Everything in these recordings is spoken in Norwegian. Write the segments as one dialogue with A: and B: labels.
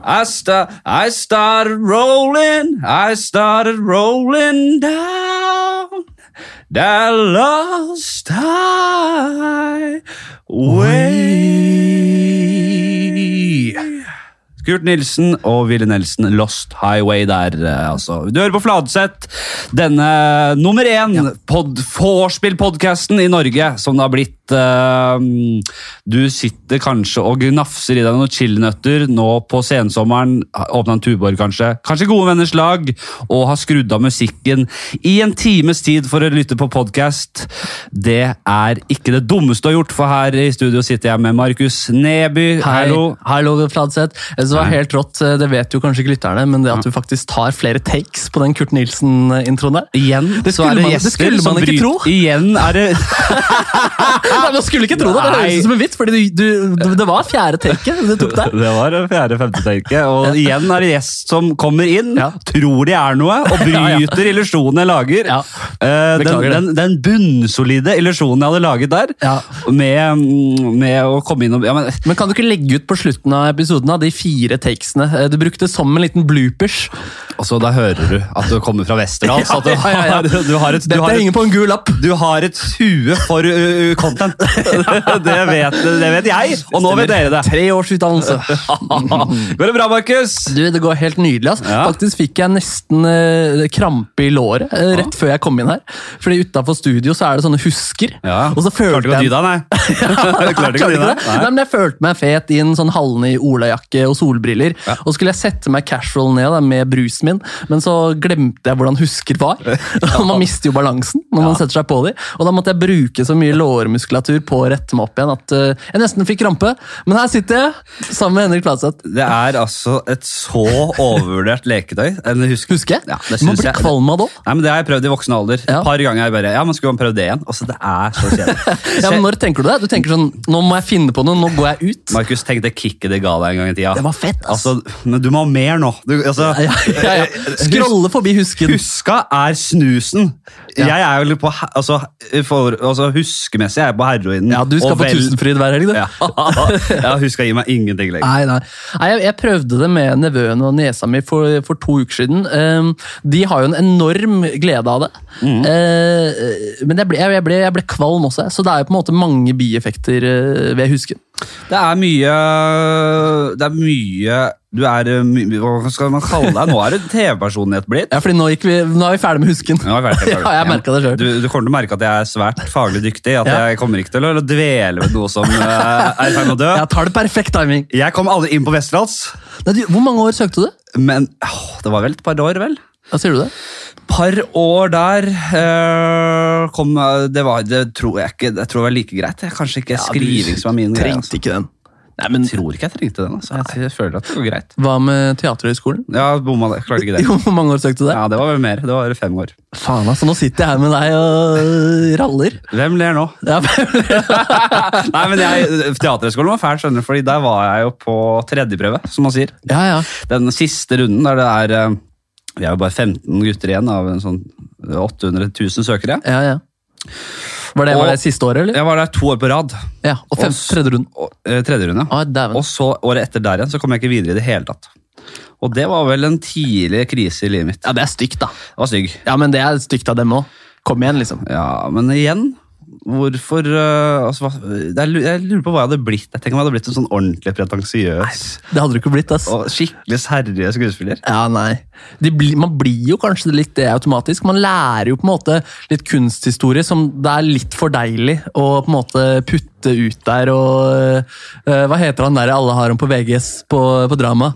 A: I start, I started rolling, I started rolling down that lost highway. Kurt Nilsen og Ville Nelson, Lost Highway der, eh, altså. Du hører på Fladseth, denne nummer én pod, vorspiel-podcasten i Norge, som det har blitt. eh, du sitter kanskje og gnafser i deg noen chilinøtter nå på sensommeren, åpna en tuborg kanskje, kanskje gode venners lag, og har skrudd av musikken i en times tid for å lytte på podkast. Det er ikke det dummeste du har gjort, for her i studio sitter jeg med Markus Neby.
B: Hei,
A: Hallo.
B: hallo Fladseth. Jeg synes Det var helt rått, eh, det vet jo kanskje ikke lytterne, men det at du faktisk tar flere takes på den Kurt Nilsen-introen der
A: Igjen
B: Det
A: så
B: skulle
A: er det
B: man- det
A: gjester
B: skulle
A: som
B: man ikke
A: bryter
B: tro.
A: Igjen er det
B: Nei, Man skulle ikke tro det! Det
A: Nei.
B: høres ut som en vits, fordi du, du, det var fjerde taket du tok der.
A: Det var det fjerde femte tenke. Og igjen er det gjest som kommer inn,
B: Ja.
A: tror de er noe, og
B: Ja, ja.
A: bryter illusjonen jeg lager.
B: Ja.
A: Eh, den,
B: Beklager det.
A: den, den bunnsolide illusjonen jeg hadde laget der,
B: Ja.
A: med, mm, med å komme inn og ja, men,
B: Men kan du ikke legge ut på slutten av episoden av de fire takesene? Eh, Du brukte det som en liten bloopers.
A: Altså, da hører du at du kommer fra Westerdals. at du,
B: Ja, ja, ja.
A: har- du har et, du
B: Dette
A: har et
B: henger på en gul lapp.
A: Du har et hue for uh, uh, content. det, vet, det vet jeg, og nå vet dere det.
B: Tre års utdannelse.
A: Går det bra, Markus?
B: Du, Det går helt nydelig. ass.
A: Ja.
B: Faktisk fikk jeg nesten eh, krampe i låret eh, rett før jeg kom inn her. Fordi utafor studio så er det sånne husker. Og så følte jeg
A: deg, nei. Klarte ikke å
B: Klarte
A: dy
B: ikke det.
A: deg?
B: Nei, men jeg følte meg fet i en sånn halvende i olajakke og solbriller. Og skulle jeg sette meg casual ned da, med brusen min, men så glemte jeg hvordan husker var. Og man mister jo balansen når man setter seg på de. Og da måtte jeg bruke så mye lårmuskulatur på å rette meg opp igjen at eh, jeg nesten fikk krampe. Men her sitter jeg sammen med Henrik Platseth.
A: Det er altså et så overvurdert leketøy. En husk-
B: Husker jeg?
A: Ja, det
B: man
A: synes
B: blir
A: jeg.
B: kvalm av det òg.
A: Nei, men Det har jeg prøvd i voksen alder. Et
B: Ja.
A: par ganger har jeg bare, ja, men skulle man prøvd det igjen? Altså, Det er så kjedelig.
B: Ja, men
A: Se,
B: når tenker du det? Du tenker sånn Nå må jeg finne på noe, nå går jeg ut.
A: Markus, tenk det kicket det ga deg en gang i tida.
B: Det var fett, ass.
A: Altså, men du må ha mer nå. Du, altså,
B: Ja, ja, ja. Scrolle forbi husken.
A: Huska er snusen.
B: Ja.
A: Jeg er jo litt på, he- altså, for, altså Huskemessig er jeg på heroinen.
B: Ja, du skal
A: og
B: på
A: vel-
B: Tusenfryd hver helg, du.
A: Ja. ja, huska gir meg ingenting lenger.
B: Nei, nei. nei jeg, jeg prøvde det med nevøen og niesa mi for, for to uker siden. Ehm, de har jo en enorm glede av det.
A: Mm.
B: Eh, men jeg ble, jeg, ble, jeg ble kvalm også, jeg. så det er jo på en måte mange bieffekter eh, ved husken.
A: Det er mye Det er mye Du er eh, my, Hva skal man kalle deg? Nå er du TV-personlighet blitt.
B: Ja, fordi nå, gikk vi, nå er vi ferdig med husken.
A: Nå er jeg ferdig, ferdig.
B: Ja, jeg merket det selv.
A: Du, du kommer til å merke at jeg er svært faglig dyktig. At
B: Ja.
A: jeg kommer ikke til å dvele ved noe som eh, er i ferd med å dø.
B: Jeg tar det perfekt timing.
A: Jeg kom aldri inn på Westerdals,
B: Nei, du, hvor mange år søkte du?
A: men åh, det var vel et par år, vel?
B: Hva sier du det?
A: Par år der eh, kom, eh, det, var, det tror jeg ikke Jeg tror det var like greit. Jeg, kanskje ikke skriving som er min greie. Altså.
B: Trengte ikke den. Nei, men
A: Jeg tror ikke jeg trengte den. Altså. Jeg, jeg føler at det går greit.
B: Hva med Teaterhøgskolen?
A: Ja, bomma det. Klarte ikke det.
B: Jo, hvor mange år søkte du det?
A: Ja, det var vel mer. Det var fem år.
B: Faen, altså, nå sitter jeg her med deg og raller.
A: Hvem ler nå?
B: Ja,
A: Nei, men jeg, Teaterhøgskolen var fæl, skjønner du, fordi der var jeg jo på tredjeprøve, som man sier.
B: ja. ja.
A: Den siste runden der det er eh, Vi er jo bare 15 gutter igjen av en sånn 800 000 søkere.
B: Ja, ja. Var det, var
A: Og-
B: det siste året, eller? Ja.
A: Jeg var der to år på rad.
B: og fem,
A: Og s-
B: tredje runde.
A: Og, eh, tredje runde.
B: Ah, dæven.
A: Og så året etter der igjen, så kom jeg ikke videre i det hele tatt. Og det var vel en tidlig krise i livet mitt.
B: Ja, det er stygt, da.
A: Det var stygg.
B: Ja, men det er stygt av dem òg. Kom igjen, liksom.
A: Ja, men igjen Hvorfor eh, altså, hva- det er lu- Jeg lurer på hva jeg hadde blitt. Jeg tenker om jeg hadde blitt en sånn ordentlig pretensiøs
B: Det hadde du ikke blitt, ass.
A: og skikkelig seriøs skuespiller.
B: Ja, nei. De bli, man blir jo kanskje litt det automatisk. Man lærer jo på en måte litt kunsthistorie som det er litt for deilig å på en måte putte ut der og eh, Hva heter han der alle har ham på VGS på, på drama?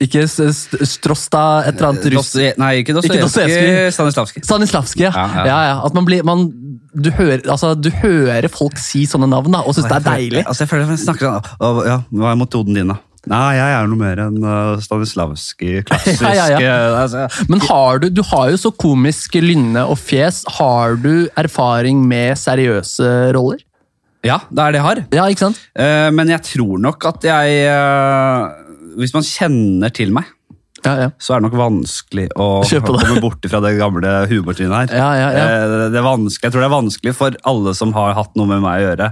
B: Ikke s- s- Strosta et eller annet russ...
A: Dostoje- Nei, ikke
B: Dostojevskij.
A: Dostojevskij. Stanislavskij.
B: Stanislavski, ja.
A: Ja, ja.
B: ja, ja. At man blir man, du, hører, altså, du hører folk si sånne navn da, og syns det er deilig.
A: Altså, jeg føler at jeg snakker sånn «Å, Ja, hva er metoden din, da? Nei, jeg er noe mer enn uh, Stanislavskij. Klassisk
B: Ja, ja,
A: eh, altså,
B: Men har du, du har jo så komisk lynne og fjes. Har du erfaring med seriøse roller?
A: ja, det er det jeg har.
B: Ja, ikke sant?
A: Eh, men jeg tror nok at jeg eh, Hvis man kjenner til meg
B: Ja, ja.
A: så er det nok vanskelig å
B: Kjøpe det.
A: komme bort fra det gamle humortrynet her.
B: Ja, ja, ja.
A: Eh, Det er vanskelig, jeg tror det er vanskelig for alle som har hatt noe med meg å gjøre,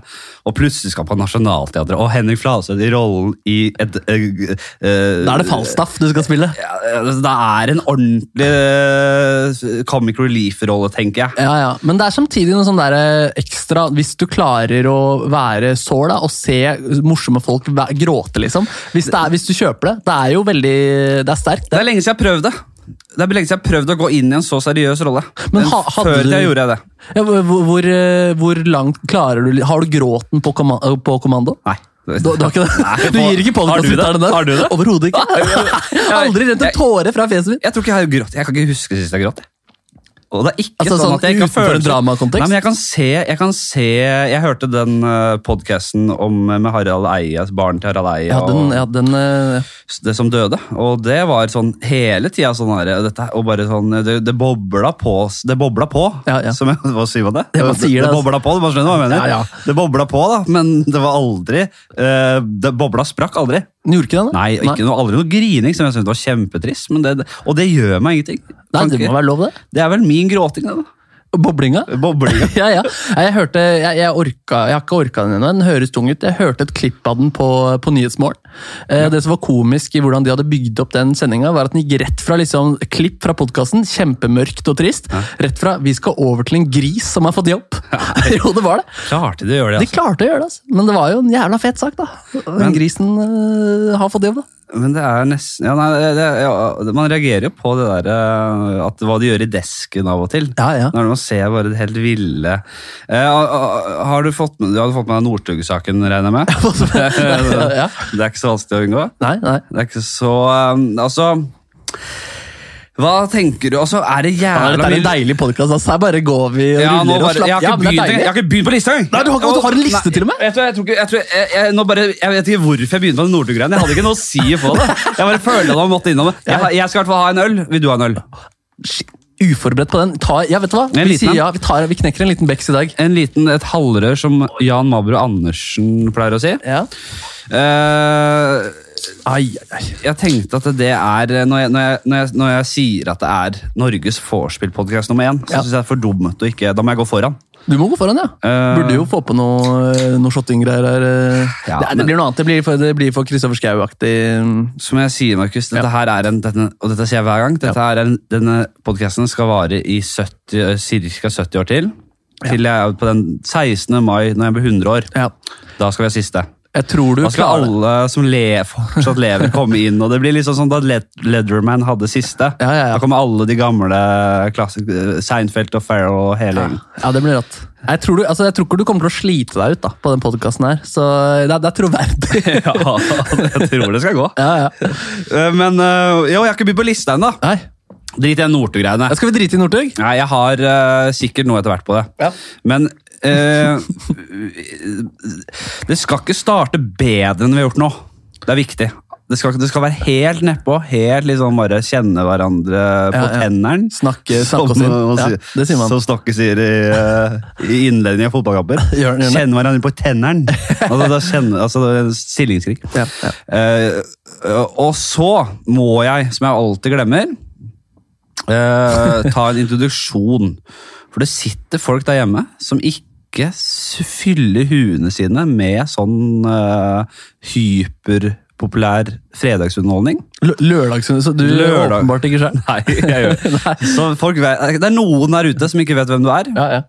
A: og plutselig skal på Nationaltheatret, og Henrik Fladseth i rollen i et eh, eh,
B: Da er det Falstaff du skal spille.
A: Ja, altså, det er en ordentlig eh, comic relief-rolle, tenker jeg.
B: Ja, ja. Men det er samtidig noe sånn der eh, ekstra Hvis du klarer å være sår da, og se morsomme folk væ- gråte, liksom. Hvis, det er, hvis du kjøper det. Det er jo veldig Det er sterkt.
A: Det
B: Det.
A: er lenge siden jeg har prøvd det. Det er lenge siden jeg har prøvd å gå inn i en så seriøs rolle.
B: Men ha- hadde
A: Før
B: du-
A: jeg gjorde jeg det.
B: Ja, hvor, hvor, eh, hvor langt klarer du Har du gråten på, komma- eh, på kommando?
A: Nei.
B: Du, du, har ikke det?
A: Nei,
B: du gir ikke på
A: har du det?
B: den der?
A: Har du det?
B: Overhodet ikke. Aldri rent en
A: Jeg-
B: tåre fra fjeset mitt.
A: Jeg tror ikke jeg har grått. Jeg kan ikke huske sist jeg gråt. jeg. Og det er ikke
B: Altså,
A: sånn
B: sånn
A: at jeg ikke har
B: utenfor en
A: følelser.
B: dramakontekst?
A: Nei, men jeg kan se Jeg, kan se, jeg hørte den podkasten med Harald Eia, barn til Harald Eia,
B: Ja, den,
A: og
B: ja, den, eh,
A: det som døde. Og det var sånn hele tida sånn her, dette, og bare sånn Det, det bobla på. s- Det bobla på.
B: Ja, ja.
A: Som, hva sier man det?
B: Ja, man sier det,
A: det
B: altså.
A: bobla på, du må skjønne hva jeg mener.
B: Ja, ja.
A: Det bobla på, da, men det var aldri eh, det, Bobla sprakk aldri.
B: den gjorde ikke den? da?
A: Nei, ikke noe, aldri noe grining, som jeg syntes var kjempetrist. Men det, og det gjør meg ingenting.
B: Nei,
A: Kan
B: det må
A: ikke-
B: være lov, det.
A: det er vel min gråting, det, da.
B: Boblinga.
A: Boblinga.
B: ja, ja. Jeg, hørte, jeg, jeg, orka, jeg har ikke orka den ennå. Den høres tung ut. Jeg hørte et klipp av den på, på Nyhetsmorgen. Eh, Det som var komisk i hvordan de hadde bygd opp den sendinga, var at den gikk rett fra liksom, klipp fra podkasten, kjempemørkt og trist, rett fra 'vi skal over til en gris som har fått jobb'. jo, det var det.
A: Klarte de å gjøre
B: De
A: det, altså.
B: klarte å gjøre det, altså. men det var jo en jævla fet sak, da. Den grisen eh, har fått jobb, da.
A: Men det er nesten ja, nei, det, ja, Man reagerer jo på det der eh, at hva de gjør i desken av og til.
B: Ja, ja.
A: Når man ser bare det helt ville eh, ah, ah, Har du fått med, du hadde fått med deg Northug-saken, regner jeg med?
B: Ja.
A: Det er ikke så vanskelig å unngå.
B: Nei, nei.
A: Det er ikke så eh, Altså Hva tenker du? Altså, er det
B: Ja,
A: jævla
B: dette er en
A: mye-
B: deilig podkast. Altså. Her bare går vi og
A: Ja, nå
B: ruller og
A: bare,
B: slapper
A: jeg, har ikke
B: men det er
A: begynt,
B: deilig.
A: jeg har ikke begynt på lista engang!
B: Nei, du har ikke- du har en liste
A: Nei,
B: til og med?
A: Vet du, hva, jeg, tror ikke, jeg, tror, jeg, jeg, nå bare, jeg vet ikke hvorfor jeg begynte på den Northug-greia. Jeg hadde ikke noe å si på det. Jeg bare følte at jeg måtte innom det. Jeg, har- jeg skal i hvert fall ha en øl. Vil du ha en øl?
B: Shit, uforberedt på den. Ta, ja, vet du hva?
A: En
B: Vi,
A: liten
B: sier
A: en.
B: ja, vi, tar, vi knekker en liten beks i dag.
A: En liten, Et halvrør, som Jan Mabro Andersen pleier å si.
B: Ja.
A: Eh,
B: Ai, ai, ai.
A: jeg tenkte at det er Når jeg, når jeg, når jeg, når jeg sier at det er Norges vorspiel-podkast nummer én, så
B: Ja.
A: synes syns jeg det er for dumt å ikke Da må jeg gå foran.
B: Du må gå foran, ja.
A: Eh.
B: Burde jo få på noe, eh, noe shottinggreier her. eh.
A: Ja,
B: det, det
A: men-
B: blir noe annet. Det blir for, det blir for Kristoffer Schou-aktig.
A: Som jeg sier, Markus, dette her er en, dette, og dette sier jeg hver gang, dette er en, denne podcasten skal vare i eh, 70, cirka 70 år til. Til jeg er på den 16. mai, når jeg blir 100 år.
B: Ja.
A: Da skal vi ha siste.
B: Jeg tror du
A: Da skal
B: klarer det.
A: alle som le, fortsatt lever, komme inn. Og det blir liksom sånn da Led Leatherman hadde siste.
B: Ja, ja, ja.
A: Da kommer alle de gamle klassikere. Seinfeld og Farrell og hele gjengen.
B: Ja, det blir rått. Jeg tror, du, altså, jeg tror ikke du kommer til å slite deg ut da, på den podkasten her. Så det, er- det er troverdig.
A: Ja, jeg tror det skal gå.
B: ja, ja.
A: Eh, Men eh, jo, jeg har ikke begynt på lista ennå.
B: Nei.
A: Drit i den Northug-greiene.
B: Skal vi drite i Northug?
A: Nei, jeg har eh, sikkert noe etter hvert på det.
B: Ja.
A: Men eh, det skal ikke starte bedre enn vi har gjort nå. Det er viktig. Det skal, det skal være helt nedpå. Helt liksom bare kjenne hverandre på
B: Ja, ja.
A: tenneren.
B: Snakke- snakke oss inn.
A: man
B: Ja,
A: sier-
B: det sier man.
A: Som Stokke sier i, eh, i innledningen av fotballkamper.
B: Gjør den, gjør den.
A: Kjenne hverandre på tenneren. Altså, da kjenne, altså, det er en stillingskrig.
B: Ja, ja.
A: Eh, og så må jeg, som jeg alltid glemmer eh, ta en introduksjon. For det sitter folk der hjemme som ikke s- fyller huene sine med sånn eh, hyperpopulær fredagsunderholdning.
B: Lø- Lørdagshund, så du
A: Lørdag.
B: åpenbart ikke sjøl?
A: Nei, jeg gjør
B: Nei.
A: Så folk vet, Det er noen der ute som ikke vet hvem du er.
B: Ja, ja.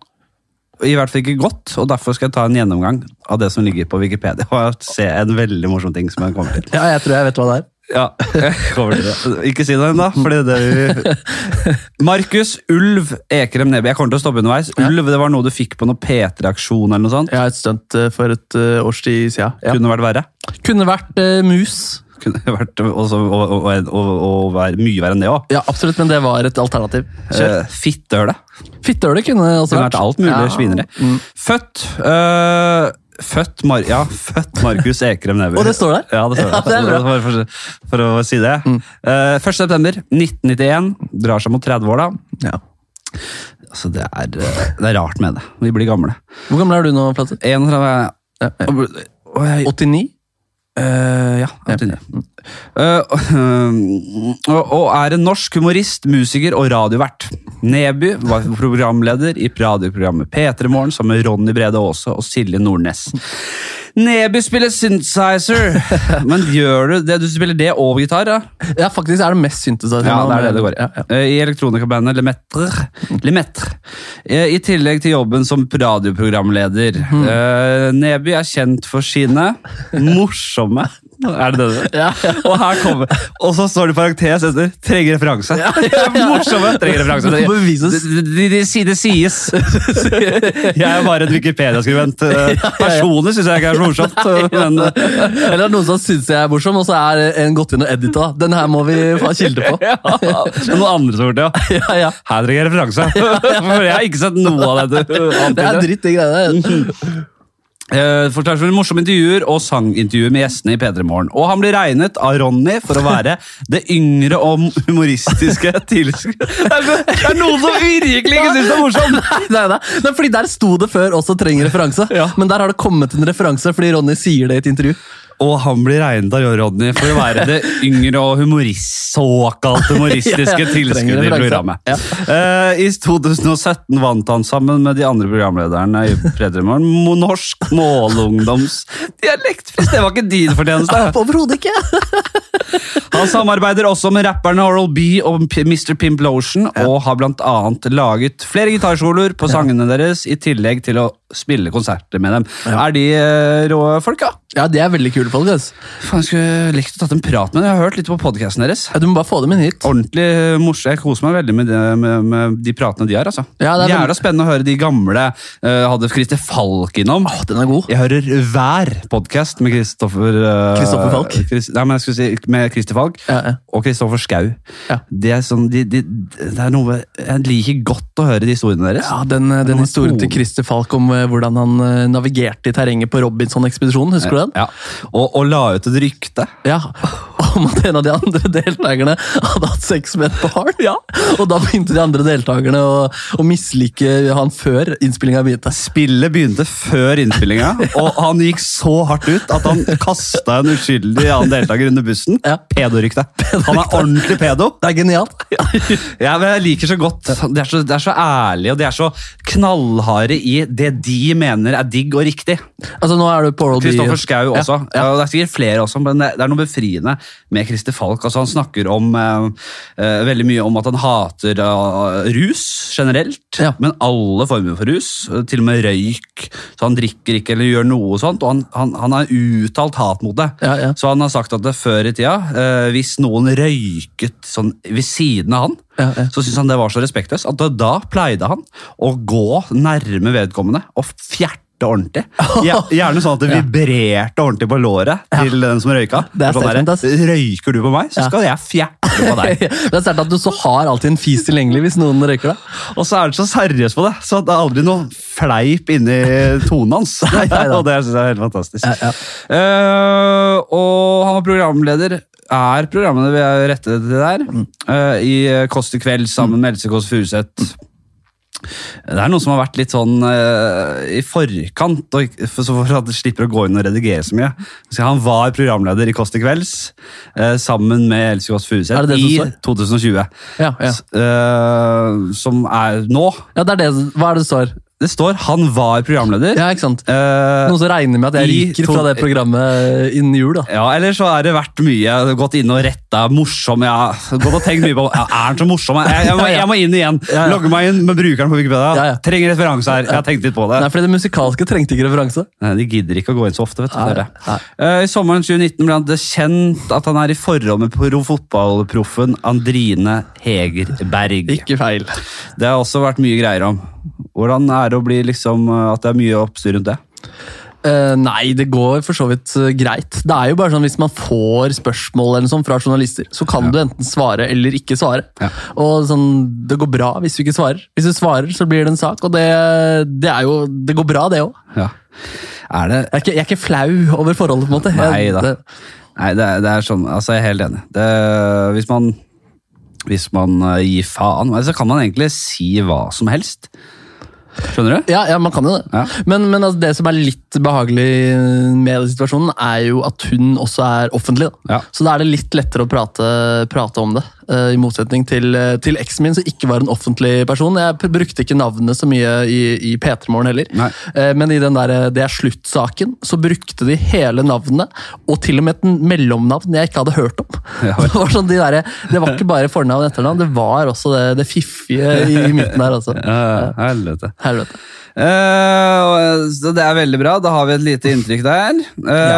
A: I hvert fall ikke godt, og derfor skal jeg ta en gjennomgang av det som ligger på Wikipedia. Og se en veldig morsom ting som jeg kommer til.
B: ja, jeg tror jeg vet hva det er.
A: Ja, jeg kommer til det. Ikke si det ennå, for det er det vi Markus Ulv Ekrem Neby. Jeg kommer til å stoppe underveis. Ulv det var noe du fikk på noen P3-aksjon eller noe sånt.
B: Jeg har et stunt eh, for et eh, års tid siden. Ja.
A: Kunne vært verre.
B: Kunne vært eh, mus.
A: Kunne vært også, og, og, og, og, og være mye verre enn det Eh, òg.
B: Ja, absolutt, men det var et alternativ. Kjør.
A: Fittehølet.
B: Fittehølet kunne også
A: Kunne
B: vært
A: vært alt mulig
B: Ja. Mm.
A: svineri. Født øh, Født, Mar ja, født Markus Ekrem Neby.
B: Og det står der?
A: Ja, det står
B: Ja,
A: der.
B: det er bra. Mm.
A: Bare For, for å si det. Eh, 1. september 1991. Drar seg mot 30 år, da.
B: Ja.
A: Altså, det er, det er rart med det. Vi blir gamle.
B: Hvor gammel er du nå, Flatseth?
A: 31
B: Ja, ja.
A: og, og jeg,
B: 89?
A: Eh, ja. jeg er enig. Eh, og, og er en norsk humorist, musiker og radiovert. Neby var programleder i radioprogrammet P3 Morgen sammen med Ronny Brede Aase og Silje Nordnes. Neby spiller synthesizer, men gjør du det? Du spiller det og gitar, ja?
B: Ja, faktisk er det mest synthesizer.
A: Ja, det er det det går i.
B: Ja, ja.
A: Eh, I elektronikabandet Lemaitre. Lemaitre. Eh, I tillegg til jobben som radioprogramleder. Eh, Neby er kjent for sine morsomme Er det det det?
B: Ja, ja.
A: Og her kommer Og så står det i parentes etter 'trenger referanse'. Morsomme! Trenger referanse.
B: Det må bevises.
A: Det, det, det, si- det sies. Jeg er bare en Wikipedia-skrivent. Eh, Personlig syns jeg ikke det er så morsomt, men eh,
B: Eller noen som syns jeg er morsom, og så er en gått inn og edita. Den her må vi ha kilde på.
A: ja. det er noen andre som har gjort det, ja.
B: Ja, ja.
A: Her trenger jeg referanse. For jeg har ikke sett noe av dette.
B: Det er dritt, de greiene der.
A: Eh, Forklart for morsomme intervjuer og sangintervjuer med gjestene i P3 Morgen. Og han blir regnet av Ronny for å være det yngre og humoristiske tilsk... Det er så- det er noen som virkelig ikke syns det er morsomt!
B: Nei, nei, nei. nei, fordi Der sto det før også 'trenger referanse',
A: Ja.
B: men der har det kommet en referanse fordi Ronny sier det i et intervju.
A: Og han blir regnet av Ronny for å være det yngre og humorist, såkalt humoristiske
B: Ja, ja.
A: tilskuddet
B: Trenger
A: i
B: referanse.
A: programmet. Eh, I 2017 vant han sammen med de andre programlederne i Fredremorgen Mo- Norsk Målungdoms dialektpris. Det var ikke din fortjeneste!
B: Overhodet ikke!
A: Han samarbeider også med rapperne Oral B og P- Mr. Pimp Lotion, og har blant annet laget flere gitarsoloer på sangene deres, i tillegg til å spille konserter med dem. Er de eh, rå folk, ja?
B: Ja, De er veldig kule folk. ass.
A: Faen, jeg skulle likt å tatt en prat med dem. Jeg har hørt litt på podkasten deres.
B: Ja, du må bare få dem inn hit.
A: Ordentlig morsomt. Jeg koser meg veldig med, det, med, med de pratene de har. altså.
B: Ja, det er
A: Jævla spennende å høre de gamle. eh, hadde Christer Falk innom.
B: Å, den er god.
A: Jeg hører hver podkast med Kristoffer eh,
B: Christoffer Falk?
A: Chris, nei, men jeg skulle si med Christer Falk
B: Ja, ja.
A: og Kristoffer Schau.
B: Ja.
A: Det er sånn, de, de, det er noe Jeg liker godt å høre de historiene deres.
B: Ja, den, eh, den historien til Christer Falk om eh, hvordan han eh, navigerte i terrenget på Robinson-ekspedisjonen. Husker du den?
A: Ja. Og, og la ut et rykte.
B: Ja, Om at en av de andre deltakerne hadde hatt sex med et barn. Ja. Og da begynte de andre deltakerne å, å mislike han før innspillinga begynte.
A: Spillet begynte før innspillinga, og han gikk så hardt ut at han kasta en uskyldig annen deltaker under bussen.
B: Ja.
A: Pedorykte. Han er ordentlig pedo.
B: Det er genialt!
A: Ja, men jeg liker så godt. De er så, de er så ærlige og de er så knallharde i det de mener er digg og riktig.
B: Altså, nå er du på Oral B.
A: Kristoffer Schau også.
B: Ja, ja.
A: Ja, Det er sikkert flere også, men det det er noe befriende med Christer Falk. Altså, han snakker om, eh, eh, veldig mye om at han hater eh, rus generelt,
B: Ja.
A: men alle former for rus, eh, til og med røyk. Så han drikker ikke eller gjør noe sånt, og han, han, han har uttalt hat mot det.
B: Ja, ja.
A: Så han har sagt at det før i tida, eh, hvis noen røyket sånn ved siden av han,
B: Ja, ja.
A: så syntes han det var så respektløst at da, da pleide han å gå nærme vedkommende og fjerte ordentlig. Gjer- Gjerne sånn at det vibrerte ordentlig på låret til den som røyka.
B: Det er
A: Sånn
B: statement,
A: der,
B: ass.
A: Røyker du på meg, så skal jeg fjerte på deg.
B: Det er sterkt at du så har alltid en fis tilgjengelig hvis noen røyker deg.
A: Og så er det så seriøst på det, så det er aldri noe fleip inni tonen hans.
B: da.
A: og det synes jeg er helt fantastisk.
B: Ja, ja.
A: Eh, og han var programleder, er programmene vi er rettet til der,
B: Mm.
A: eh, i Kåss til kveld sammen med Else Kåss Furuseth.
B: Mm.
A: Det er noen som har vært litt sånn eh, i forkant, og, ikke- for, så for at de slipper å gå inn og redigere så mye. Så han var programleder i Kåss til kvelds eh, sammen med Else Kåss
B: Er
A: Furuseth
B: det det
A: i
B: som står?
A: 2020.
B: Ja, ja.
A: S- eh, som er nå.
B: Ja, det er det. Hva er det det står?
A: Det står 'han var programleder'.
B: Ja, ikke sant?
A: Eh,
B: Noen som regner med at jeg
A: I
B: ryker
A: to-
B: fra det programmet innen jul, da.
A: Ja, eller så er det vært mye. Gått inn og retta. Morsom. Jeg har gått og tenkt mye på ja, Er han så morsom? Jeg, jeg, må, jeg må inn igjen.
B: Ja, ja.
A: Logge meg inn med brukeren på Wikipedia.
B: Ja, ja.
A: Trenger referanse her. Jeg har tenkt litt på det.
B: Nei, fordi det musikalske trengte ikke referanse.
A: Nei, De gidder ikke å gå inn så ofte. vet du.
B: Nei,
A: det er det.
B: nei.
A: Eh, I sommeren 2019 ble det kjent at han er i forhold med pro- fotballproffen Andrine Hegerberg.
B: Ikke feil.
A: Det har også vært mye greier om. Hvordan er det å bli liksom, eh, at det er mye oppstyr rundt det?
B: Eh, nei, det går for så vidt eh, greit. Det er jo bare sånn Hvis man får spørsmål eller noe sånt fra journalister, så kan du enten svare eller ikke svare.
A: Ja.
B: Og sånn, Det går bra hvis du ikke svarer. Hvis du svarer, så blir det en sak. Og det, det er jo, det går bra, det òg.
A: Ja. Er det
B: Jeg, er ikke- jeg er ikke flau over forholdet, på en måte.
A: Nei
B: Jeg-
A: da.
B: det-
A: Nei, det er, det er sånn, altså jeg er helt enig. Det, hvis man, altså, hvis man eh, gir faen, så kan man egentlig si hva som helst. Skjønner du?
B: Ja, ja, man kan jo det.
A: Ja.
B: Men, men altså, det som er litt behagelig med situasjonen, er jo at hun også er offentlig. Da.
A: Ja.
B: Så da er det litt lettere å prate, prate om det. eh, I motsetning til, eh, til eksen min, som ikke var en offentlig person. Jeg pr- brukte ikke navnet så mye i, i P3morgen heller.
A: Nei.
B: Eh, Men i den der, eh, Det er slutt-saken, så brukte de hele navnet, og til og med et mellomnavn jeg ikke hadde hørt om.
A: Ja, vel.
B: det, var sånn de der, det var ikke bare fornavn og etternavn, det var også det, det fiffige i, i midten der. Altså.
A: Ja, helvete.
B: Helvete.
A: Eh, og, så det er veldig bra. Da har vi et lite inntrykk der.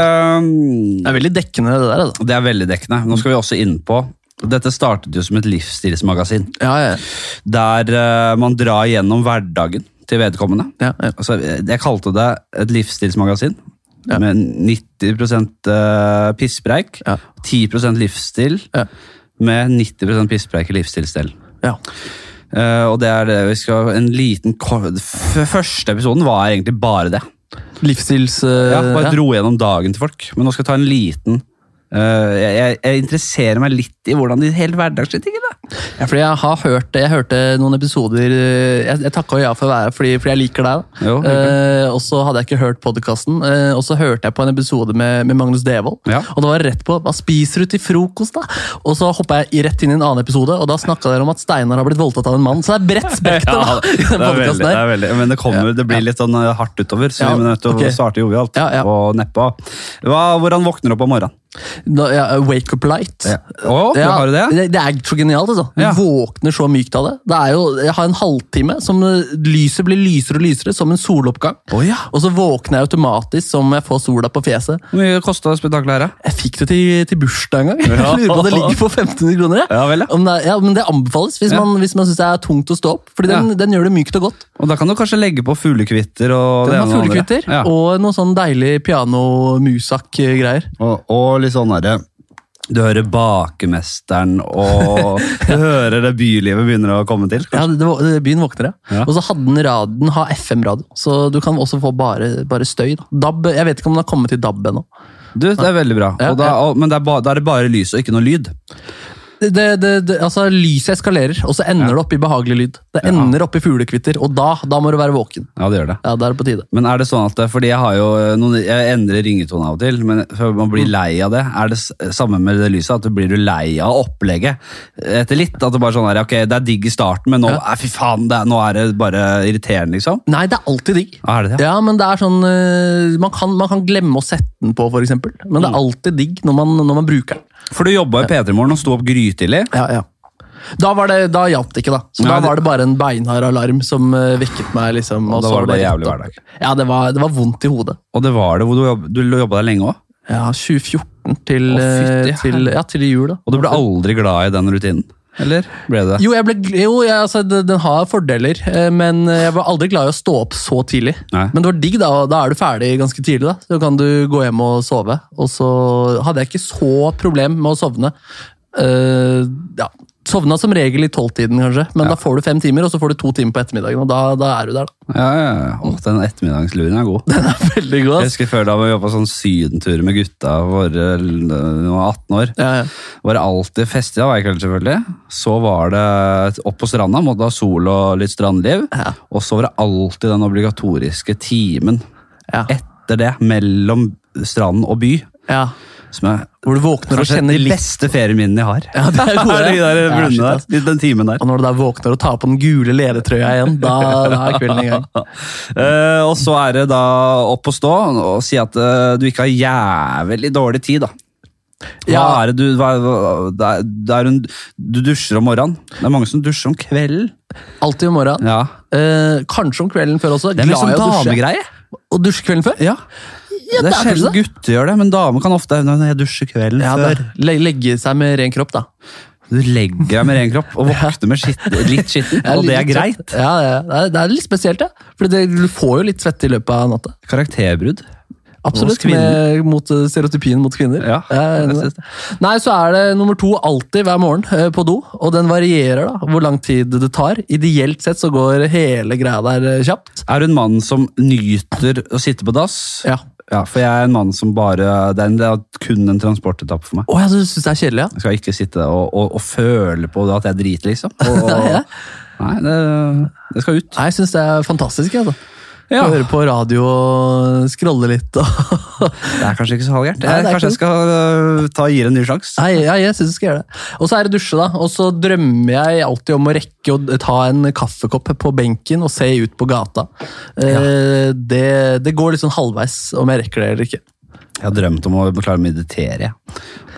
A: Eh,
B: Det er veldig dekkende, det der. altså.
A: Det er veldig dekkende. Nå skal vi også inn på Dette startet jo som et livsstilsmagasin,
B: Ja, ja,
A: der eh, man drar gjennom hverdagen til vedkommende.
B: ja, ja.
A: Altså, jeg kalte det et livsstilsmagasin.
B: Ja.
A: Med 90 eh, pisspreik,
B: Ja.
A: 10 livsstil,
B: Ja.
A: med 90 pisspreik i livsstilsdelen.
B: ja.
A: Eh, og det er det vi skal En liten kor- f Første episoden var egentlig bare det.
B: Livsstils... eh,
A: Ja, bare
B: ja.
A: dro gjennom dagen til folk. Men nå skal jeg ta en liten eh, jeg, jeg, jeg interesserer meg litt i hvordan de helt hverdagslige tingene er.
B: Ja, fordi jeg har hørt det. Jeg hørte noen episoder eh, Jeg, jeg takka ja for å være fordi, fordi jeg liker deg. da.
A: Jo,
B: eh, og så hadde jeg ikke hørt podkasten, eh, og så hørte jeg på en episode med, med Magnus Devold.
A: Ja.
B: Og det var rett på Hva spiser du til frokost, da? Og så hoppa jeg i- rett inn i en annen episode, og da snakka dere om at Steinar har blitt voldtatt av en mann. Så det er bredt spekter da, i den podcasten her.
A: men det kommer, det blir litt sånn eh, hardt utover, så
B: Ja,
A: vi er nødt til
B: ok.
A: å starte jovialt
B: Ja, ja.
A: og neppe. Hva, hvordan våkner du opp om morgenen?
B: Da, ja, wake up light.
A: Ja. Å,
B: Ja,
A: har du det?
B: Det, er så genialt. altså. Du
A: Ja.
B: våkner så mykt av det. Det er jo, Jeg har en halvtime som eh, lyset blir lysere og lysere, som en soloppgang.
A: Å, ja.
B: Og så våkner jeg automatisk som jeg får sola på fjeset.
A: Hvor mye kosta spetakkelet her, da?
B: Jeg fikk det til, til bursdag en gang. Jeg
A: Ja.
B: lurer på om det ligger på 1500 kroner. jeg.
A: Ja, vel, ja.
B: Om det, er- ja, men det anbefales hvis
A: Ja.
B: man, hvis man syns det er tungt å stå opp. Fordi den, den gjør det mykt og godt.
A: Og da kan du kanskje legge på fuglekvitter og ene og det
B: Den har
A: andre.
B: fuglekvitter
A: Ja.
B: og noe sånn deilig piano-musak-greier.
A: Og, og litt sånn derre Du hører bakemesteren, og du hører det bylivet begynner å komme til.
B: Ja, det, det, var- det- byen våkner, ja.
A: Ja.
B: Og så hadde den radioen har FM-radio, så du kan også få bare, bare støy. Da. DAB, jeg vet ikke om den har kommet til DAB ennå.
A: Du, det er veldig bra.
B: Ja,
A: og da, og, men det er ba, da er det bare lys og ikke noe lyd.
B: Det, det, det, det, altså, lyset eskalerer, og så ender det opp i behagelig lyd. Det
A: Ja.
B: ender opp i fuglekvitter, og da, da må du være våken.
A: Ja, det gjør det.
B: Ja, Da er det på tide.
A: Men er det sånn at, fordi jeg har jo eh, noen, jeg endrer ringetone av og til, men for man blir lei av det. Er det s- eh, samme med det lyset, at du blir du lei av opplegget etter litt? At det bare sånn er, ok, det er digg i starten, men nå, eh, fy faen, det er, nå er det bare irriterende, liksom?
B: Nei, det er alltid digg.
A: Ja, Er det det?
B: Ja, men det er sånn eh, man kan, man kan glemme å sette den på, f.eks. Men
A: Mm.
B: det er alltid digg når man, når man bruker den.
A: For du jobba i P3 Morgen og sto opp grytidlig.
B: Ja, ja. Da, var det- da hjalp det ikke, da. Så
A: Nei,
B: Da
A: det-
B: var det bare en beinhard alarm som eh, vekket meg. liksom.
A: Og da
B: så
A: var det bare
B: rett
A: jævlig
B: opp.
A: hverdag.
B: Ja, det var, det var vondt i hodet.
A: Og det var det, hvor du jobb- du jobba der lenge òg.
B: Ja, 2014 til,
A: Å, fytti
B: eh, til, ja, til jul, da.
A: Og du ble aldri glad i den rutinen? Eller ble du det?
B: Jo, jeg ble, gl- jo jeg, altså, det- den har fordeler, eh, men jeg var aldri glad i å stå opp så tidlig.
A: Nei.
B: Men det var digg, da. Da er du ferdig ganske tidlig. da. Så kan du gå hjem og sove. Og så hadde jeg ikke så problem med å sovne. Eh, ja. Sovna som regel i tolvtiden, kanskje, men da får du fem timer, og så får du to timer på ettermiddagen, og da, da er du der, da.
A: Ja, ja, ja. Å, den ettermiddagsluren er god.
B: Den er veldig god,
A: Jeg
B: ass.
A: husker før da vi jobba sånn sydentur med gutta våre når vi var 18 år.
B: Ja, ja.
A: Var det alltid festing, da var jeg kveld selvfølgelig. Så var det opp på stranda, måtte ha sol og litt strandliv.
B: Ja.
A: Og så var det alltid den obligatoriske timen
B: Ja.
A: etter det, mellom stranden og by.
B: ja.
A: Som er
B: Hvor du våkner og
A: kanskje
B: kjenner
A: de
B: litt
A: beste ferieminnene jeg har.
B: Ja, det er gode.
A: de der
B: Ja,
A: brunene
B: shit,
A: der,
B: ass.
A: den timen der.
B: Og når du da våkner og tar på den gule ledertrøya igjen, da, da er kvelden i gang.
A: Eh, og så er det da opp og stå og si at eh, du ikke har jævlig dårlig tid, da. Hva
B: Ja.
A: er det du, hva, hva- det er, det er en, du dusjer om morgenen. Det er mange som dusjer om kvelden.
B: Alltid om morgenen.
A: Ja.
B: Eh, kanskje om kvelden før også.
A: Det er en
B: Glad i
A: sånn
B: å dusje.
A: damegreie.
B: Å dusje kvelden før?
A: Ja. det er
B: det er kanskje
A: sjelden gutter gjør det, men damer kan ofte Nei, nei, jeg dusjer kvelden
B: Ja,
A: før.
B: det- le legge seg med ren kropp, da.
A: Du legger deg med ren kropp og våkner med skitt, litt skitten, og det er
B: litt
A: greit.
B: trøtt. Ja, ja, det er- det er litt spesielt, ja. For det, du får jo litt svette i løpet av natta.
A: Karakterbrudd. Hos
B: Absolutt.
A: kvinner.
B: Med, mot eh, stereotypien mot kvinner.
A: Ja,
B: jeg
A: jeg
B: er enig i
A: synes
B: det. Nei, så er det nummer to alltid hver morgen eh, på do, og den varierer da, hvor lang tid det tar. Ideelt sett så går hele greia der eh, kjapt.
A: Er du en mann som nyter å sitte på dass?
B: Ja.
A: Ja, for jeg er en mann som bare Det er, en, det er kun en transportetappe for meg.
B: Å ja, du syns det er kjedelig, ja?
A: Jeg skal ikke sitte og, og, og føle på at jeg driter, liksom. Og, og, Nei, det, det skal ut.
B: Nei, jeg syns det er fantastisk. jeg, Altså.
A: Ja.
B: Høre på radio og scrolle litt. Og
A: Det er kanskje ikke så halvgærent. Eh,
B: Nei, det er
A: Kanskje
B: ikke
A: jeg skal øh, ta gi det en ny sjanse.
B: Nei, ja, jeg synes jeg skal gjøre det. Og så er det dusje, da. Og så drømmer jeg alltid om å rekke å ta en kaffekopp på benken og se ut på gata. Eh, det, det går litt sånn halvveis om jeg rekker det eller ikke.
A: Jeg har drømt om å klare å meditere.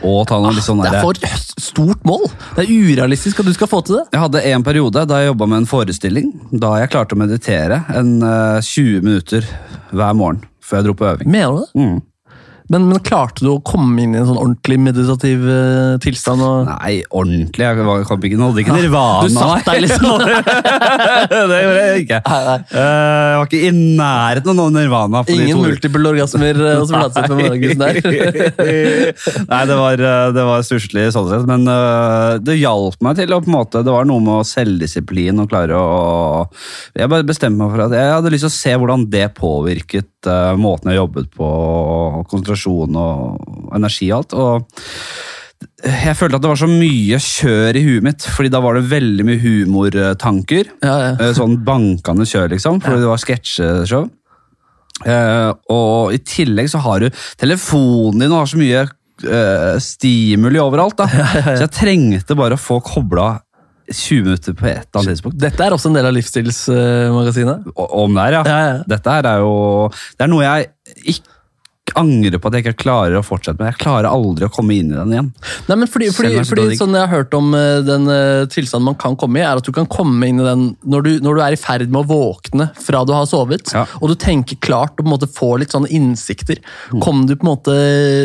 A: Og ta noe litt sånn
B: Det er
A: der,
B: for stort mål! Det er urealistisk at du skal få til det.
A: Jeg hadde en periode da jeg jobba med en forestilling, da jeg klarte å meditere en øh, 20 minutter hver morgen før jeg dro på øving.
B: Mener du det?
A: Mm.
B: Men, men klarte du å komme inn i en sånn ordentlig meditativ eh, tilstand? Og...
A: Nei, ordentlig. Jeg var- kom ikke, hadde ikke nirvana.
B: Du satt deg liksom
A: det gjorde jeg ikke.
B: Nei, nei.
A: Eh, jeg var ikke i nærheten av noe nirvana. for de
B: Ingen
A: to ukene.
B: multiple orgasmer eh, og så plassert på morgengussen sånn der.
A: Nei, det var, eh, det var stusslig sånn sett, men øh, det hjalp meg til å på en måte, Det var noe med selvdisiplin og klare å Jeg bare bestemte meg for at jeg hadde lyst til å se hvordan det påvirket øh, måten jeg jobbet på, og konsentrasjon og energi og alt. og jeg følte at det var så mye kjør i huet mitt, fordi da var det veldig mye humortanker.
B: Ja, ja.
A: Eh, Sånn bankende kjør, liksom, fordi det var sketsjeshow. Eh, og i tillegg så har du telefonen din og har så mye eh, stimuli overalt. da. Så jeg trengte bare å få kobla 20 minutter på et eller annet tidspunkt.
B: Dette er også en del av livsstilsmagasinet.
A: O- Om det her, ja.
B: Ja, ja.
A: Dette her er jo Det er noe jeg ikke angrer på at jeg ikke klarer å fortsette med. Jeg klarer aldri å komme inn i den igjen.
B: Nei, men fordi,
A: Selv
B: fordi,
A: om jeg er så
B: fordi
A: dårlig.
B: sånn jeg har hørt om eh, den eh, tilstanden man kan komme i, er at du kan komme inn i den når du, når du er i ferd med å våkne fra du har sovet,
A: Ja.
B: og du tenker klart og på en måte får litt sånne innsikter. Kom du på en måte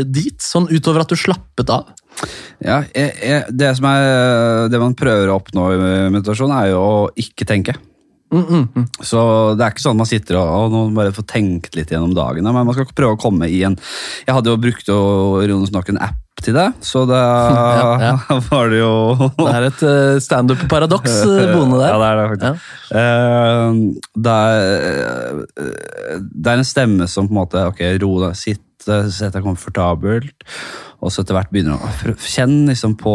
B: dit, sånn utover at du slappet av?
A: Ja, jeg, jeg, det, som er, det man prøver å oppnå i meditasjon, er jo å ikke tenke.
B: Mm,
A: Så det er ikke sånn man sitter og, og nå må man bare får tenkt litt gjennom dagen. Men man skal prøve å komme i en Jeg hadde jo brukt jo, ironisk nok en app til det, så da
B: Ja,
A: var det jo
B: Det er et eh, standup-paradoks eh, boende
A: Ja,
B: der.
A: det er det faktisk. Eh, det, er, eh, det er en stemme som på en måte Ok, ro deg, sitt, eh, sett deg komfortabelt. Og så etter hvert begynner du å pr- Kjenn liksom på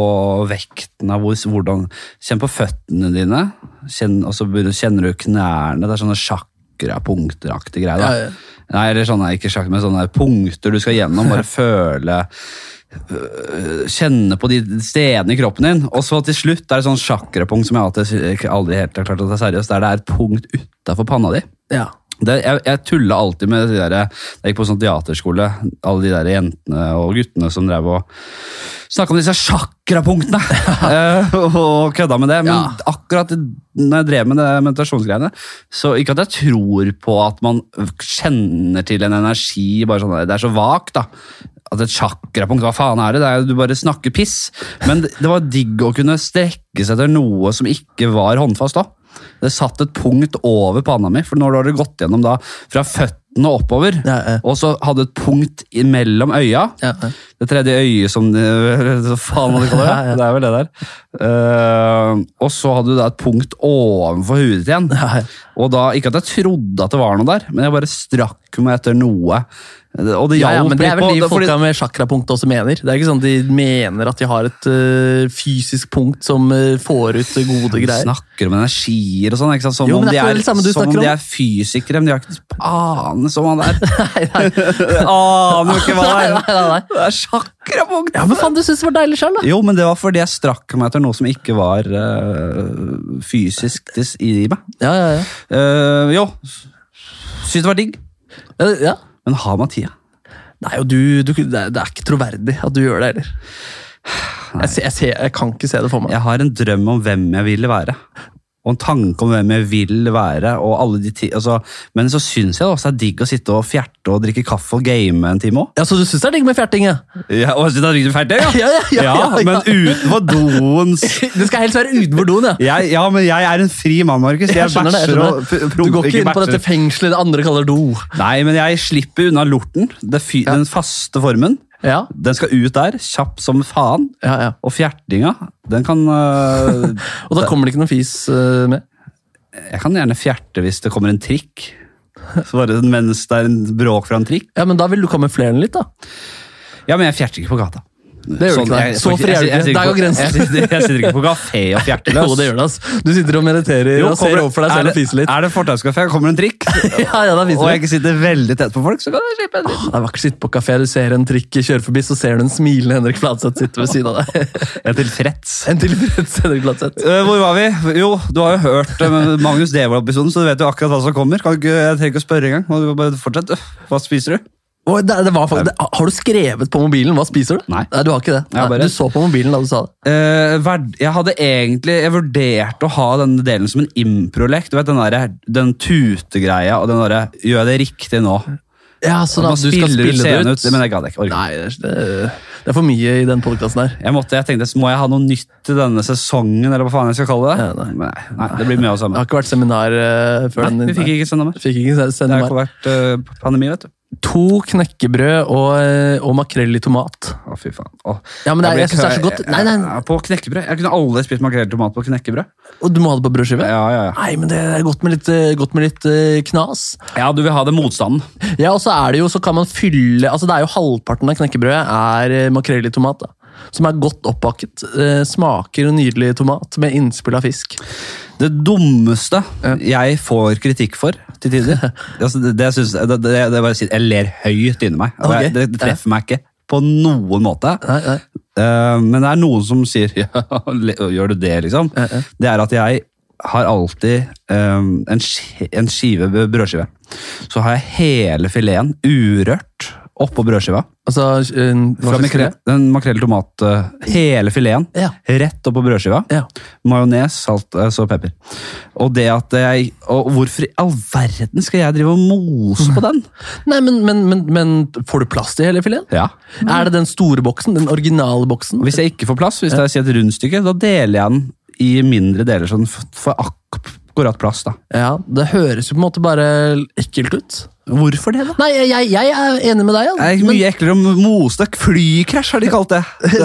A: vekten av hvor, hvordan Kjenn på føttene dine, kjenn, og så begynner, kjenner du knærne. Det er sånne sjakrapunkteraktige greier. Da.
B: Ja, ja.
A: Nei, eller sånne, ikke sjakk, men sånne punkter du skal gjennom. Bare føle øh, Kjenne på de stedene i kroppen din. Og så til slutt er det sånn sjakrapunkt som jeg alltid, aldri helt har klart å ta seriøst. Der det er et punkt utafor panna di.
B: Ja.
A: Det, jeg jeg tulla alltid med de der, Jeg gikk på sånn teaterskole. Alle de der jentene og guttene som drev og snakka om disse sjakrapunktene! eh, og kødda med det. Men
B: Ja.
A: akkurat når jeg drev med det meditasjonsgreiene så Ikke at jeg tror på at man kjenner til en energi bare sånn, der, Det er så vagt, da. At et sjakrapunkt, hva faen er det? det er, jo- du bare snakker piss. Men det, det var digg å kunne strekke seg etter noe som ikke var håndfast da. Det satt et punkt over panna mi, for når du hadde gått gjennom da fra føttene og oppover,
B: Ja, ja.
A: og så hadde et punkt i- mellom øya,
B: Ja, ja.
A: det tredje øyet som de, så faen hva de kaller det,
B: Ja, ja.
A: det er vel det der. Eh, og så hadde du da et punkt ovenfor huet ditt igjen.
B: Ja, ja.
A: Og da, ikke at jeg trodde at det var noe der, men jeg bare strakk meg etter noe. Og det hjalp
B: Ja, ja, men Det
A: litt
B: er vel
A: på-
B: de
A: det- fordi-
B: folka med sjakrapunkt også mener. Det er ikke sånn De mener at de har et ø, fysisk punkt som ø, får ut gode greier.
A: snakker om energier og sånn. ikke sant? Som
B: Jo,
A: om
B: men
A: de
B: det er
A: er,
B: ikke det samme du
A: som om
B: snakker
A: de
B: om.
A: er fysikere, men de har ikke anelse om hva det er.
B: Nei, nei,
A: Aner jo ikke hva det
B: nei,
A: er.
B: nei, nei.
A: Det er sjakrapunkt!
B: Ja, men faen, du syns det var deilig sjøl, da!
A: Jo, men det var fordi jeg strakk meg etter noe som ikke var eh, fysisk til s- i meg.
B: Ja, ja, ja.
A: Eh, jo, syns det var digg.
B: ja, ja.
A: Men ha meg tida.
B: Nei, og du, du det, er, det er ikke troverdig at du gjør det heller. Jeg, ser, jeg, ser, jeg kan ikke se det for meg.
A: Jeg har en drøm om hvem jeg ville være. Og en tanke om hvem jeg vil være. Og alle de ti altså, men så syns jeg det også er digg å sitte og fjerte og drikke kaffe og game en time òg.
B: Ja, Så du syns det er digg med fjerting? Ja.
A: Ja, og så da drikker du ferdig, ja.
B: Ja, ja, ja, ja, ja.
A: men utenfor doens
B: Det skal helst være utenfor doen, ja.
A: jeg, Ja, men jeg er en fri mann, Markus. Jeg,
B: Jeg skjønner det. jeg
A: bæsjer og
B: skjønner det. Du går ikke inn på dette fengselet det andre kaller do.
A: Nei, men jeg slipper unna lorten. Det fy, Den faste formen.
B: Ja,
A: Den skal ut der, kjapp som faen.
B: ja, ja.
A: Og fjertinga, den kan øh,
B: Og da kommer det ikke noen fis ø, med?
A: Jeg kan gjerne fjerte hvis det kommer en trikk. Så bare mens det er en bråk fra en trikk.
B: Ja, men Da vil du kamuflere den litt, da.
A: Ja, men jeg fjerter ikke på gata.
B: Det gjør du ikke.
A: jeg-
B: der. Så
A: jeg-
B: fri er du
A: jeg- jeg-
B: ikke. Der går
A: Jeg
B: grensen.
A: sitter, jeg sitter ikke på kafé og fjerteløs.
B: Jo, det gjør det, altså. Du sitter og mediterer
A: Jo,
B: og ser
A: kommer-
B: over for deg
A: er
B: selv og
A: det-
B: fiser litt.
A: Er det fortauskafé, kommer en drikk,
B: Ja, ja, da
A: og
B: fiser
A: jeg
B: du.
A: ikke sitter veldig tett på folk, så kan jeg slippe en
B: Det er vakkert å sitte på kafé, du ser en trikk kjøre forbi, så ser du en smilende Henrik Fladseth sitte ved siden av deg.
A: Jeg er tilfreds.
B: En tilfreds Henrik Fladseth.
A: Eh, Hvor var vi? Jo, du har jo hørt eh, Magnus Devold-episoden, så du vet jo akkurat hva som kommer. Kan du ikke, jeg trenger ikke å spørre engang. Må du Bare fortsett. du. Hva spiser du?
B: Oi, Det, det var, fakt- det, har du skrevet på mobilen? Hva spiser du?
A: Nei.
B: du har ikke det.
A: Jeg har bare-
B: Nei, Du så på mobilen da du sa det.
A: Eh, verd, jeg hadde egentlig Jeg vurderte å ha denne delen som en improlek. Du vet, den, der, den tutegreia og den derre 'gjør jeg det riktig nå'?
B: Ja, så da,
A: Nå
B: du skal spille det
A: scenen
B: ut.
A: Men jeg gadd ikke. orket ikke.
B: Nei, det, er- det er for mye i den podkasten her.
A: Jeg, måtte, jeg tenkte, Må jeg ha noe nytt i denne sesongen, eller hva faen jeg skal kalle det?
B: Ja, nei.
A: Men nei, nei, det blir mye av det
B: Det
A: samme.
B: har ikke vært seminar eh, før
A: Nei,
B: den.
A: vi fikk ikke sende mer.
B: Fikk ikke
A: Det har
B: seminar.
A: ikke vært eh, pandemi, vet du.
B: To knekkebrød og, eh, og makrell i tomat.
A: Å, fy faen. Å,
B: Ja, men det er-
A: ble
B: jeg synes det er så
A: kø-
B: godt. Nei, nei, nei.
A: På knekkebrød. Jeg kunne aldri spist makrell i tomat på knekkebrød.
B: Og du må ha det på brødskive?
A: Ja, ja, ja.
B: Nei, men det er godt med litt, eh, godt med litt eh, knas.
A: ja, du vil ha det motstanden.
B: Ja, og så er det jo, så kan man fylle Altså, det er jo halvparten av knekkebrødet er eh, makrell i tomat, da. Som er godt oppakket. eh, Smaker en nydelig tomat med innspill av fisk.
A: Det dummeste jeg får kritikk for til tider altså, det, det, synes, det, det, det er bare å si, Jeg ler høyt inni meg. Altså,
B: Ok.
A: jeg- det, det treffer meg ikke på noen måte. Eh, men det er noen som sier ja, le- Gjør du det, liksom? Det er at jeg har alltid um, en, ski- en skive brødskive. Så har jeg hele fileten urørt oppå brødskiva.
B: Altså, eh, hva
A: Fra
B: slags
A: makrell,
B: krem?
A: den makrell tomat eh, Hele fileten
B: Ja.
A: rett oppå brødskiva.
B: Ja.
A: Majones, salt eh, så pepper. Og det at jeg Og hvorfor i all verden skal jeg drive og mose på den?
B: Nei, men, men, men, men får du plass til hele fileten?
A: Ja.
B: Er det den store boksen? Den originale boksen?
A: Hvis jeg ikke får plass, hvis det er si et rundstykke, da deler jeg den i mindre deler, så den f- får akkurat plass. da.
B: Ja, Det høres jo på en måte bare ekkelt ut.
A: Hvorfor det, da?
B: Nei, jeg, jeg, jeg er enig med deg. altså.
A: Det er
B: Ja.
A: mye eklere å mose det. Flykrasj har de kalt det.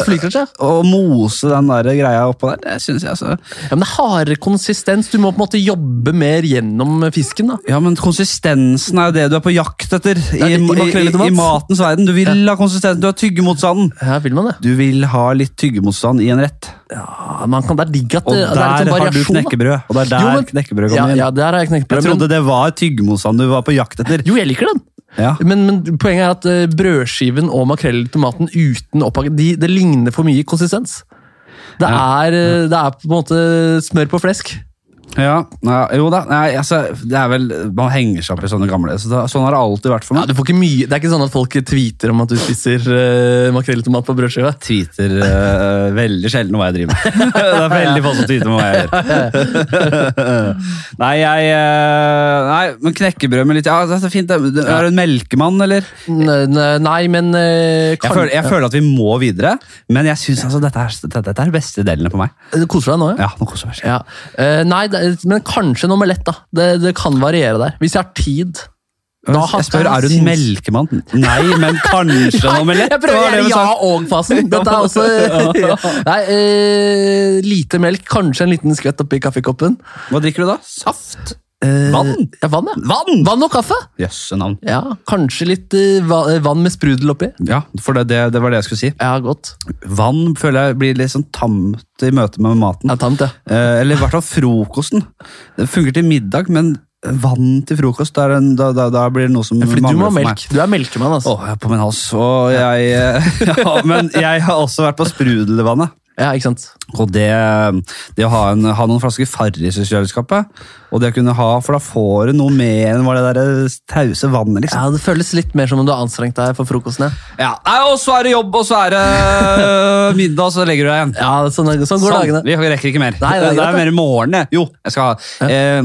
B: Flykrasj, ja.
A: Å mose den der greia oppå der, det syns jeg altså
B: Ja, men det er hardere konsistens. Du må på en måte jobbe mer gjennom fisken. da.
A: Ja, men konsistensen er jo det du er på jakt etter i,
B: i
A: i,
B: makrell
A: i,
B: i tomat.
A: matens verden. Du vil ha konsistensen, du har tyggemotstanden.
B: Ja, vil man det?
A: Du vil ha litt tyggemotstand i en rett.
B: Ja, man kan, Det er digg at
A: Og
B: det, det er litt
A: der har du
B: sånn variasjon. da.
A: knekkebrød. Og det er der
B: Jo, men-
A: knekkebrød
B: ja,
A: kommer inn.
B: ja, der har jeg
A: jeg
B: knekkebrød.
A: trodde
B: Men,
A: det var tyggemotstand du var på jakt etter.
B: jo, jeg liker den.
A: Ja.
B: Men, men poenget er at eh, brødskiven og makrell i tomaten uten opphakket, de, det ligner for mye i konsistens. Det er, eh, det er på en måte smør på flesk.
A: Ja, ja, jo da. Nei, altså, det er vel, man henger seg opp i sånne gamle. Så da, sånn har det alltid vært for
B: Ja,
A: meg.
B: du får ikke mye, det er ikke sånn at folk tweeter om at du spiser eh, makrell i tomat på brødskive.
A: tweeter eh, veldig sjelden hva jeg driver med. det er veldig få som tweeter med hva jeg gjør. nei, jeg eh, Nei, men knekkebrød med litt Ja, det er fint. det. Du- Er du en melkemann, eller?
B: Nei, nei, nei, men eh,
A: Jeg
B: kan-
A: føler, jeg føler at vi må videre, men jeg syns altså, dette, er, dette, dette er beste delen på meg.
B: Eh, Koser du deg nå, ja?
A: Ja, nå koser jeg meg. skikkelig.
B: ja. Eh, nei, det, er- men kanskje en omelett, da. Det, det kan variere der. Hvis jeg har tid. Da har-
A: jeg spør, er du en melkemann? Nei, men kanskje en omelett?
B: Jeg prøver å
A: var det
B: gjøre
A: vi
B: ja
A: sa.
B: og-fasen. Dette er også Nei, eh, lite melk, kanskje en liten skvett oppi kaffekoppen.
A: Hva drikker du da? Saft?
B: Eh,
A: Vann?
B: Ja, vann, ja.
A: Vann?
B: Vann og kaffe.
A: Jøsse navn.
B: Ja, Kanskje litt eh, va- eh, vann med sprudel oppi.
A: Ja, for det, det, det var det jeg skulle si.
B: Ja, godt.
A: Vann føler jeg blir litt sånn tamt i møte med maten.
B: Ja, tamt, ja.
A: Eh, eller i hvert fall frokosten. Det funker til middag, men vann til frokost, da, er det en- da, da, da blir det noe som
B: Fordi du
A: mangler
B: må ha
A: for meg.
B: melk. Du er melkemann, altså.
A: Åh, jeg er på min hals. Og jeg, eh, ja, men jeg har også vært på sprudelvannet.
B: Ja, ikke sant?
A: Og det, det å ha, en, ha noen flasker Farris i kjøleskapet, og det å kunne ha, for da får du noe mer enn hva det der eh, tause vannet, liksom.
B: Ja, Det føles litt mer som om du har anstrengt deg for frokosten. Ja,
A: Ja, nei, Og så er det jobb, og så er det middag, og så legger du deg igjen.
B: ja sånn, sånn går
A: Sånn,
B: dagene.
A: vi rekker ikke mer.
B: Nei, det
A: det
B: er
A: er
B: greit,
A: mer i morgen, det. Jo, jeg skal ha eh,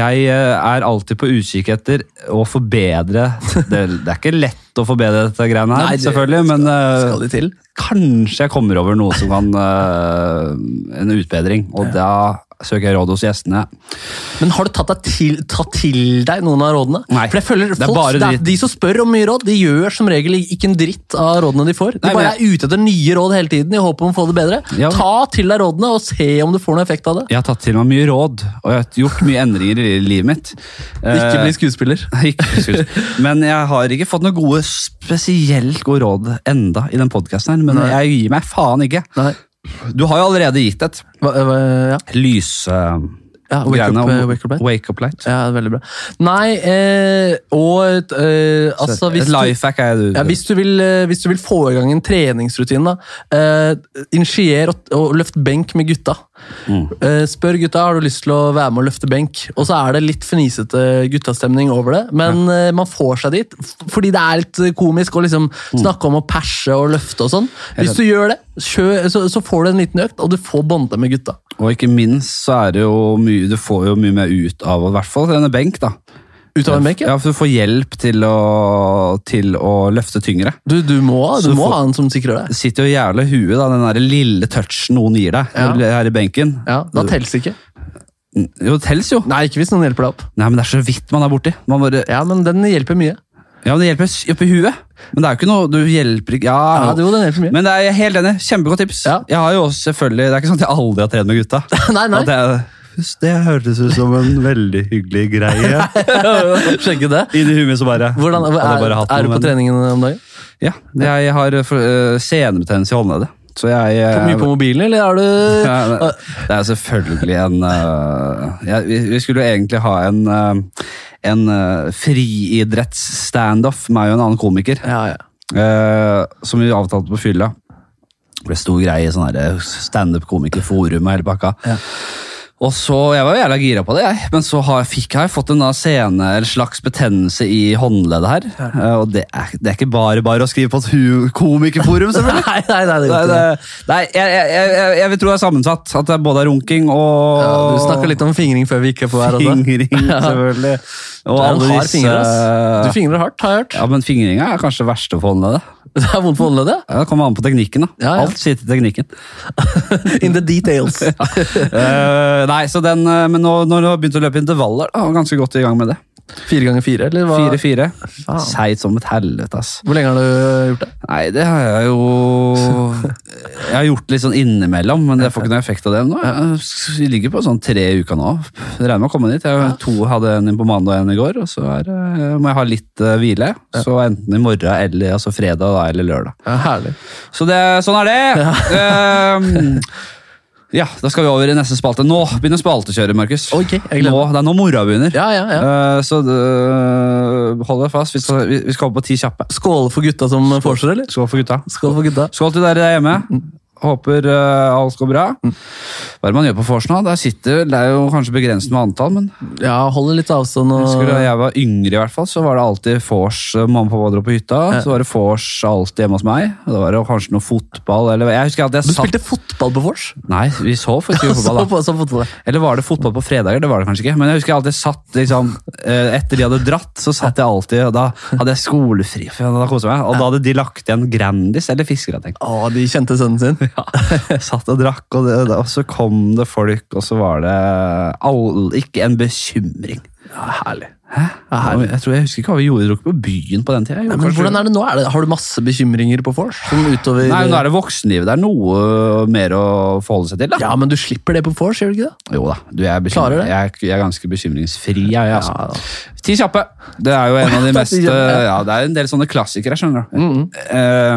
A: Jeg eh, er alltid på utkikk etter å forbedre det, det er ikke lett å forbedre dette greiene her,
B: Nei, det
A: selvfølgelig, men eh,
B: Skal de til?
A: kanskje jeg kommer over noe som kan eh, en utbedring. Og da søker jeg råd hos gjestene.
B: Men har du tatt, deg til, tatt til deg noen av rådene?
A: Nei,
B: For jeg føler
A: det er
B: folk,
A: bare
B: det
A: dritt.
B: er, De som spør om mye råd, de gjør som regel ikke en dritt av rådene de får. De
A: Nei, men
B: bare er ute etter nye råd hele tiden i håp om å få det bedre.
A: Ja.
B: Ta til deg rådene og se om du får noen effekt av det.
A: Jeg har tatt til meg mye råd, og jeg har gjort mye endringer i livet mitt.
B: Ikke
A: Eh,
B: bli skuespiller.
A: Ikke skuespill. Men jeg har ikke fått noe gode, spesielt gode råd enda i den podcasten her, men
B: Nei.
A: jeg gir meg faen ikke.
B: Nei.
A: Du har jo allerede gitt et
B: Hva, hva, ja.
A: lysgreiene.
B: Ja, wake up, eh, wake up light.
A: wake up light.
B: ja, veldig bra. Nei, eh, og eh, altså hvis
A: Et
B: du,
A: lifehack er du.
B: Ja, hvis, du vil, eh, hvis du vil få i gang en treningsrutine, da, eh, initier og, og løft benk med gutta.
A: Mm.
B: Eh, spør gutta har du lyst til å være med og løfte benk. Og så er det litt fnisete guttastemning over det, men eh, man får seg dit f- fordi det er litt komisk å liksom
A: Mm.
B: snakke om å perse og løfte og sånn. Hvis du gjør det, kjø, så, så får du en liten økt, og du får bonda med gutta.
A: Og ikke minst så er det jo mye, du får jo mye mer ut av å, i hvert fall denne benk da.
B: Ut av en benk, ja.
A: Ja, for du får hjelp til å, til å løfte tyngre.
B: Du, du må, du
A: Så
B: må
A: får-
B: ha en som sikrer deg.
A: Det sitter jo jævla i huet da, den der lille touchen noen gir deg
B: Ja.
A: når du er her i benken.
B: Ja, Da tels ikke.
A: Jo, det tels jo.
B: Nei, ikke hvis noen hjelper deg opp.
A: Nei, men det er så vidt man er borti. Man bare,
B: Ja, men den hjelper mye.
A: Ja, men det hjelper s- oppi huet. Men det er jo ikke noe Du hjelper ikke Ja,
B: Ja, jo, den hjelper mye.
A: Men det er jeg helt enig. Kjempegodt tips.
B: Ja.
A: Jeg har jo også selvfølgelig Det er ikke sånn at jeg aldri har trent med gutta.
B: Nei, nei.
A: At jeg- Husk, det hørtes ut som en veldig hyggelig greie.
B: Sjekke det.
A: Inni huet mitt så bare
B: Hvordan,
A: Hadde jeg
B: er,
A: bare hatt
B: er du
A: noe,
B: på
A: men-
B: treningen om dagen?
A: Ja. Jeg har øh, for- øh, senebetennelse i håndleddet. Så jeg eh,
B: Er du mye på mobilen, eller er du
A: Ja, det, det er selvfølgelig en øh, ja, vi, vi skulle jo egentlig ha en, øh, en øh, friidretts-standoff, meg og en annen komiker.
B: Ja, ja.
A: Eh, som vi avtalte på fylla. Det ble stor greie i sånn her standup-komikerforum og hele pakka. Og så, Jeg var jo jævla gira på det, jeg. men så har, fikk jeg fått en da scene, eller slags betennelse i håndleddet her. Eh, og det er, det er ikke bare bare å skrive på et hu- komikerforum, selvfølgelig.
B: Nei, nei, nei, det
A: Nei,
B: går ikke.
A: det, nei jeg, jeg, jeg, jeg vil tro det er sammensatt. At det er både runking og
B: Ja, du snakka litt om fingring før vi gikk på her. også.
A: fingring, selvfølgelig. Og
B: Det er en
A: alle
B: hard
A: disse
B: finger, ass. Du fingrer hardt, har jeg hørt.
A: Ja, men fingringa er kanskje det verste for håndleddet.
B: Det er vondt på håndleddet.
A: Ja, Det kommer an på teknikken, da.
B: Ja, ja.
A: Alt sier til teknikken.
B: In the details.
A: Eh, nei, så den, eh, Men nå, når du har begynt å løpe intervaller, da, er du ganske godt i gang med det.
B: Fire ganger fire, eller hva?
A: 4-4.
B: Faen.
A: Seigt som et helvete, ass.
B: Hvor lenge har du gjort det?
A: Nei, det har jeg jo Jeg har gjort litt sånn innimellom, men jeg får ikke noe effekt av det nå. Jeg ligger på sånn tre uker nå. Jeg Regner med å komme dit. Jeg har to hadde en på mandag og en i går, og så er, det- må jeg ha litt eh, hvile. Så enten i morgen eller altså fredag da, eller lørdag.
B: Ja, herlig.
A: Så det, sånn er det. Ehm, ja, da skal vi over i neste spalte. Nå begynner spaltekjøret, Markus.
B: Ok, jeg gleder
A: nå,
B: meg.
A: det er nå mora begynner.
B: Ja, ja, ja.
A: Eh, så eh, hold deg fast. Vi skal, vi, vi skal opp på ti kjappe.
B: Skål for gutta som får seg, eller?
A: Skål for gutta.
B: Skål for gutta.
A: Skål til dere der hjemme.
B: Mm.
A: Håper eh, alt går bra. Hva er det man gjør på vors nå? Der sitter, det er jo kanskje begrenset med antall, men
B: Ja, holder litt avstand og
A: husker du da jeg var yngre, i hvert fall, så var det alltid vors. eh, Mamma og pappa dro på hytta, så var det vors alltid hjemme hos meg. Og Da var det kanskje noe fotball eller Jeg husker alltid
B: Du
A: jeg satt
B: spilte fotball på vors?
A: Nei, vi så faktisk ikke
B: Så
A: fotball da.
B: på, så fotball. ja.
A: Eller var det fotball på fredager? Det var det kanskje ikke. Men jeg husker jeg alltid satt liksom, eh, etter de hadde dratt, så satt jeg alltid, og da hadde jeg skolefri, for da koset jeg meg. Og da hadde de lagt igjen Grandis eller Fiskerateng.
B: Å, de kjente sønnen sin.
A: Jeg satt og drakk, og, det, og så kom det folk, og så var det all, ikke en bekymring.
B: Ja, herlig.
A: Hæ? Jeg, tror, jeg husker ikke hva vi gjorde, vi dro ikke på byen på den tida.
B: Nei, men hvordan er det nå? Er det, har du masse bekymringer på vors? Sånn utover
A: Nei, nå er det voksenlivet. Det er noe mer å forholde seg til, da.
B: Ja, men du slipper det på vors, gjør du ikke det?
A: Jo da, du, jeg, er bekymring,
B: Klarer det?
A: jeg, er- jeg er ganske bekymringsfri. Jeg, jeg, altså. Ti kjappe. Det er jo en av de
B: Det er
A: mest
B: ti
A: eh,
B: kjappe, ja.
A: Ja, det er en del sånne klassikere, skjønner du.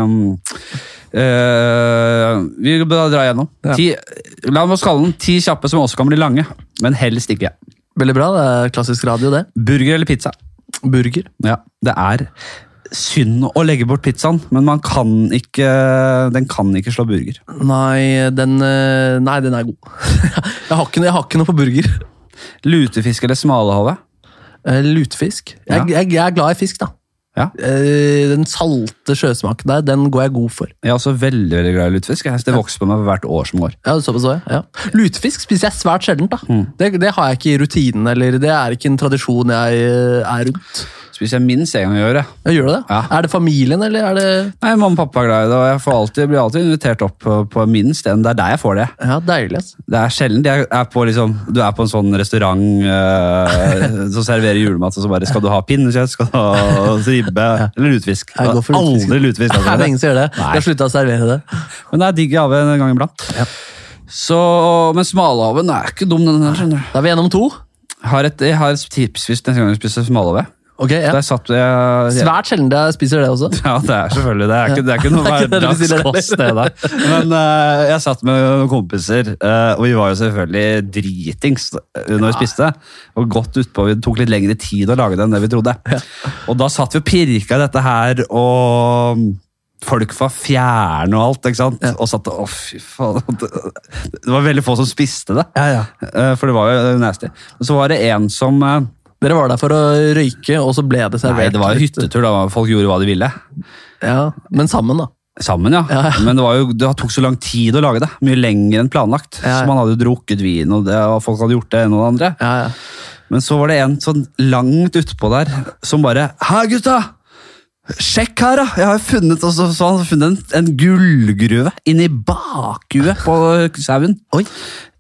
A: Eh, eh, vi bør dra igjennom.
B: Ja.
A: Ti, la oss kalle den ti kjappe som også kan bli lange, men helst ikke.
B: Veldig bra, det er klassisk radio, det.
A: Burger eller pizza?
B: Burger.
A: Ja, det er synd å legge bort pizzaen, men man kan ikke, den kan ikke slå burger.
B: Nei, den, eh, nei, den er god. jeg, har ikke, noe- jeg har ikke noe på burger.
A: Lutefisk eller smalahove?
B: Eh, Lutefisk. Jeg,
A: Ja.
B: jeg, jeg er glad i fisk, da.
A: Ja.
B: Eh, Den salte sjøsmaken der, den går jeg god for.
A: Jeg er også veldig veldig glad i lutefisk. Jeg- Det vokser på meg for hvert år som går.
B: Ja, såpass også, ja. Lutefisk spiser jeg svært Mm. sjeldent, da. Det, det har jeg ikke i rutinen, eller det er ikke en tradisjon jeg eh, er rundt.
A: spiser jeg minst én gang i året.
B: Ja, Gjør du det?
A: Ja.
B: Er det familien, eller er det
A: Nei, Mamma og pappa er glad i det, og jeg får alltid, blir alltid invitert opp på, på minst en. Det er der jeg får det.
B: Ja, deilig, altså. ass.
A: Det er sjelden jeg er på, liksom, du er på en sånn restaurant eh, som serverer julemat, og så bare skal du ha pinnekjøtt, skal du ha ribbe eller lutfisk.
B: Jeg går for lutfisk.
A: Aldri lutfisk.
B: Det er
A: altså.
B: ingen som gjør det. De har slutta å servere det.
A: Men det er digg gave en gang iblant. Så, men smalhaven er ikke dum, den der. skjønner du.
B: Da er vi gjennom to.
A: Har et, jeg har et tips hvis neste gang du spiser smalhove.
B: Ok, ja.
A: Der satt jeg, jeg
B: Svært sjelden jeg spiser det også.
A: Ja, det er selvfølgelig. Det er ikke, det er ikke noe
B: Det er ikke det du sier heller.
A: hverdagskost, det der. Men eh, jeg satt med noen kompiser, eh, og vi var jo selvfølgelig dritings eh, når vi spiste. Og godt utpå. Det tok litt lengre tid å lage det enn det vi trodde. Og da satt vi og pirka i dette her, og folk var fjerne og alt, ikke sant? Og satt og Å, fy faen. Det var veldig få som spiste det,
B: Ja, ja.
A: eh, for det var jo nasty. Men så var det en som eh,
B: Dere var der for å røyke, og så ble
A: Nei,
B: det servert.
A: det var jo
B: litt-
A: hyttetur, da. Folk gjorde hva de ville.
B: Ja, men sammen, da.
A: Sammen, ja. Men det, var jo, det tok så lang tid å lage det. Mye lenger enn planlagt.
B: Ja, ja.
A: Så man hadde jo drukket vin, og, det, og folk hadde gjort det ene og det andre.
B: Ja, ja.
A: Men så var det en sånn langt utpå der som bare Hei, gutta! Sjekk her, da! Jeg har jo funnet, og så, så han hadde funnet en, en gullgruve inni bakhuet på sauen.
B: Oi.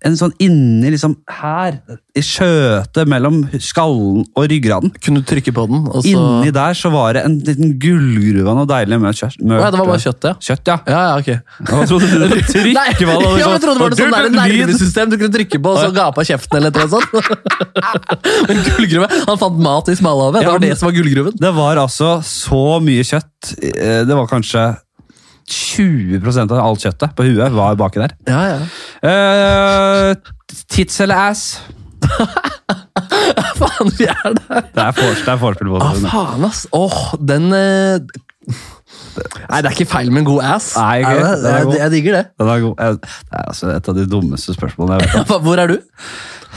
A: En sånn inni liksom her, i skjøtet mellom skallen og ryggraden.
B: Kunne du trykke på den, og så
A: Inni der så var det en liten gullgruve av noe deilig mørkt kjøtt.
B: Å ja, det var bare kjøttet, ja.
A: Kjøtt, ja.
B: Ja, ja, ok.
A: Hva trodde du? Trykk,
B: Nei, ja, men jeg trodde det var noe sånn der nervesystem du kunne trykke på, og så gapa kjeften eller et eller annet sånt. Men gullgruve Han fant mat i smalhavet. Det
A: Ja,
B: var
A: men-
B: det som var gullgruven.
A: Det var altså så mye kjøtt. eh, Det var kanskje 20 av alt kjøttet på huet var baki der.
B: Ja, ja.
A: Eh, tits eller ass?
B: Faen, vi er der.
A: Det er vors- det er vorspiel på det.
B: Å, Ah, faen, ass. Åh, den eh, Nei, det er ikke feil med en god ass.
A: Nei, ok,
B: Er det?
A: den er god.
B: Jeg, jeg digger det.
A: Den er god. Eh, Det er altså et av de dummeste spørsmålene jeg vet om.
B: Hva- Hvor er du?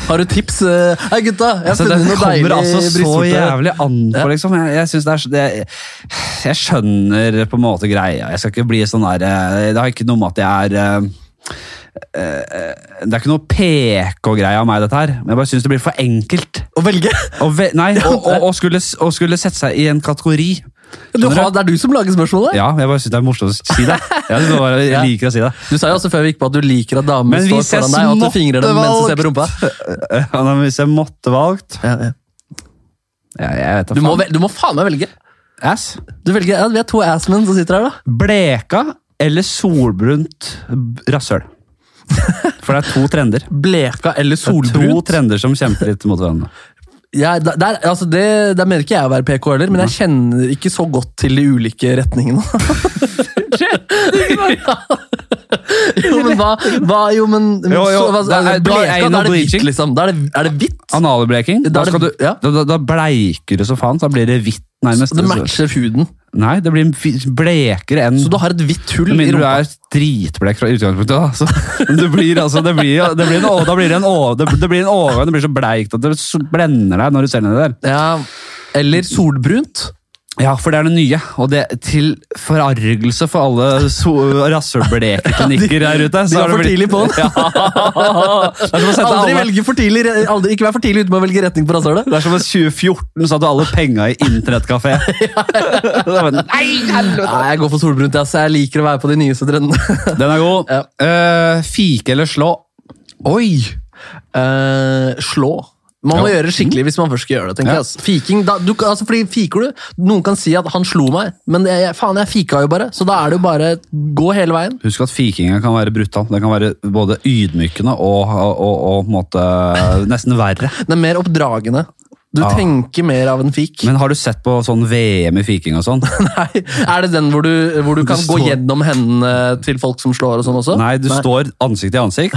B: Har du tips? eh? Hei, gutta! Jeg har
A: Altså, den
B: funnet noe
A: kommer
B: deilig
A: altså så
B: brystvorte.
A: jævlig an på, liksom. Jeg, jeg synes det er så det, Jeg skjønner på en måte greia. Jeg skal ikke bli sånn der eh, Det har ikke noe med at jeg er eh, eh, Det er ikke noe PK-greie av meg, dette her. Men jeg bare syns det blir for enkelt.
B: Å velge?
A: Å ve nei, og, og, og, skulle, og skulle sette seg i en kategori.
B: Du
A: Skjønner
B: har, det er du som lager spørsmålet?
A: Ja, jeg bare syns det er morsomt å si det. Jeg, synes det var, jeg liker å si det.
B: Du sa jo også før vi gikk på at du liker at damer
A: Men
B: står
A: hvis jeg
B: foran deg, og at du fingrer dem mens du ser på rumpa.
A: Ja, men hvis jeg måtte valgt
B: Ja, ja.
A: ja, Jeg vet da
B: Du, må,
A: faen.
B: vel- du må faen meg velge.
A: Ass.
B: Du velger, ja, Vi er to assmen som sitter her, da.
A: Bleka eller solbrunt b- rasshøl? For det er to trender.
B: Bleka eller
A: To
B: solbrunt?
A: trender som kjemper litt mot hverandre.
B: Ja, der, der, altså det, der mener ikke jeg å være PK heller, men jeg kjenner ikke så godt til de ulike retningene. ja. Jo, men hva, hva Jo, men men
A: Jo, jo,
B: så, hva,
A: det er-
B: bleka,
A: det er
B: Da er det
A: bleaching.
B: hvitt, liksom. Da er det, er det hvitt.
A: Analbleking.
B: Da
A: Da,
B: er det-
A: skal du,
B: ja.
A: da, da- da bleiker du som faen. så Da blir det hvitt, nærmest.
B: Det matcher huden.
A: Nei, det blir fi- blekere enn
B: Så du har et hvitt hull
A: Med
B: i
A: mindre du
B: rumpa.
A: er dritblekk fra utgangspunktet. Da. Så, men det blir, altså, det blir, det blir en, over- da blir det en, over- det, det blir en overgang. Det blir så bleikt at det s- blender deg når du ser ned der.
B: Ja, eller solbrunt.
A: Ja, for det er det nye, og det til forargelse for alle so rasshølblekeklinikker der ute.
B: De
A: så
B: var
A: har
B: for
A: blitt-
B: tidlig på den.
A: Ja. Det er som å sette
B: Aldri
A: alle...
B: velge for tidlig, re- aldri, ikke vær for tidlig ute med å velge retning på rasshølet.
A: Det er som om 2014 satt du alle penga i internettkafé. Det var en- Nei, helvete!
B: Nei, jeg går for solbrunt. ass. Jeg liker å være på de nyeste trendene.
A: Den er god.
B: Ja.
A: Eh, fike eller slå?
B: Oi! Eh, slå. Man må
A: Ja.
B: gjøre det skikkelig hvis man først skal gjøre det. tenker
A: Ja.
B: jeg. ass. Fiking, da, du, kan- altså, fordi Fiker du? Noen kan si at 'han slo meg', men jeg, jeg- faen, jeg fika jo bare. Så da er det jo bare gå hele veien.
A: Husk at fikinga kan være brutal. Den kan være både ydmykende og, og, og, og på en måte, nesten verre.
B: Det er mer oppdragende. Du
A: Ah.
B: tenker mer av en fik.
A: Men har du sett på sånn VM i fiking og sånn?
B: Nei, Er det den hvor du, hvor du kan
A: Det
B: gå
A: står-
B: gjennom hendene til folk som slår og sånn også?
A: Nei, du står ansikt i ansikt,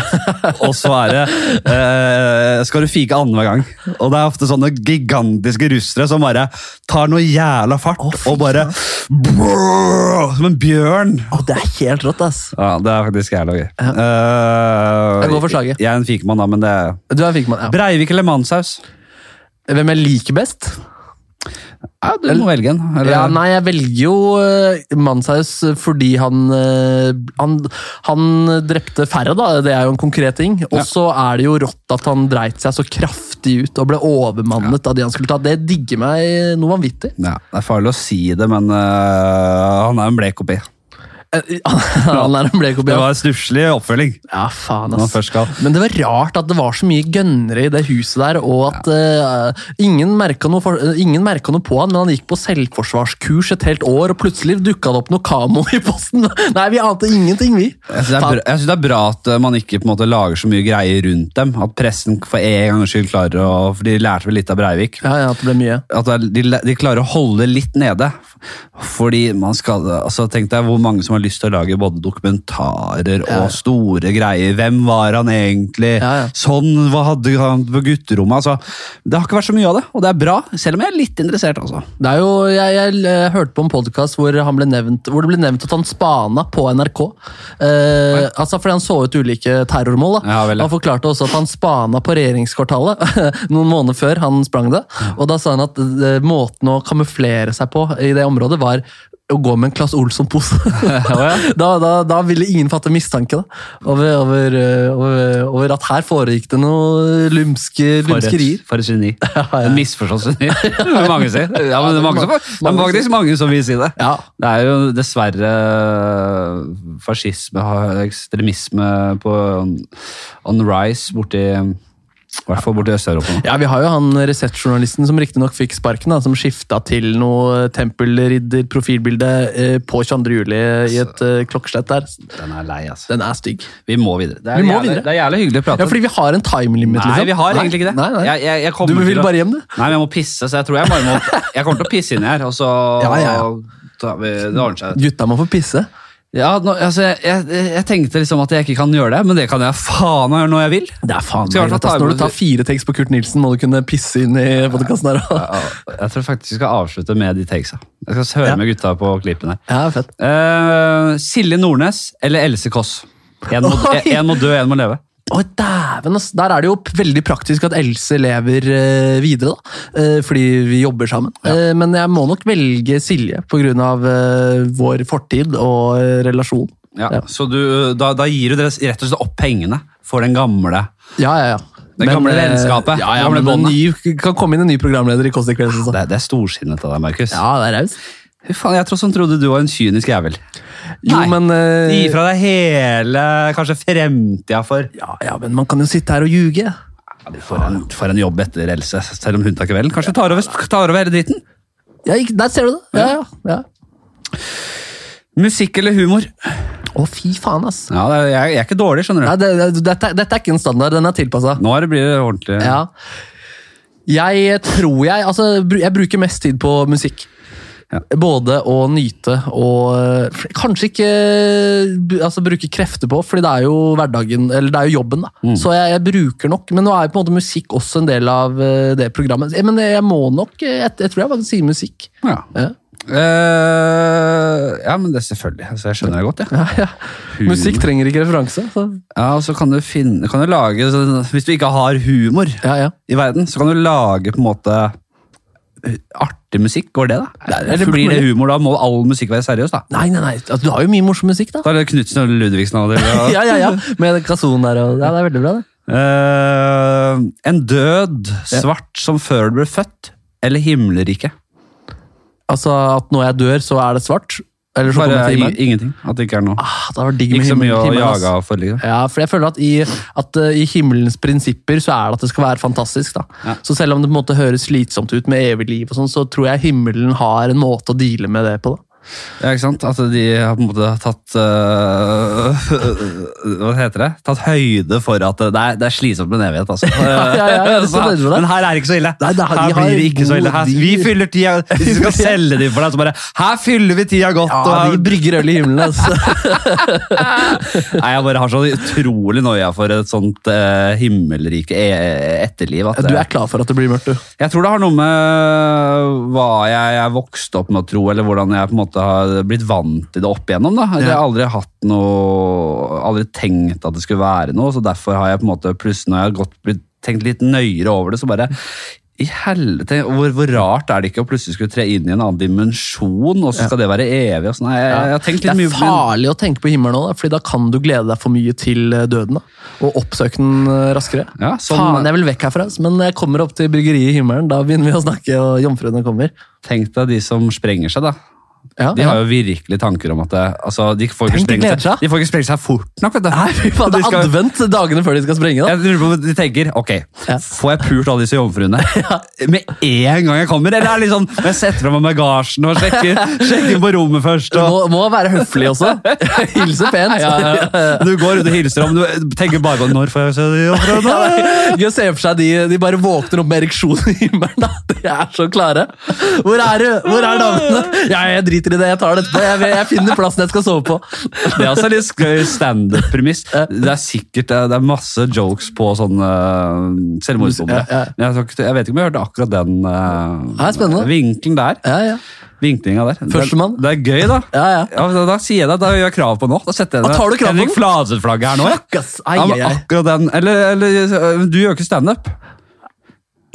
A: og så er det eh, Skal du fike annenhver gang. Og det er ofte sånne gigantiske russere som bare tar noe jævla fart og bare brrr, Som en bjørn.
B: Å, det er helt rått, ass.
A: Ja, det er faktisk jævla gøy. Eh,
B: Jeg går for slaget.
A: Jeg er en fikemann, da, men det er
B: Du er en fikemann. Ja.
A: Breivik eller Manshaus?
B: Hvem jeg liker best?
A: Ja, du må velge en. eller-
B: Ja, nei, jeg velger jo eh, Manshaus fordi han, eh, han Han drepte færre, da. Det er jo en konkret ting. Og så er det jo rått at han dreit seg så kraftig ut og ble overmannet av de han skulle ta. Det digger meg noe vanvittig.
A: Ja, det er farlig å si det, men øh, han er en blek kopi.
B: Eh, han er en
A: Det
B: blek kopi.
A: var en stusslig oppfølging.
B: Ja, faen,
A: Når man
B: ass.
A: først skal.
B: Men det var rart at det var så mye gønnere i det huset der, og at eh, ingen, merka noe for, eh, ingen merka noe på han, men han gikk på selvforsvarskurs et helt år, og plutselig dukka det opp noe kamo i posten. Nei, vi ante ingenting, vi.
A: Jeg synes, det er bra, jeg synes det er bra at øh, man ikke på en måte lager så mye greier rundt dem. At pressen for en gangs skyld klarer å For de lærte vel litt av Breivik.
B: Ja, ja, at det ble mye.
A: At det er- de, de klarer å holde litt nede. Fordi man skal altså Tenk deg hvor mange som har lyst til å lage både dokumentarer og store greier. Hvem var han egentlig?
B: Ja, ja.
A: Sånn, Hva hadde han på gutterommet? Altså, det har ikke vært så mye av det, og det er bra. Selv om jeg er litt interessert, altså.
B: Det er jo, jeg, jeg, eh, hørte på en podkast hvor, han ble nevnt- hvor det ble nevnt at han spana på NRK. Eh, altså Fordi han så ut ulike terrormål. Da.
A: Ja, vel, ja.
B: han forklarte også at han spana på regjeringskvartalet noen måneder før han sprang det. Og da sa han at eh, måten å kamuflere seg på i det området, var å gå med en Claes Olsson-pose. da, da, da ville ingen fatte mistanke da, over, over, eh, over, over at her foregikk det noe lumske, lumskerier.
A: for et geni. En misforstått geni, vil mange si. Ja, men det er mange som, det er
B: Mange
A: faktisk mange som vil si det.
B: Ja.
A: Det er jo dessverre øh, fascisme og ekstremisme på on rise borti i hvert fall borti Øst-Europa. nå.
B: Ja, Vi har jo han resettjournalisten som riktignok fikk sparken, da, som skifta til noe tempelridder-profilbilde eh, på 22. juli i et
A: Altså.
B: eh, klokkeslett der.
A: Den er lei, altså.
B: Den er stygg.
A: Vi må videre. Det er,
B: Vi må
A: jævlig,
B: videre.
A: Det er jævlig hyggelig å prate.
B: Ja, fordi vi har en time limit,
A: Nei,
B: liksom.
A: vi har egentlig ikke det.
B: Nei, nei.
A: Jeg, jeg, jeg
B: Du
A: kommer
B: vil
A: til å-
B: bare hjem, du?
A: Nei, men jeg må pisse, så jeg tror jeg bare må Jeg kommer til å pisse inni her, og så
B: Ja, ja, ja.
A: tar vi, Det ordner seg.
B: Gutta må få pisse.
A: Ja, nå, altså, jeg, jeg, jeg tenkte liksom at jeg ikke kan gjøre det, men det kan jeg faen meg gjøre når jeg vil.
B: Det er
A: Skal
B: faen meg
A: jeg i hvert fall
B: rett, ass.
A: ta
B: Når
A: imot-
B: du tar fire tekst på Kurt Nilsen, må du kunne pisse inn i podkasten her. også.
A: Ja, Jeg tror faktisk vi skal avslutte med de takesa. Jeg skal høre
B: Ja.
A: med gutta på klippen her.
B: Ja, fett.
A: Eh, Silje Nordnes eller Else Kåss? En må,
B: Oi!
A: en må dø, en må leve.
B: Å, dæven, ass. Der er det jo p- veldig praktisk at Else lever eh, videre, da. Eh, fordi vi jobber sammen. Eh, men jeg må nok velge Silje pga. Eh, vår fortid og eh, relasjon.
A: Ja,
B: Ja.
A: Så du, da, da gir du dere rett og slett opp pengene for den gamle.
B: Ja, ja, ja.
A: Det gamle
B: eh,
A: vennskapet,
B: Ja, ja,
A: gamle
B: men en
A: båndet.
B: ny, kan komme inn en ny programleder i Kåss altså. Dekveld.
A: Det, det er storsinnet av deg, Markus.
B: Ja, det er raust.
A: Fy faen, jeg tror som trodde du var en kynisk jævel.
B: Jo,
A: Nei,
B: men eh,
A: Gi fra deg hele kanskje fremtida for
B: ja, ja, men man kan jo sitte her og ljuge.
A: Ja, du får en, får en jobb etter Else, selv om hun tar kvelden. Kanskje du tar over, tar over hele dritten?
B: Ja, ikke, der ser du det. Ja, ja, ja.
A: Musikk eller humor?
B: Å, fy faen, ass.
A: Ja, det er, jeg, jeg er ikke dårlig, skjønner du.
B: Nei, det, det, dette, dette er ikke en standard. Den er tilpassa.
A: Nå er det, blir det ordentlig.
B: Ja. Jeg tror jeg Altså, bru- jeg bruker mest tid på musikk.
A: Ja.
B: Både å nyte og øh, f- Kanskje ikke b- altså, bruke krefter på, fordi det er jo hverdagen, eller det er jo jobben. da. Så jeg, jeg bruker nok, men nå er jo på en måte musikk også en del av øh, det programmet. Eh, Men jeg må nok eh, Jeg, jeg tror jeg bare sier musikk.
A: Ja.
B: Ja.
A: Eh, ja, men det er selvfølgelig. Altså, jeg skjønner det godt, jeg.
B: Ja, ja.
A: Mm.
B: Musikk trenger ikke referanse. Så.
A: Ja, og så kan du finne kan du lage, sånn- Hvis du ikke har humor
B: Ja, ja.
A: i verden, så kan du lage på en måte eh, artig musikk. Går det, da?
B: Det er
A: Eller
B: fullt
A: blir det
B: mulig.
A: humor? Da må all musikk være seriøs, da.
B: Nei, nei, nei. Altså, du har jo mye morsom musikk, da.
A: Da er det Knutsen og Ludvigsen og det.
B: Ja, ja, ja. Med kason der og Ja, det er veldig bra, det.
A: Eh, en død svart som før du ble født, eller himmelriket?
B: Altså at når jeg dør, så er det svart? Eller så kommer
A: Bare
B: jeg til
A: i-
B: himmelen?
A: ingenting. At det ikke er noe.
B: Ah, det var digg med
A: Ikke så mye å
B: himmelen, ass.
A: jage av for liksom. livet.
B: Ja, for jeg føler at i, at eh, i himmelens prinsipper så er det at det skal være fantastisk. da. Så selv om det på en måte høres slitsomt ut med evig liv, og sånn, så tror jeg himmelen har en måte å deale med det på. da.
A: Ja, ikke sant? At de har på en måte tatt øh, Hva heter det? Tatt høyde for at det er, det er slitsomt med en evighet, altså.
B: ja, ja, jeg er så
A: Så-
B: nøyd med det.
A: men her er det ikke så ille.
B: Nei, det er-
A: her
B: de har
A: blir det ikke så ille.
B: god
A: Her,
B: deal.
A: vi fyller tida Hvis vi skal selge de for deg, så bare Her fyller vi tida godt!
B: Ja,
A: og,
B: De brygger øl i himmelen. altså.
A: nei, jeg bare har så utrolig noia for et sånt uh, himmelrike e etterliv. At,
B: Du
A: det-
B: er klar for at det blir mørkt, du.
A: Jeg tror det har noe med hva jeg er vokst opp med å tro, eller hvordan jeg på en måte har blitt vant til det opp igjennom. Da. Jeg har
B: Ja.
A: aldri hatt noe, aldri tenkt at det skulle være noe, så derfor har jeg på en måte, pluss når jeg har gått, blitt tenkt litt nøyere over det, så bare i helvete, hvor, hvor rart er det ikke å plutselig skulle tre inn i en annen dimensjon, og så skal det være evig? og sånn. Nei, Jeg, jeg, har tenkt
B: Det
A: litt
B: er
A: mye men-
B: farlig å tenke på himmelen òg, Fordi da kan du glede deg for mye til eh, døden. Da, og oppsøke den eh, raskere.
A: Ja, sånn-
B: Faen, jeg vil vekk herfra, ass, men når jeg kommer opp til bryggeriet i himmelen, da begynner vi å snakke, og jomfruene kommer.
A: Tenk deg de som sprenger seg, da.
B: Ja,
A: De har jo virkelig tanker om at det, altså, de, får ikke
B: Tenk, de
A: sprenge
B: gleder
A: seg,
B: seg.
A: de får ikke sprenge seg fort nok. vet du.
B: Nei, fy faen, det
A: De
B: er
A: skal-
B: advent dagene før de skal sprenge.
A: Jeg lurer på om De tenker ok,
B: Ja.
A: får jeg pult alle disse jomfruene med en gang jeg kommer? Eller er det litt sånn, jeg setter fra meg bagasjen og sjekker, sjekker på rommet først?
B: Da.
A: Og,
B: Må, må være høflig også. Hilse pent.
A: Du går rundt og hilser om, du tenker bare på når får jeg se de jomfruene?
B: Gøy å se for seg de, de bare våkner opp med ereksjon i himmelen. da. De er så klare. Hvor er du? Hvor er damene? Ja, jeg driter i det, jeg tar det etterpå. Jeg, jeg finner plassen jeg skal sove på.
A: Det er også litt skøy standup-premiss. Det er sikkert eh, det er masse jokes på sånne øh, selvmordsbombere.
B: Ja, ja.
A: Men Jeg, tror ikke- jeg vet ikke om jeg hørte akkurat den øh,
B: Ja, spennende.
A: vinkelen der.
B: Ja, ja.
A: Vinklinga der. Den-
B: Førstemann.
A: Det er gøy, da.
B: Ja, ja.
A: da, da sier jeg det. Da gjør jeg krav på nå. Da setter jeg
B: Da tar du krav på
A: Henrik
B: den.
A: Fladseth-flagget her nå. jeg.
B: Fuck, ass. Ai,
A: Ja, men ah.
B: ai, ai.
A: akkurat den. Eller, eller øh, du gjør ikke standup.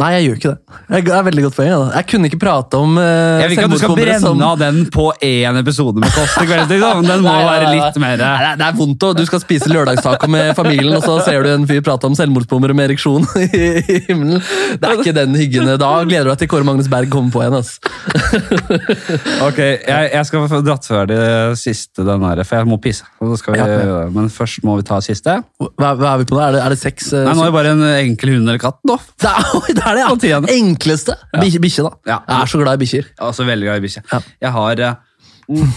B: Nei, jeg gjør ikke det. Jeg, det er veldig godt poeng. Da. Jeg kunne ikke prate om uh,
A: Jeg vil ikke at du skal brenne av den på én episode med Kåss til kvelds. liksom. Den må være litt mer
B: Nei, det er- det er vondt, og du skal spise lørdagstaco med familien, og så ser du en fyr prate om selvmordsbomber med ereksjon i i himmelen. Det er ikke den hyggen. Da gleder du deg til Kåre Magnus Berg kommer på igjen. altså. ass.
A: Ok, jeg, jeg skal få dratt ferdig det siste, den her, for jeg må pisse. Og så skal vi,
B: Ja.
A: Men først må vi ta siste.
B: Hva, hva er vi på nå? Er det, er det seks? eh,
A: Nei, nå er det bare en enkel hund eller katt, nå.
B: Det er, oi, det er det, ja.
A: På tiende.
B: Enkleste. Bikkje, bikkje, da.
A: Ja.
B: Jeg er så glad i bikkjer.
A: Altså, veldig glad i bikkje.
B: Ja.
A: Jeg har eh,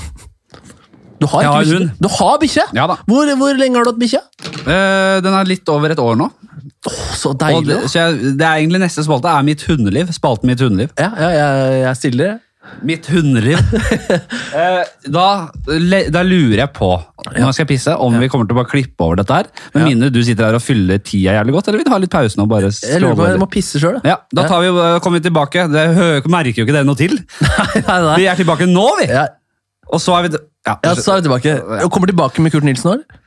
B: Du har
A: Jeg
B: ikke
A: har
B: bikkje.
A: hund.
B: Du har bikkje?
A: Ja da.
B: Hvor, hvor lenge har du hatt bikkje?
A: eh, Den er litt over et år nå.
B: Åh, så
A: Og
B: deilig.
A: det,
B: da.
A: så jeg, det er egentlig neste spalte er mitt hundeliv. Spalten mitt hundeliv.
B: Ja, ja, jeg, jeg stiller.
A: Mitt hundeliv. Eh, da, le- da lurer jeg på, når jeg skal pisse, om vi kommer til å bare klippe over dette her. Med mindre du sitter her og fyller tida jævlig godt, eller vil du ha litt pause nå og bare
B: Jeg lurer på
A: skrolle
B: om jeg
A: litt?
B: må pisse sjøl.
A: Ja, Da tar vi, eh, kommer vi tilbake. Det hø- merker jo ikke dere noe til.
B: Nei, nei, nei.
A: Vi er tilbake nå, vi!
B: Ja,
A: Og så er vi ja,
B: ja, så er vi tilbake. Og kommer tilbake med Kurt Nilsen nå? eller?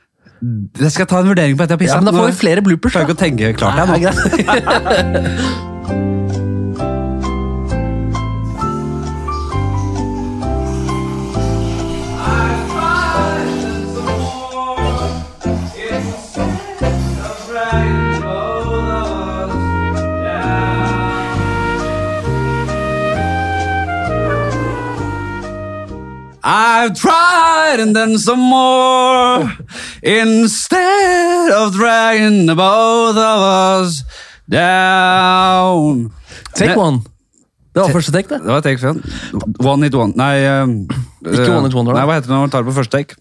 A: Jeg skal ta en vurdering på etter jeg har
B: Ja,
A: pissa.
B: men da får vi flere bloopers.
A: Klarer ikke å tenke klart
B: Nei,
A: her nå.
B: greit.
A: I've tried and done some more instead of dragging the both of us down.
B: Take one. Det var første take, det.
A: Det var take fem. One hit one. Nei um, eh,
B: Ikke one hit wonder, da.
A: Nei, hva heter det når man tar det på første take?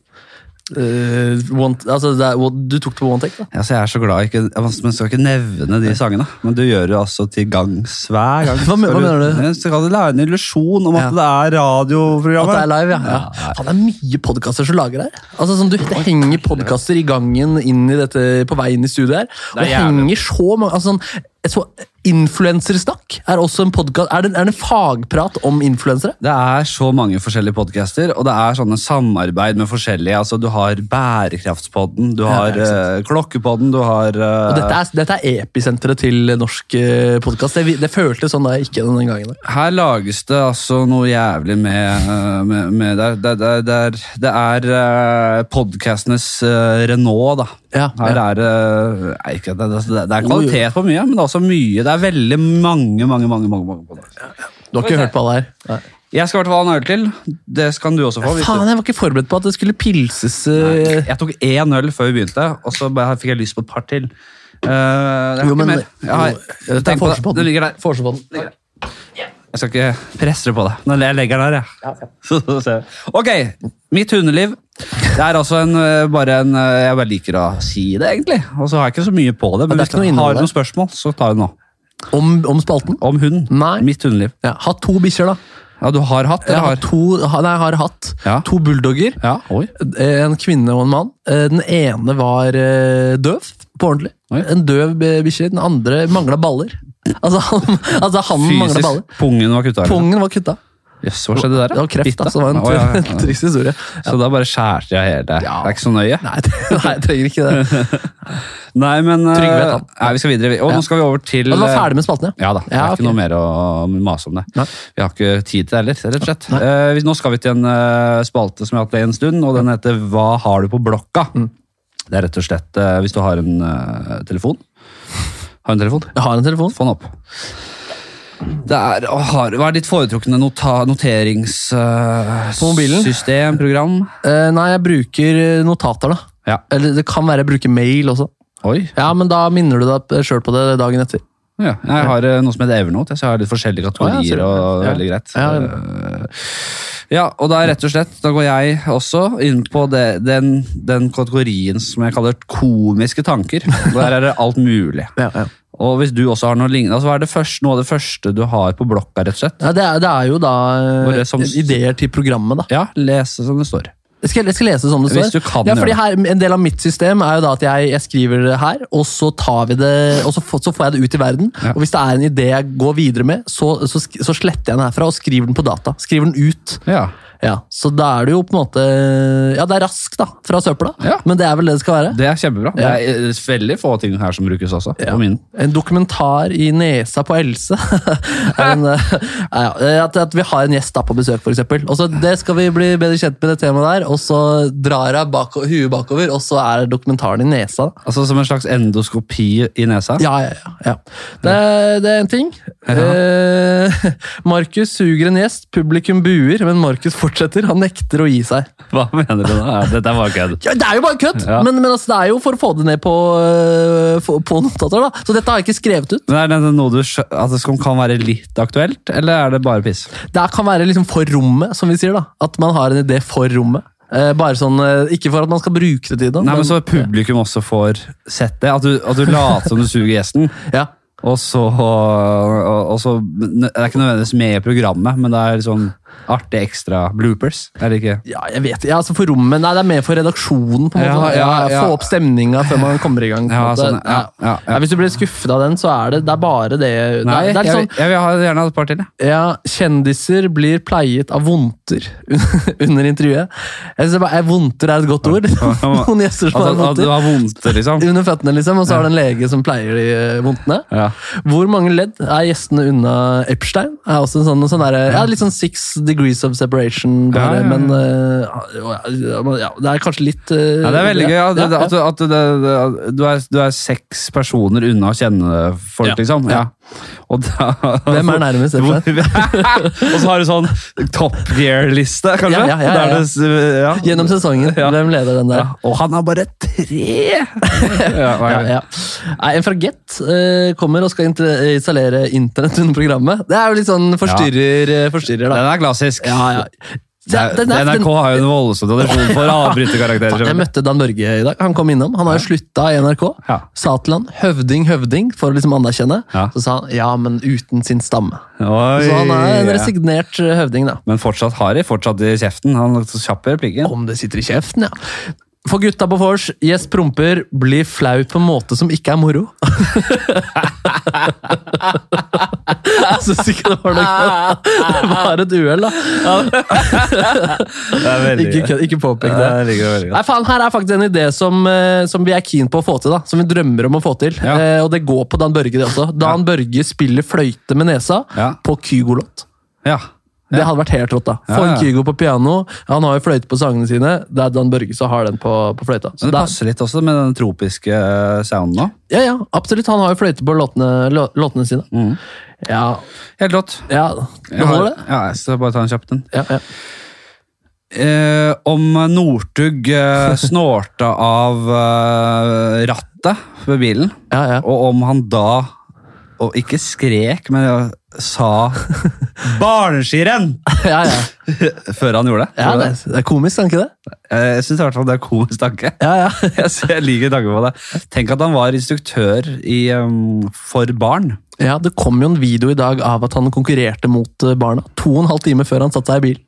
B: Eh, one, altså, det er, du tok det på one take, da.
A: Altså, jeg er så glad jeg ikke, jeg man skal ikke nevne de sangene, men du gjør det altså til gangs hver gang.
B: Hva men- hva mener du?
A: Jeg skal det være en illusjon om at det er
B: At
A: radioprogrammet.
B: det er live, ja. ja. Faen, det er mye podkaster som lager det her. Altså, som du, det henger podkaster i gangen inn i dette, på vei inn i studioet her. Og
A: Det
B: det
A: er jævlig.
B: henger så mange altså, sånn, jeg så, Influensersnakk er også en podkast. Er, det- er det en fagprat om influensere?
A: Det er så mange forskjellige podcaster, og det er sånne samarbeid med forskjellige. Altså, du har Bærekraftspodden, du
B: Ja,
A: har
B: det er
A: eh, Klokkepodden, du har eh,
B: Og dette er, dette er episenteret til norsk eh, podkast. Det, vi- det føltes sånn da jeg gikk gjennom den gangen. der.
A: Her lages det altså noe jævlig med, eh, med, med der, der, der, der, Det er eh, podcastenes eh, Renault, da.
B: Ja,
A: Her
B: ja.
A: er eh, nei, ikke, det, det, det er kvalitet på mye, men det er også mye. Det er veldig mange, mange, mange, mange, mange podcaster.
B: Du har ikke hørt på alle her? Nei.
A: Jeg skal i hvert fall ha en øl til. Det skal du også få. hvis du-
B: Faen, jeg var ikke forberedt på at det skulle pilses eh,
A: Jeg tok én øl før vi begynte, og så bare fikk jeg lyst på et par til. Eh, jeg har
B: Jo,
A: ikke
B: men
A: mer. Jeg, har,
B: jo, det er
A: tenk på det.
B: Forsepodden.
A: Den ligger der.
B: Forsepodden.
A: Jeg skal ikke presse det på deg. Nå- Jeg legger den der, jeg. Så, så ser jeg. Ok, mitt hundeliv. Det er altså en, eh, bare en eh, Jeg bare liker å si det, egentlig. Og så har jeg ikke så mye på det, men
B: det er
A: hvis
B: ikke noe
A: du
B: innhold
A: har
B: der.
A: noen spørsmål, så tar jeg det nå.
B: Om, om spalten?
A: Om hund.
B: Nei.
A: Mitt hundeliv.
B: Ja, ha to bikkjer, da.
A: Ja, du har hatt,
B: Jeg
A: eller
B: har,
A: har?
B: to, ha- nei, jeg har hatt
A: Ja.
B: to bulldogger.
A: Ja, oi.
B: En kvinne og en mann. Eh, Den ene var eh, døv, på ordentlig.
A: Oi.
B: En døv eh, bikkje. Den andre mangla baller. Altså, han, altså, han mangla
A: Fysisk.
B: baller.
A: Pungen var kutta.
B: Pungen var kutta.
A: Jøss, hva skjedde der,
B: Det var kreft, da, så det var en
A: Å, ja, ja.
B: trist historie.
A: Så da bare skjærte jeg hele.
B: Ja.
A: Det er ikke så nøye.
B: Nei, det, nei, jeg trenger ikke det. Altså,
A: Nei, men eh,
B: Trygve vet han.
A: Nei, vi skal videre. Og nå skal vi over til
B: Men Du var
A: eh,
B: ferdig med spalten, ja?
A: Ja da. Det er
B: Ja, ok.
A: ikke noe mer å mase om det.
B: Nei.
A: Vi har ikke tid til det heller, rett og slett. Eh, vi- nå skal vi til en eh, spalte som jeg har hatt en stund, og den heter Hva har du på blokka?
B: Mm.
A: Det er rett og slett eh, hvis du har en eh, telefon. Har du en telefon?
B: Jeg har en telefon.
A: Få den opp. Det er, å, har, hva er ditt foretrukne nota,
B: På mobilen?
A: noteringssystem, program?
B: Eh, nei, jeg bruker notater, da.
A: Ja.
B: Eller det kan være jeg bruker mail også.
A: Oi.
B: Ja, men da minner du deg sjøl på det dagen etter.
A: Ja, jeg har eh, noe som heter Evernote, så jeg har litt forskjellige
B: Å, ja,
A: kategorier.
B: ser du.
A: og
B: Ja.
A: veldig greit.
B: Ja,
A: Eh, ja, og da er rett og slett, da går jeg også inn på det, den, den kategorien som jeg kaller komiske tanker. Og Der er det alt mulig.
B: Ja, ja.
A: Og hvis du også har noe lignende, altså, hva er det første, noe av det første du har på blokka, rett og slett?
B: Ja, det, er, det er jo da
A: Hvor
B: eh,
A: det som-
B: ideer til programmet, da.
A: sånn- Ja, lese som det står.
B: Jeg skal, jeg skal lese som det står.
A: Hvis du kan
B: ja,
A: gjøre
B: fordi
A: det.
B: her, En del av mitt system er jo da at jeg, jeg skriver det her, og så tar vi det, og så, få- så får jeg det ut i verden.
A: Ja.
B: Og hvis det er en idé jeg går videre med, så, så, sk- så sletter jeg den herfra og skriver den på data. Skriver den ut.
A: Ja.
B: Ja, Så da er det jo på en måte Ja, det er rask da, fra søpla,
A: Ja.
B: men det er vel det det skal være.
A: Det er kjempebra. Det er eh, veldig få ting her som brukes også.
B: Ja.
A: På min.
B: En dokumentar i nesa på Else. Er en, eh, ja, ja, at, at vi har en gjest da på besøk, for eksempel. Og så det skal vi bli bedre kjent med det temaet der, og så drar jeg bako, huet bakover, og så er dokumentaren i nesa. da.
A: Altså Som en slags endoskopi i nesa.
B: Ja, ja, ja. ja. Det, er- det er en ting. Eh, Markus suger en gjest, publikum buer, men Markus fortsetter. Han nekter å gi seg.
A: Hva mener du da? Ja, dette var kødd.
B: Ja, det er jo bare kødd!
A: Ja.
B: Men, men altså, det er jo for å få det ned på, eh, for- på notater, da. Så dette har jeg ikke skrevet ut.
A: Men er det noe du skjø- at det som kan være litt aktuelt, eller er det bare piss?
B: Det her kan være liksom for rommet, som vi sier. da. At man har en idé for rommet. Eh, bare sånn, eh, Ikke for at man skal bruke det til noe.
A: Nei, men så publikum også får sett det. At du, at du later som du suger gjesten,
B: ja.
A: og så, og, og så Det er ikke nødvendigvis med i programmet, men det er liksom artig ekstra bloopers. Er det ikke?
B: ja, jeg vet ja, altså For rommet Nei, det er mer for redaksjonen. på en
A: Ja,
B: måte.
A: ja, ja.
B: Få opp stemninga før man kommer i gang. på en
A: Ja,
B: måte.
A: sånn, ja, ja, ja.
B: Hvis du blir skuffet av den, så er det, det er bare det
A: Nei,
B: det, er- det er
A: jeg,
B: sånn,
A: vil- jeg vil ha gjerne ha et par til. jeg.
B: Ja, kjendiser blir pleiet av vondter under intervjuet. Jeg synes bare, eh, Vondter er et godt ord. Noen gjester som
A: At,
B: har
A: Altså, at, at du har
B: vondter.
A: vondt, liksom.
B: Under føttene, liksom, og så har du en lege som pleier de eh, vondtene.
A: Ja.
B: Hvor mange ledd er gjestene unna Epstein? Er også en sånn, en sånn derre- ja, Litt sånn six degrees of separation, bare,
A: Ja, ja, ja.
B: men eh, ja, ja, Det er kanskje litt
A: Ja,
B: eh,
A: Altså, det er veldig gøy. At,
B: ja,
A: at, at det, det, du, er, du er seks personer unna å kjenne folk,
B: Ja.
A: liksom. Ja. Og da,
B: Hvem er nærmest, rett og
A: og så har du sånn Top Gear-liste, kanskje?
B: Ja, ja, ja,
A: Da er
B: ja.
A: det s- ja.
B: Gjennom sesongen. Hvem leder den der?
A: Ja, Og han har bare tre! ja, nei,
B: Ja, ja. Nei, en fragett eh, kommer og skal inter- installere internett under programmet. Det er jo litt sånn forstyrrer, eh, forstyrrer da.
A: Den er klassisk.
B: Ja, ja. Det- den er- den-
A: NRK har jo en voldsom tradisjon for å avbryte
B: Faen, Jeg
A: karakterer.
B: møtte Dan Børge i dag. Han kom innom. Han har jo slutta i NRK.
A: Ja.
B: Sa til han 'høvding, høvding', for å liksom anerkjemme.
A: Ja.
B: Så sa han 'ja, men uten sin stamme'.
A: Oi,
B: Så han er en
A: ja.
B: resignert eh, høvding, da.
A: Men fortsatt har de fortsatt i kjeften. Han er så kjapp i replikken.
B: Om det sitter i kjeften, ja. For gutta på vors, gjest promper, blir flau på en måte som ikke er moro. Jeg syns ikke det var noe godt. Det var et uhell, da.
A: Det er veldig
B: Ikke, kødd- ikke påpek
A: Ja,
B: det.
A: jeg liker det veldig godt.
B: Nei, faen, Her er faktisk en idé som, eh, som vi er keen på å få til. da Som vi drømmer om å få til.
A: Ja.
B: Eh, og det går på Dan Børge, det også. Dan Børge spiller fløyte med nesa
A: Ja.
B: på Kygolot.
A: Ja.
B: Det hadde vært helt rått. da Få
A: Ja, ja.
B: en Kygo på piano. Han har jo fløyte på sangene sine. Det er Dan Børge som har den på, på fløyta. Så
A: Så det
B: da-
A: passer litt også med den tropiske eh, sounden nå.
B: Ja, ja, absolutt. Han har jo fløyte på låtene, lå- låtene sine. Ja,
A: Helt rått.
B: ja, det
A: Mm. Jeg har-
B: holder, det.
A: Ja, jeg skal bare ta en kjapp den.
B: Ja, ja.
A: Eh, om Northug eh, snorta av eh, rattet ved bilen,
B: Ja, ja.
A: og om han da og ikke skrek, men eh, sa 'barneskirenn'
B: ja, ja.
A: før han gjorde det.
B: ja det, det er komisk, er det ikke det?
A: Eh, Jeg syns i hvert fall det er komisk tanke.
B: Ja, ja.
A: Jeg sy- jeg liker tanken på det. Tenk at han var instruktør i, eh, for barn.
B: ja, Det kom jo en video i dag av at han konkurrerte mot eh, barna. To og en halv time før han satte seg i bilen.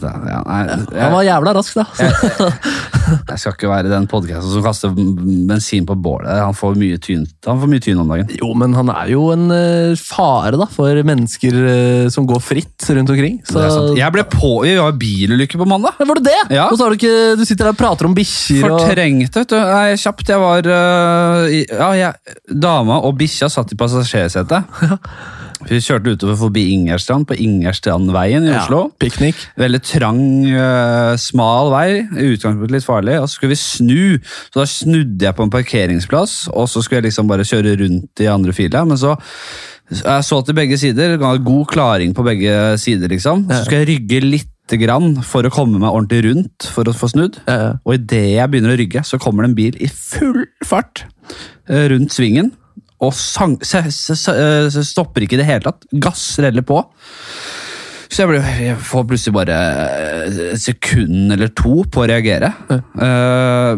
A: det, ja, nei,
B: Han
A: jeg,
B: var jævla rask, da. Så,
A: jeg skal ikke være den podkasten som kaster m- bensin på bålet. Han får mye tyn, han får mye tyn om dagen.
B: jo, men han er jo en eh, fare da, for mennesker eh, som går fritt rundt omkring. Så,
A: Det er sant. Jeg ble på, Vi var i bilulykke på mandag.
B: Men var det det?
A: Ja.
B: Og så har du ikke Du sitter der og prater om bikkjer og
A: Fortrengte, vet du. Nei, kjapt. Jeg var øh, i- Ja, jeg, dama og bikkja satt i passasjersetet. Vi kjørte utover forbi Ingerstrand, på Ingerstrandveien i Oslo.
B: Piknik.
A: Veldig trang, øh, smal vei. I utgangspunktet litt farlig. Og så skulle vi snu, så da snudde jeg på en parkeringsplass. Og så skulle jeg liksom bare kjøre rundt i andre fila, men så jeg så til begge sider. ga God klaring på begge sider, liksom. Så skal jeg rygge litt grann for å komme meg ordentlig rundt for å få snudd.
B: Ja, ja.
A: Og idet jeg begynner å rygge, så kommer det en bil i full fart eh, rundt svingen. Og sang, se, se, se, eh, se- stopper ikke i det hele tatt. Gass reller på. Så jeg, ble, jeg får plutselig bare eh, et sekund eller to på å reagere. Eh,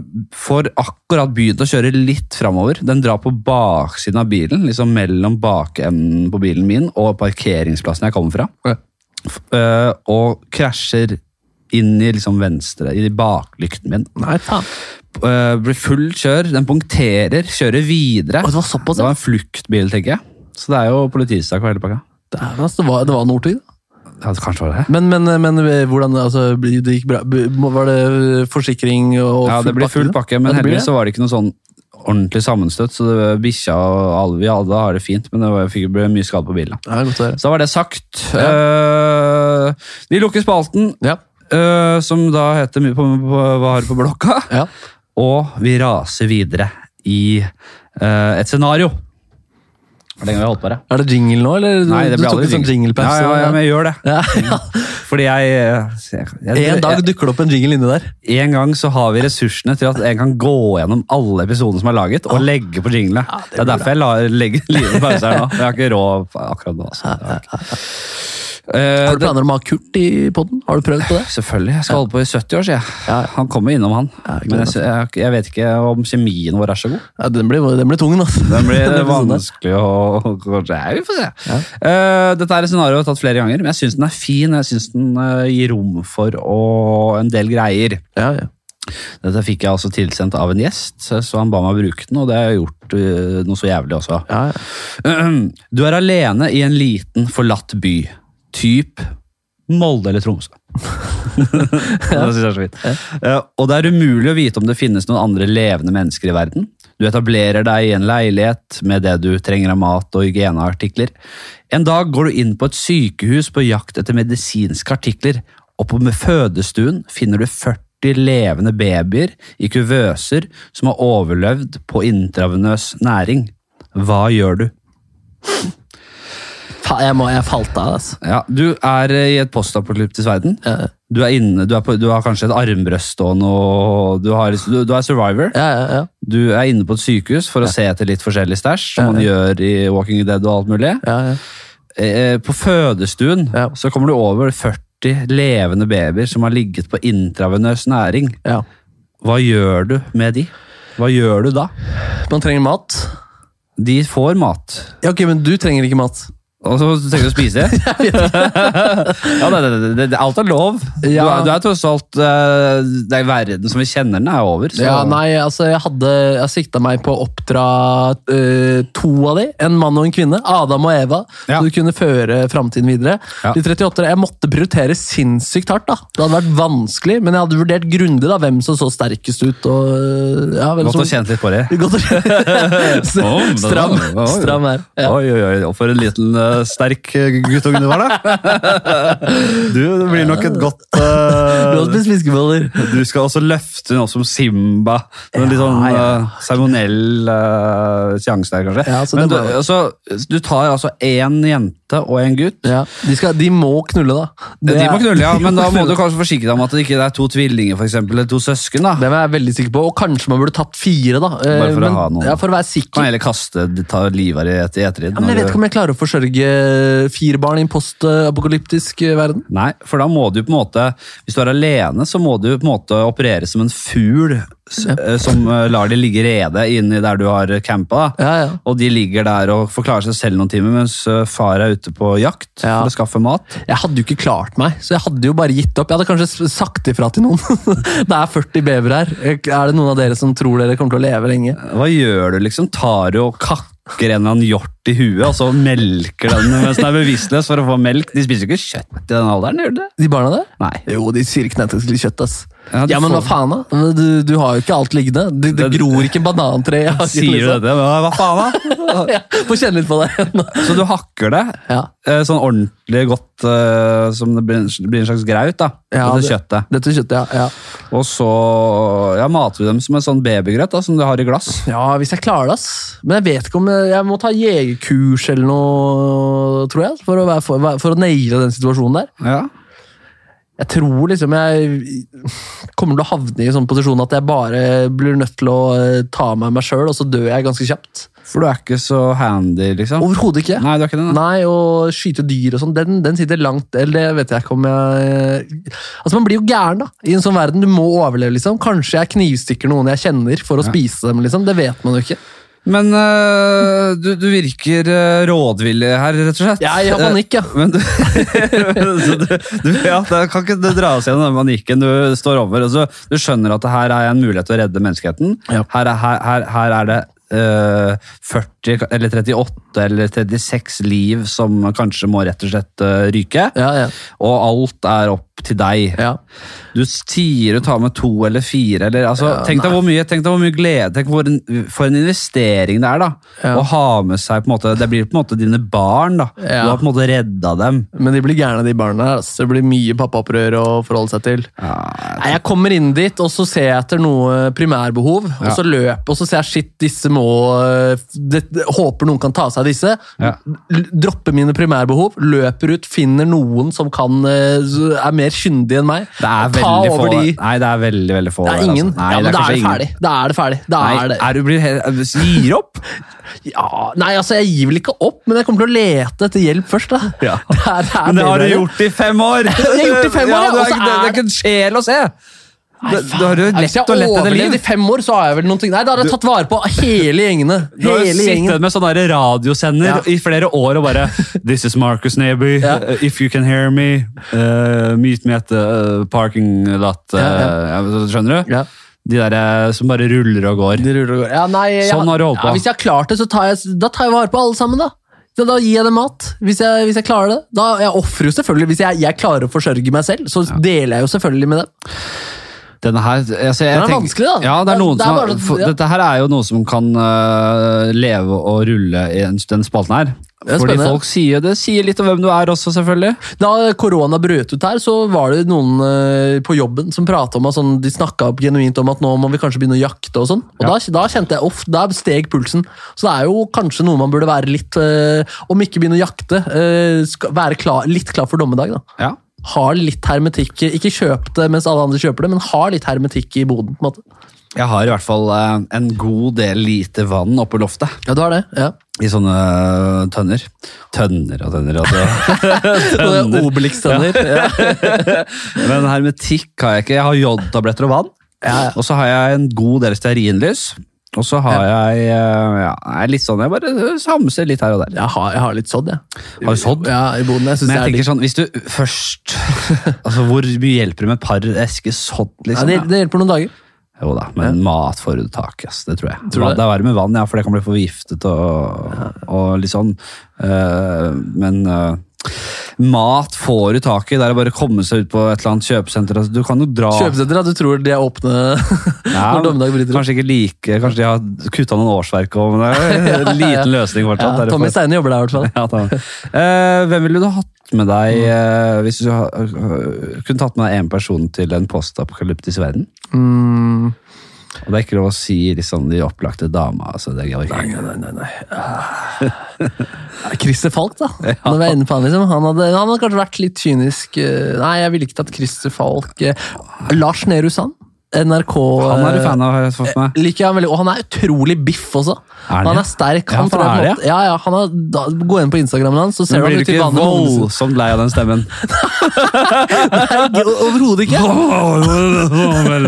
A: får akkurat begynt å kjøre litt framover. Den drar på baksiden av bilen, liksom mellom bakenden på bilen min og parkeringsplassen jeg kommer fra.
B: Ja.
A: Eh, og krasjer inn i liksom venstre, i baklykten min.
B: Nei, faen.
A: Eh, blir full kjør, den punkterer, kjører videre.
B: Å, det var såpass,
A: Det
B: ja.
A: var en fluktbil, tenker jeg. Så det er jo politisak og hele pakka.
B: Dæven, altså, det var, det var Northug. da.
A: Ja, det kanskje var det.
B: Men, men, men eh, hvordan altså, bli- det gikk bra? B- må- Var det forsikring og
A: Ja, det ble full pakke, men
B: Ja, det blir
A: heldigvis så var det ikke noe sånn ordentlig sammenstøtt, så det- bikkja og alle vi alle har det fint, men det var, jeg fikk ble mye skade på bilen.
B: Ja, godt å høre.
A: Så da var det sagt. Eh, vi lukker spalten,
B: Ja.
A: eh, som da heter mye på, på, Hva har du på blokka?
B: ja.
A: Og vi raser videre i eh, et scenario. Hvor lenge har vi holdt på det?
B: Er det jingle nå, eller? Du-
A: Nei, det
B: du
A: blir
B: tok
A: aldri
B: en sånn
A: jingle. Ja,
B: jinglepause.
A: ja, ja, men jeg gjør det.
B: Ja, ja.
A: Fordi jeg, eh, jeg, jeg,
B: En dag
A: jeg
B: dukker det opp en jingle inni der.
A: En gang så har vi ressursene til at jeg kan gå gjennom alle episodene som er laget,
B: Ah.
A: og legge på jinglene. det, er derfor jeg la, legger livet pause her nå. Jeg har ikke råd akkurat nå. Altså. Det har jeg ikke. Eh,
B: Har du planer om å ha Kurt i poden? Har du prøvd på det?
A: Selvfølgelig. Jeg skal holde på i 70 år, sier jeg. Han kommer innom, han.
B: Ja, jeg
A: Men
B: gleder
A: jeg, jeg, jeg vet ikke om kjemien vår er så god.
B: Ja, den blir, den blir tung, altså.
A: Den blir
B: Den episoden der.
A: vanskelig å Kanskje Nei, vi får se. Eh, dette er et scenario jeg har tatt flere ganger, men jeg syns den er fin. Jeg syns den eh, gir rom for å, en del greier.
B: Ja, ja.
A: Dette fikk jeg altså tilsendt av en gjest, så han ba meg bruke den, og det har jeg gjort eh, noe så jævlig også.
B: Ja, ja.
A: Du er alene i en liten, forlatt by. Typ Molde eller Tromsø. det synes jeg er så fint. Eh, Og det er umulig å vite om det finnes noen andre levende mennesker i verden. Du etablerer deg i en leilighet med det du trenger av mat og hygieneartikler. En dag går du inn på et sykehus på jakt etter medisinske artikler, og på med fødestuen finner du 40 levende babyer i kuvøser som har overlevd på intravenøs næring. Hva gjør du?
B: Fa- Jeg, må, jeg falt av, altså.
A: Ja, Du er eh, i et postapokalyptisk verden.
B: Ja,
A: Du er inne, du, er på, du har kanskje et armbrøst stående, og du, har, du, du er survivor.
B: ja, ja, ja.
A: Du er inne på et sykehus for å se etter litt forskjellig stæsj, som man gjør i Walking Dead og alt mulig.
B: ja, ja.
A: Eh, På fødestuen
B: Ja.
A: så kommer du over 40 levende babyer som har ligget på intravenøs næring.
B: ja.
A: Hva gjør du med de? Hva gjør du da?
B: Man trenger mat.
A: De får mat.
B: Ja, ok, Men du trenger ikke mat.
A: Og så trenger du å spise. ja, det, det, det, det, alt er lov. Du,
B: Ja.
A: er, du er tross alt eh, Det er verden som vi kjenner den, er over. Så.
B: Ja, nei, altså Jeg hadde, jeg sikta meg på å oppdra eh, to av de. En mann og en kvinne. Adam og Eva.
A: Ja.
B: Så du kunne føre framtiden videre.
A: Ja.
B: De 38, Jeg måtte prioritere sinnssykt hardt. da. Det hadde vært vanskelig, men jeg hadde vurdert grundig da, hvem som så sterkest ut. og... eh, Ja, hvem
A: Godt å
B: som...
A: kjenne litt på det.
B: Godt å kjenne.
A: Å, men-
B: stram,
A: Oi.
B: stram her. Ja.
A: Oi, oi, oi, og for en liten eh, sterk eh, guttunge du var, da. Du det blir nok et godt eh,
B: Lov til å spise fiskeboller.
A: Du skal også løfte noe som Simba. Det er en litt sånn
B: Ja,
A: ja,
B: ja.
A: seremoniell eh, seanse der, kanskje.
B: Ja, så det
A: Men du,
B: må-
A: altså, du tar altså én jente og en gutt.
B: Ja, de, skal, de må knulle, da. Det
A: de må
B: er-
A: knulle, ja, men da må du kanskje forsikre deg om at det ikke er to tvillinger for eksempel, eller to søsken. da.
B: Det var jeg veldig sikker på, og kanskje man burde tatt fire, da. Eh,
A: Bare for å
B: men,
A: ha noen.
B: Ja, for å være sikker.
A: Kan heller kaste ta livet av det etter ettertid.
B: Ja, men jeg vet ikke om jeg klarer å eh, forsørge fire barn i en postapokalyptisk eh, verden.
A: Nei, for da må du på en måte, hvis du er står alene, så må du på en måte operere som en fugl s- eh, som eh, lar de ligge rede inni der du har campa. da.
B: Ja, ja.
A: Og de ligger der og forklarer seg selv noen timer, mens eh, far er ute på jakt
B: Ja.
A: for å skaffe mat.
B: Jeg hadde jo ikke klart meg, så jeg hadde jo bare gitt opp. Jeg hadde kanskje s- sagt ifra til noen. det er 40 bever her. Eh, Er det noen av dere som tror dere kommer til å leve lenge?
A: Hva gjør du, liksom? Tar du og kakker en eller annen hjort i huet, og så melker den mens den er bevisstløs for å få melk? De spiser jo ikke kjøtt i den alderen, gjør de det?
B: De barna der?
A: Nei.
B: Jo, de sier knettes til kjøtt, ass.
A: Ja,
B: Ja,
A: du
B: men
A: får-
B: hva faen, da? Du, du har jo ikke alt liggende. Det, det
A: Det-
B: gror ikke banantre i hagen.
A: Sier du
B: liksom.
A: dette? Hva hva faen, da?
B: Ja, Få kjenne litt på det.
A: Så du hakker det?
B: ja.
A: eh, Sånn ordentlig godt, eh, som det blir en det blir en slags graut, da.
B: Ja,
A: dette
B: det-
A: kjøttet.
B: Dette kjøttet, ja. ja.
A: Og så ja, mater du dem som en sånn babygrøt da, som du har i glass.
B: Ja, hvis jeg klarer det, ass. Men jeg vet ikke om jeg, jeg må ta jegerkurs eller noe, tror jeg, for å, være, for, for å naile den situasjonen der.
A: Ja.
B: Jeg tror liksom jeg kommer til å havne i en sånn posisjon at jeg bare blir nødt til å eh, ta meg meg sjøl, og så dør jeg ganske kjapt.
A: For du er ikke så handy, liksom.
B: Overhodet ikke.
A: Nei, du er ikke det? Nei.
B: Nei, og skyte dyr og sånn, den, den sitter langt Eller det vet jeg ikke om jeg Altså, man blir jo gæren, da, i en sånn verden. Du må overleve, liksom. Kanskje jeg knivstikker noen jeg kjenner, for å spise dem, liksom. Det vet man jo ikke.
A: Men eh, du, du virker eh, rådvillig her, rett og slett.
B: Ja, jeg har
A: Eh,
B: panikk, ja.
A: Men du, så du, du ja, da kan ikke du dra oss gjennom den manikken du står over. Altså, du skjønner at det her er en mulighet til å redde menneskeheten.
B: Ja.
A: Her, er, her, her, her er det eh, 40 eller 38 eller 36 liv som kanskje må rett og slett eh, ryke.
B: Ja, ja.
A: Og alt er opp til deg.
B: ja.
A: Du sier du tar med to eller fire. Eller, altså,
B: Ja,
A: tenk, deg hvor mye, tenk deg hvor mye glede Tenk hvor en, for en investering det er da,
B: Ja.
A: å ha med seg på en måte, Det blir på en måte dine barn. da.
B: Ja.
A: Du har på en måte redda dem.
B: Men de blir gærne, de barna. her, ass. Det blir mye pappaopprør å forholde seg til. Nei, Jeg kommer inn dit, og så ser jeg etter noe primærbehov. Og så løper, og så ser jeg shit, disse må øh, det, det, Håper noen kan ta seg av disse.
A: Ja.
B: L- Dropper mine primærbehov, løper ut, finner noen som kan, øh, s- er mer kyndig enn meg.
A: Det er
B: ta
A: veldig få.
B: over de.
A: Nei, det er veldig, veldig få.
B: Det
A: der,
B: er ingen.
A: altså. Nei,
B: ja, men da er
A: kanskje
B: det ferdig. Da er det ferdig. Da
A: Nei,
B: er det.
A: er du blir helt, gir opp?
B: Ja, nei, altså, jeg gir vel ikke opp, men jeg kommer til å lete etter hjelp først. da.
A: Ja.
B: Det, er, det, er
A: Men det har du
B: bedre.
A: gjort i fem år!
B: har jeg gjort i fem år, ja,
A: du er
B: og så
A: ikke- det,
B: er
A: det er ikke en sjel å se! Det, du har jo
B: Nei, Hvis
A: lett
B: jeg
A: og lett etter liv.
B: overlevde i fem år, så har jeg vel noen ting Nei, da hadde jeg tatt vare på hele gjengene.
A: Du har jo
B: Hele gjengen.
A: sittet med sånn der radiosender
B: Ja.
A: i flere år og bare This is Marcus Neby.
B: Ja.
A: Uh, if you can hear me, uh, meet me at the uh, parking lot. Uh,
B: Ja,
A: ja, Skjønner du?
B: Ja.
A: De der eh, som bare ruller og går.
B: De ruller og går. Ja, nei, jeg,
A: Sånn har du holdt på.
B: Ja, hvis jeg har klart det, så tar jeg, da tar jeg vare på alle sammen, da. Da, da gir jeg dem mat, hvis jeg, hvis jeg klarer det. Da, jeg ofrer jo selvfølgelig, Hvis jeg, jeg klarer å forsørge meg selv, så deler jeg jo selvfølgelig med dem.
A: Denne her, altså, jeg
B: Den er
A: tenker-
B: vanskelig, da.
A: Ja, det er
B: Det-
A: noen
B: det er
A: som,
B: bare-
A: for,
B: ja.
A: Dette her er jo noe som kan øh, leve og rulle i en- den spalten her.
B: Det er
A: Fordi
B: spennende.
A: folk sier det sier litt om hvem du er også, selvfølgelig.
B: Da korona brøt ut her, så var det noen eh, på jobben som pratet om at sånn, de snakka opp genuint om at nå må vi kanskje begynne å jakte og sånn. Og da, da kjente jeg off, da steg pulsen. Så det er jo kanskje noe man burde være litt eh, Om ikke begynne å jakte, eh, skal være klar, litt klar for dommedag, da.
A: Ja.
B: Ha litt hermetikk. Ikke kjøp det mens alle andre kjøper det, men ha litt hermetikk i boden. på en måte.
A: Jeg har i hvert fall øh, en god del lite vann oppe i loftet.
B: Ja, du har det. ja.
A: I sånne eh, tønner. Tønner og tønner, altså.
B: Sånne Obelix-tenner. Ja.
A: Men hermetikk har jeg ikke. Jeg har jodtabletter og vann.
B: Ja, ja.
A: Og så har jeg en god del stearinlys. Og så har jeg eh, ja, jeg er litt sånn, jeg bare samser litt her og der.
B: Jeg, har, jeg har litt sådd, jeg.
A: Har du sådd?
B: Ja, i boden. Jeg synes
A: Men
B: det
A: jeg
B: er digg.
A: tenker sånn, hvis du først Altså, Hvor mye hjelper det med et par esker sådd?
B: ja,
A: liksom?
B: det,
A: Ja,
B: det hjelper noen dager.
A: Jo da, men mat får du tak i, ass. Det tror jeg.
B: Tror du
A: Vann-
B: det?
A: det er verre med vann, ja, for det kan bli forgiftet og, og litt sånn. Eh, men eh, mat får du tak i. Det er bare å komme seg ut på et eller annet kjøpesenter. Altså, du kan jo dra
B: Kjøpesenter, ja. Du tror de er åpne
A: Ja,
B: når dommedag bryter ut.
A: Kanskje ikke like Kanskje de har kutta noen årsverk òg, men det er en liten løsning
B: Ja,
A: fortsatt. er det
B: Tommy
A: for-
B: Steine jobber der i hvert fall.
A: Ja, da. Eh, hvem ville du hatt med
B: Mm.
A: deg eh, hvis du ha- øh, kunne tatt med deg én person til en postapokalyptisk verden?
B: Mm.
A: Og det er ikke lov å si liksom, de opplagte dama. Altså, det er ikke.
B: Christer Falk, da. Når vi er inne på Han liksom. Han hadde, han hadde kanskje vært litt kynisk. eh, Nei, jeg ville ikke tatt Christer Falk. eh, Lars Nehru Sand? NRK
A: Han er du
B: eh,
A: fan av, har jeg fått med.
B: liker jeg veldig, og han er utrolig biff også.
A: han
B: han
A: det?
B: er sterk.
A: Ja,
B: Han
A: for
B: tror jeg
A: er
B: på en måte- ja, ja, han er, da, gå inn på Instagrammen hans, så
A: Men
B: ser du
A: blir
B: han
A: du
B: ute i
A: ikke
B: vannet. med ungene sine.
A: voldsomt lei av den stemmen?
B: Nei, o- Overhodet ikke.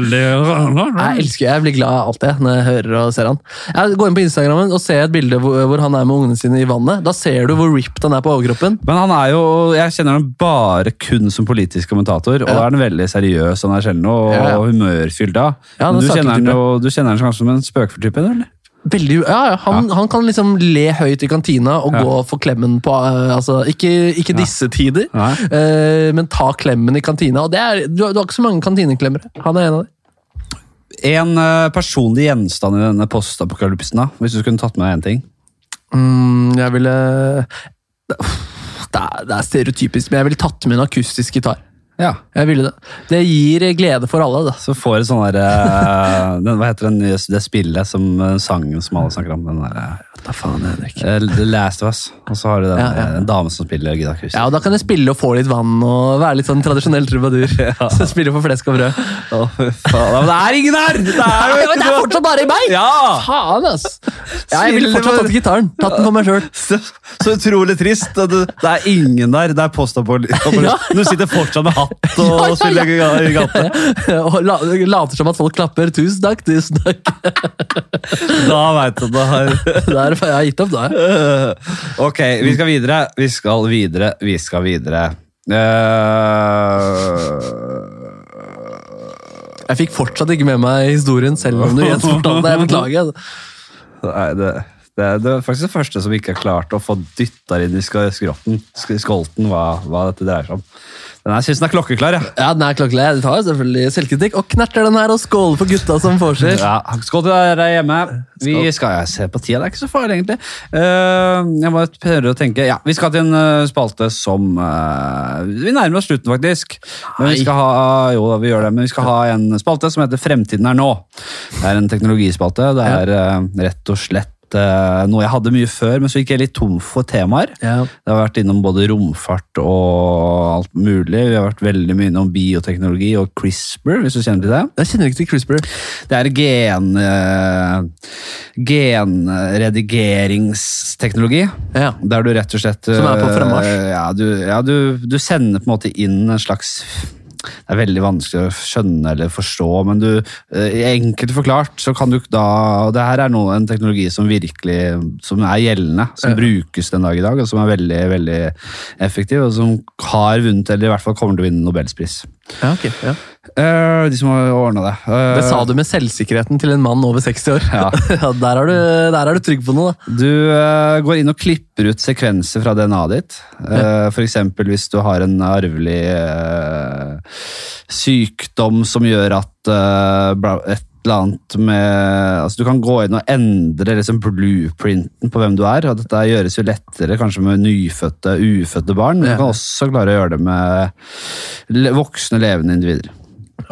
B: Nei, Jeg elsker Jeg blir glad alltid jeg, når jeg hører og ser han. Jeg går inn på Instagrammen og ser et bilde hvor, hvor han er med ungene sine i vannet. Da ser du hvor ripped han er på overkroppen.
A: Men han er jo, jeg kjenner ham bare kun som politisk kommentator, og da er han veldig seriøs han er sjelden, og
B: Ja, ja.
A: humørfylt. da.
B: Ja,
A: Men
B: han er
A: du
B: saklig
A: kjenner, han
B: type.
A: jo, du kjenner han kanskje som en spøkefull type? eller?
B: Veldig, ja, ja, han, han kan liksom le høyt i kantina og gå for klemmen på eh, altså, Ikke, ikke disse tider,
A: Nei.
B: eh, men ta klemmen i kantina. Og det er, du, har- du har ikke så mange kantineklemmere. Han er en av dem.
A: En eh, personlig gjenstand i denne postapokalypsen, da, hvis du skulle tatt med deg én ting?
B: Mm, jeg ville det er, det er stereotypisk, men jeg ville tatt med en akustisk gitar.
A: Ja.
B: Jeg ville Det Det gir glede for alle. Da.
A: Så får du sånn der eh, den, Hva heter den, det spillet som den sangen som alle snakker om? Den der, eh,
B: Da faen, Henrik.
A: eh, The Last of Us. Og så har du den,
B: Ja, ja.
A: eh, en dame som spiller gitarkurs.
B: Ja, og Da kan jeg spille og få litt vann og være litt sånn tradisjonell trubadur. Så Spille for flesk og brød.
A: Å, fy faen. Ja, men det er ingen her! Det er, jo
B: Men det er
A: ikke noe-
B: fortsatt bare i meg!
A: ja!
B: Faen, ass! Ja, jeg ville fortsatt tatt gitaren. Tatt den for meg sjøl.
A: Så, så utrolig trist. at Det, det er ingen der. Det er postapokalypse.
B: Ja.
A: Du sitter fortsatt med hatt og
B: Ja, ja, ja.
A: spiller i gata.
B: Og la, later som at folk klapper. Tusen takk, tusen takk.
A: Da veit du det her.
B: Der, jeg har gitt opp, da. jeg.
A: Ok, vi skal videre. Vi skal videre, vi skal videre. Eh,
B: Jeg fikk fortsatt ikke med meg historien, selv om du gjenfortalte det. Jeg beklager.
A: nei, det, det, det er faktisk det første som ikke har klart å få dytta inn i sk- skrotten. sk- Skolten, hva, hva dette dreier seg om. Den her syns den er klokkeklar, jeg.
B: Ja, den er klokkelig. Jeg tar selvfølgelig selvkritikk og knerter den her og skåler for gutta som får sitt.
A: Ja, skål til dere hjemme. Vi skal jeg se på tida, det er ikke så farlig egentlig. Eh, jeg må prøve å tenke. Ja, vi skal til en eh, spalte som eh, Vi nærmer oss slutten, faktisk. Men vi skal ha, jo, da, vi gjør det, men vi skal ha en spalte som heter Fremtiden er nå. Det er en teknologispalte. Det er eh, rett og slett eh, noe jeg hadde mye før, men så gikk jeg litt tom for temaer.
B: Ja.
A: Det har vært innom både romfart og alt mulig. Vi har vært veldig mye innom bioteknologi og CRISPR, hvis du kjenner til det.
B: Jeg kjenner ikke til CRISPR.
A: Det er gen, eh, genredigeringsteknologi.
B: Ja.
A: Der du rett og slett
B: Som er på fremmarsj.
A: eh, Ja, du, ja du, du sender på en måte inn en slags det er veldig vanskelig å skjønne eller forstå, men du, eh, enkelt forklart så kan du da og Det her er nå en teknologi som virkelig som er gjeldende, som brukes den dag i dag, og som er veldig veldig effektiv, og som har vunnet, eller i hvert fall kommer til å vinne Nobelspris.
B: Ja, ok. Ja.
A: Eh, de som har ordna det. Eh,
B: Det sa du med selvsikkerheten til en mann over 60 år.
A: Ja.
B: Ja, der, er du, der er du trygg på noe, da.
A: Du eh, går inn og klipper ut sekvenser fra DNA-et ditt. Eh, for eksempel hvis du har en arvelig eh, sykdom som gjør at eh, bla- et eller annet med altså Du kan gå inn og endre liksom, blueprinten på hvem du er. og Dette gjøres jo lettere kanskje med nyfødte, ufødte barn, men
B: Ja.
A: du kan også klare å gjøre det med le- voksne, levende individer.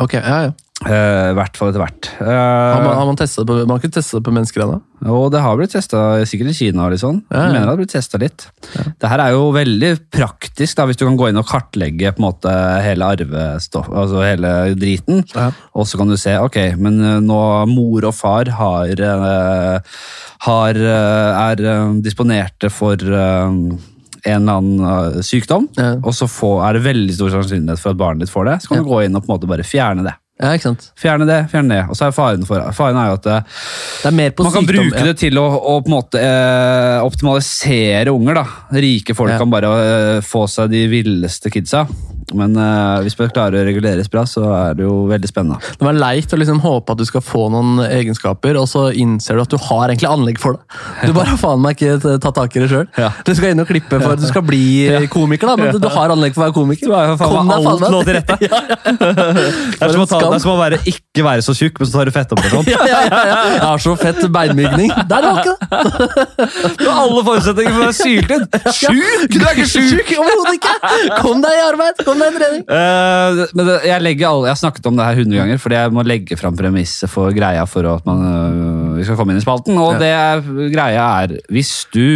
B: Ok, ja, ja.
A: Eh, I hvert fall etter hvert. Eh,
B: Har man, har man, testet det på, man har ikke testet det på mennesker ennå?
A: Og det har blitt testa, sikkert i Kina og litt sånn.
B: Ja, ja.
A: Jeg mener det har blitt testet litt. Det her er jo veldig praktisk, da, hvis du kan gå inn og kartlegge på en måte hele arvestoff, altså hele driten.
B: Ja.
A: Og så kan du se, ok, men eh, nå mor og far har, eh, har eh, er eh, disponerte for eh, en eller annen eh, sykdom,
B: Ja.
A: og så få- er det veldig stor sannsynlighet for at barnet ditt får det. Så kan du gå inn og på en måte bare fjerne det.
B: Ja, ikke sant?
A: Fjerne det, fjerne det. Og så er faren for Faren er jo at eh,
B: Det er mer på
A: man kan
B: sykdom,
A: bruke det til å, å på en måte eh, optimalisere unger. da. Rike folk
B: Ja.
A: kan bare eh, få seg de villeste kidsa. Men eh, hvis man klarer å reguleres bra, så er det jo veldig spennende.
B: Det var leit å liksom håpe at du skal få noen egenskaper, og så innser du at du har egentlig anlegg for det. Du bare har faen meg ikke tatt tak i det sjøl.
A: Ja.
B: Du skal inn og klippe for at du skal bli komiker, da, men du, du har anlegg for å være komiker.
A: Du er jo faen
B: Kom
A: meg
B: deg faen
A: alt lå
B: meg.
A: til rette. Det er som å, ta, det er som å være, ikke være så tjukk, men så tar du fett opp og sånn.
B: Ja, ja, ja. Jeg har så fett beinmygning. Der var ikke det!
A: Du har alle forutsetninger for å være syltynn. Sjuk! Du er ikke sjuk!
B: Overhodet ikke! Kom deg i arbeid! Kom deg i trening!
A: Eh, men det, jeg, legger alle, jeg har snakket om det her 100 ganger, fordi jeg må legge fram premisset for greia for at man, eh, vi skal komme inn i spalten. Og det er- greia er hvis du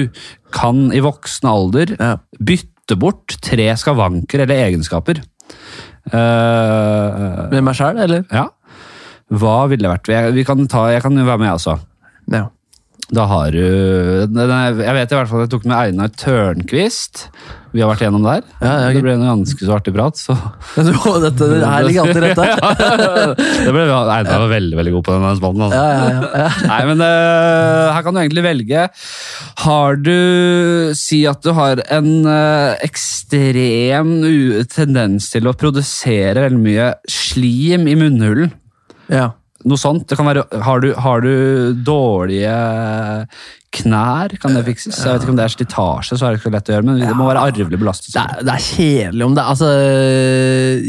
A: kan i voksen alder
B: Ja.
A: bytte bort tre skavanker eller egenskaper eh,
B: Med meg sjæl, eller?
A: ja. Hva ville det vært? Jeg, vi kan ta, jeg kan jo være med, jeg også.
B: Ja.
A: Da har du den er, Jeg vet i hvert fall at jeg tok med Einar Tørnquist. Vi har vært igjennom der.
B: Ja, ja, ok.
A: Det ble en ganske så artig prat, så
B: Så Dette, det her ligger alltid rett der.
A: det ble, Einar var veldig veldig god på denne spalten. Altså.
B: Ja, ja, ja.
A: Nei, men eh, her kan du egentlig velge. Har du Si at du har en eh, ekstrem u tendens til å produsere veldig mye slim i munnhulen.
B: ja.
A: Noe sånt. Det kan være, har, du, har du dårlige knær? Kan det fikses? Jeg vet ikke om det er slitasje, så er det ikke så lett å gjøre, men det må være arvelig belastet.
B: Det, er, det er kjedelig om det Altså,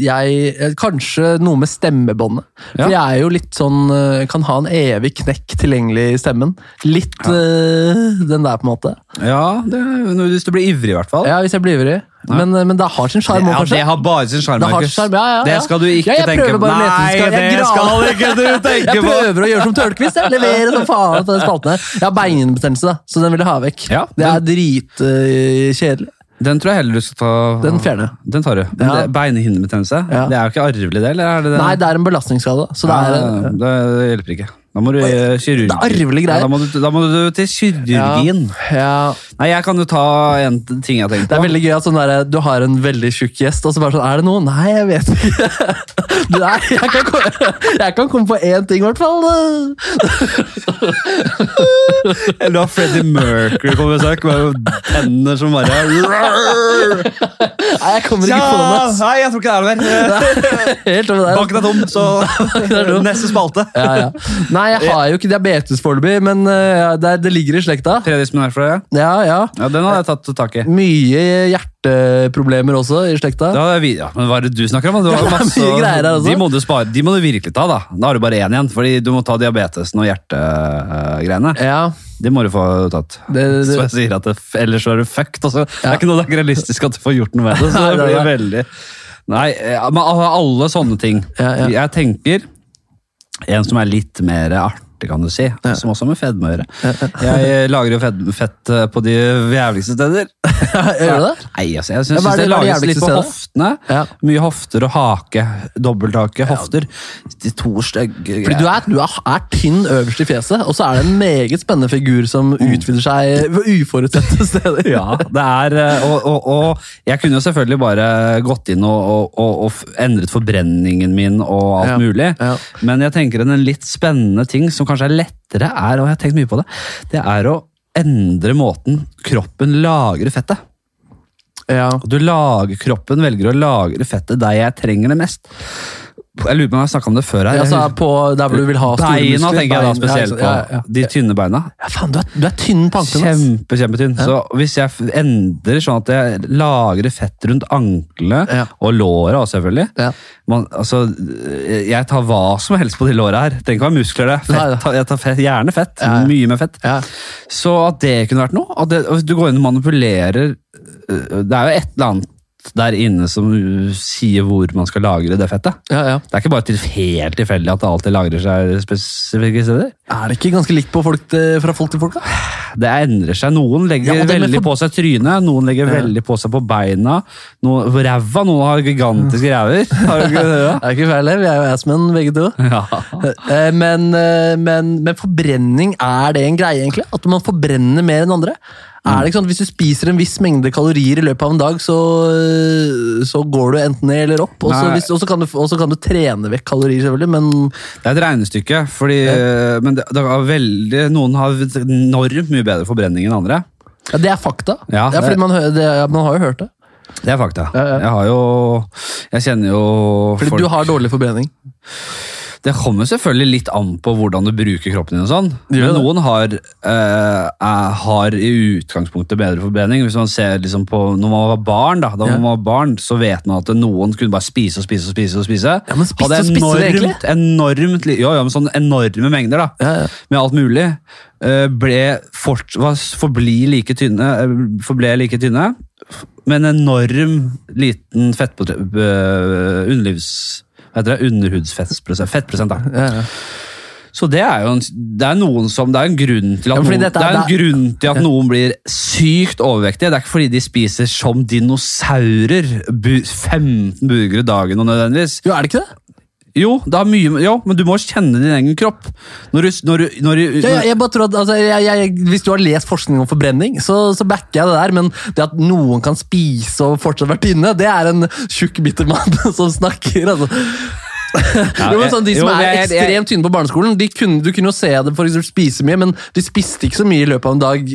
B: jeg eh, Kanskje noe med stemmebåndet. For jeg er jo litt sånn eh, Kan ha en evig knekk tilgjengelig i stemmen. Litt eh, den der, på en måte.
A: Ja, det, er- hvis du blir ivrig, i hvert fall.
B: Ja, hvis jeg blir ivrig. Men, eh, men det har sin sjarm òg,
A: Ja,
B: kanskje.
A: det har bare sin sjarm,
B: Det har
A: Markus.
B: sin sjarm, ja, ja, ja.
A: Det skal du ikke
B: Ja, jeg
A: tenke
B: prøver
A: på.
B: bare å lete,
A: Nei,
B: skal jeg
A: det
B: grave?
A: skal ikke du tenke
B: Jeg
A: på!
B: prøver å gjøre som Tørnquist. Jeg leverer som faen på den spalten her. Jeg har beinbetennelse, da, så den vil jeg ha vekk.
A: Ja,
B: det er eh, dritkjedelig.
A: Den tror jeg heller du skal ta
B: Den fjerner jeg.
A: Den tar du. Men
B: Ja.
A: det- Beinhinnebetennelse?
B: Ja.
A: Det er jo ikke arvelig, det? eller er det det?
B: Nei, det er en belastningsskade. da, Så det er,
A: Ja, det, det hjelper ikke. Da må du eh, kirurgi.
B: Det er arvelige greier.
A: Ja, da, må du, da må du til kirurgien.
B: Ja, ja,
A: Nei, jeg kan jo ta en ting jeg tenkte
B: Det
A: på.
B: er veldig gøy at sånn der, du har en veldig tjukk gjest, og så bare sånn Er det noe? Nei, jeg vet ikke. Nei, jeg kan, komme, jeg kan komme på én ting, i hvert fall.
A: Eller da Freddie Mercury på besøk med tenner som bare
B: Nei, jeg kommer
A: ja,
B: ikke på noe. ass.
A: Nei, jeg tror ikke det er noe mer.
B: Helt over der.
A: Banken er tom,
B: er
A: så
B: tom.
A: neste spalte.
B: Ja, ja. Nei, jeg har jo ikke diabetes foreløpig, men eh, det, det ligger i slekta.
A: Tredje disponert for deg.
B: Ja, ja.
A: Ja, den hadde jeg tatt tak i.
B: Mye hjerteproblemer også i slekta.
A: Da hadde vi, ja, men hva er det du snakker om? Det var
B: Ja, det er
A: masse, sånn-
B: mye greier her, altså.
A: de, må du spare, de må du virkelig ta, da. Da har du bare én igjen, fordi du må ta diabetesen og hjertegreiene.
B: Ja,
A: Det må du få tatt.
B: Det- det-
A: så jeg sier at det, ellers så er du fucked. Altså. Det er ikke noe det er ikke realistisk at du får gjort noe med det. Så
B: Nei,
A: det blir
B: nei,
A: veldig... Nei, eh, men alle alle sånne ting.
B: Ja, ja.
A: Jeg tenker en som er litt mer artig, kan du si. Som også har med fedme å gjøre. Jeg eh, lager jo fed, fett eh, på de jævligste steder.
B: gjør du det?
A: Nei, altså, jeg syns
B: Hva er
A: det,
B: det- hva er det
A: lages litt på
B: jævligste
A: hoftene.
B: Ja.
A: Mye hofter og hake. Dobbelthake, hofter. De to stygge
B: Fordi
A: greiene.
B: du er, du er, er tynn øverst i fjeset, og så er det en meget spennende figur som utvider seg ved uforutsette steder.
A: Ja, det er eh, og, og, og jeg kunne jo selvfølgelig bare gått inn og, og, og, og f- endret forbrenningen min og alt
B: Ja,
A: mulig.
B: ja.
A: Men jeg tenker en litt spennende ting som kanskje er lettere, er, og jeg har tenkt mye på det, det er å endre måten kroppen lagrer fettet.
B: Ja.
A: Og du lager, kroppen velger å lagre fettet der jeg trenger det mest. Jeg lurer på om jeg har snakka om det før her. Jeg
B: Ja, så
A: husker-
B: er Altså, på der hvor du vil ha store
A: Beina tenker jeg da
B: Bein,
A: spesielt
B: ja, ja,
A: på.
B: ja.
A: De tynne beina.
B: Ja, faen, du er, du er tynn på ankelen. ass.
A: Kjempe, kjempetynn. Så hvis jeg f- endrer sånn at jeg lagrer fett rundt anklene
B: Ja.
A: og låra også, selvfølgelig
B: Ja.
A: Man, altså, Jeg tar hva som helst på de låra her. Trenger ikke å ha muskler, det.
B: Nei,
A: Fett,
B: ja.
A: ta- jeg tar fett, gjerne fett.
B: Ja, ja.
A: Mye med fett.
B: Ja.
A: Så at det kunne vært noe. At det, og du går inn og manipulerer øh, Det er jo et eller annet der inne som øh, sier hvor man skal lagre det fettet.
B: Ja, ja.
A: Det er ikke bare til, helt tilfeldig at det alltid lagrer seg spesifikke steder.
B: Er det ikke ganske likt på folk til, fra folk til folk, da?
A: Det endrer seg. Noen legger
B: Ja, og det med
A: veldig
B: for-
A: på seg trynet, noen legger veldig på seg på beina, noen, på ræva, noen har gigantiske ræver. Har du ikke det? da?
B: Det er ikke feil, det. vi er jo assmen begge to. Eh, Men, eh, men, men forbrenning, er det en greie, egentlig? At man forbrenner mer enn andre? Er det ikke sånn at Hvis du spiser en viss mengde kalorier i løpet av en dag, så, eh, så går du enten ned eller opp. Og så
A: Nei.
B: hvis- og så kan, du- og så kan du trene vekk kalorier, selvfølgelig, men
A: Det er et regnestykke, fordi, men det, det er veldig, noen har enormt mye bedre forbrenning enn andre.
B: ja, det er fakta.
A: Ja,
B: det er fordi
A: det-
B: man, hø- det, ja, man har jo hørt det.
A: Det er fakta.
B: ja.
A: Jeg har jo Jeg kjenner jo
B: Fordi
A: folk
B: du har dårlig forbrenning.
A: Det kommer selvfølgelig litt an på hvordan du bruker kroppen din. og sånn.
B: gjør
A: Men
B: det.
A: noen har, eh, er- har i utgangspunktet bedre forbrenning. Hvis man ser liksom på når man var barn, da, da
B: Ja.
A: man var barn, så vet man at noen kunne bare spise og spise og spise. og spise.
B: Ja, men spiste
A: Hadde
B: og spiste,
A: enormt, enormt, li- ja, ja, men sånn enorme mengder da,
B: Ja, ja.
A: med alt mulig. eh, Ble fort, var, forbli like tynne, eh, forble like tynne, f- med en enorm liten fettpotet... eh, underlivs... Hva heter det? Underhudsfettprosent. Fettprosent, da.
B: Ja, ja.
A: Så det er jo en, det er noen som, det er en grunn til at,
B: Ja, fordi
A: noen, det
B: dette er-
A: er en
B: det er-
A: grunn til at noen blir sykt overvektige. Det er ikke fordi de spiser som dinosaurer bu, 15 burgere dagen og nødvendigvis.
B: Jo, er det ikke det?
A: Jo, det har mye, jo, men du må kjenne din egen kropp. Når du, når du, når du
B: Ja, ja, jeg bare tror at, altså, jeg, jeg, Hvis du har lest forskning om forbrenning, så, så backer jeg det der. Men det at noen kan spise og fortsatt være tynne, det er en tjukk, bitter mann som snakker. altså. jo, men sånn, de som
A: jo,
B: er
A: jeg- jeg-
B: ekstremt tynne på barneskolen, de kunne, du kunne jo se dem for eksempel spise mye, men de spiste ikke så mye i løpet av en dag.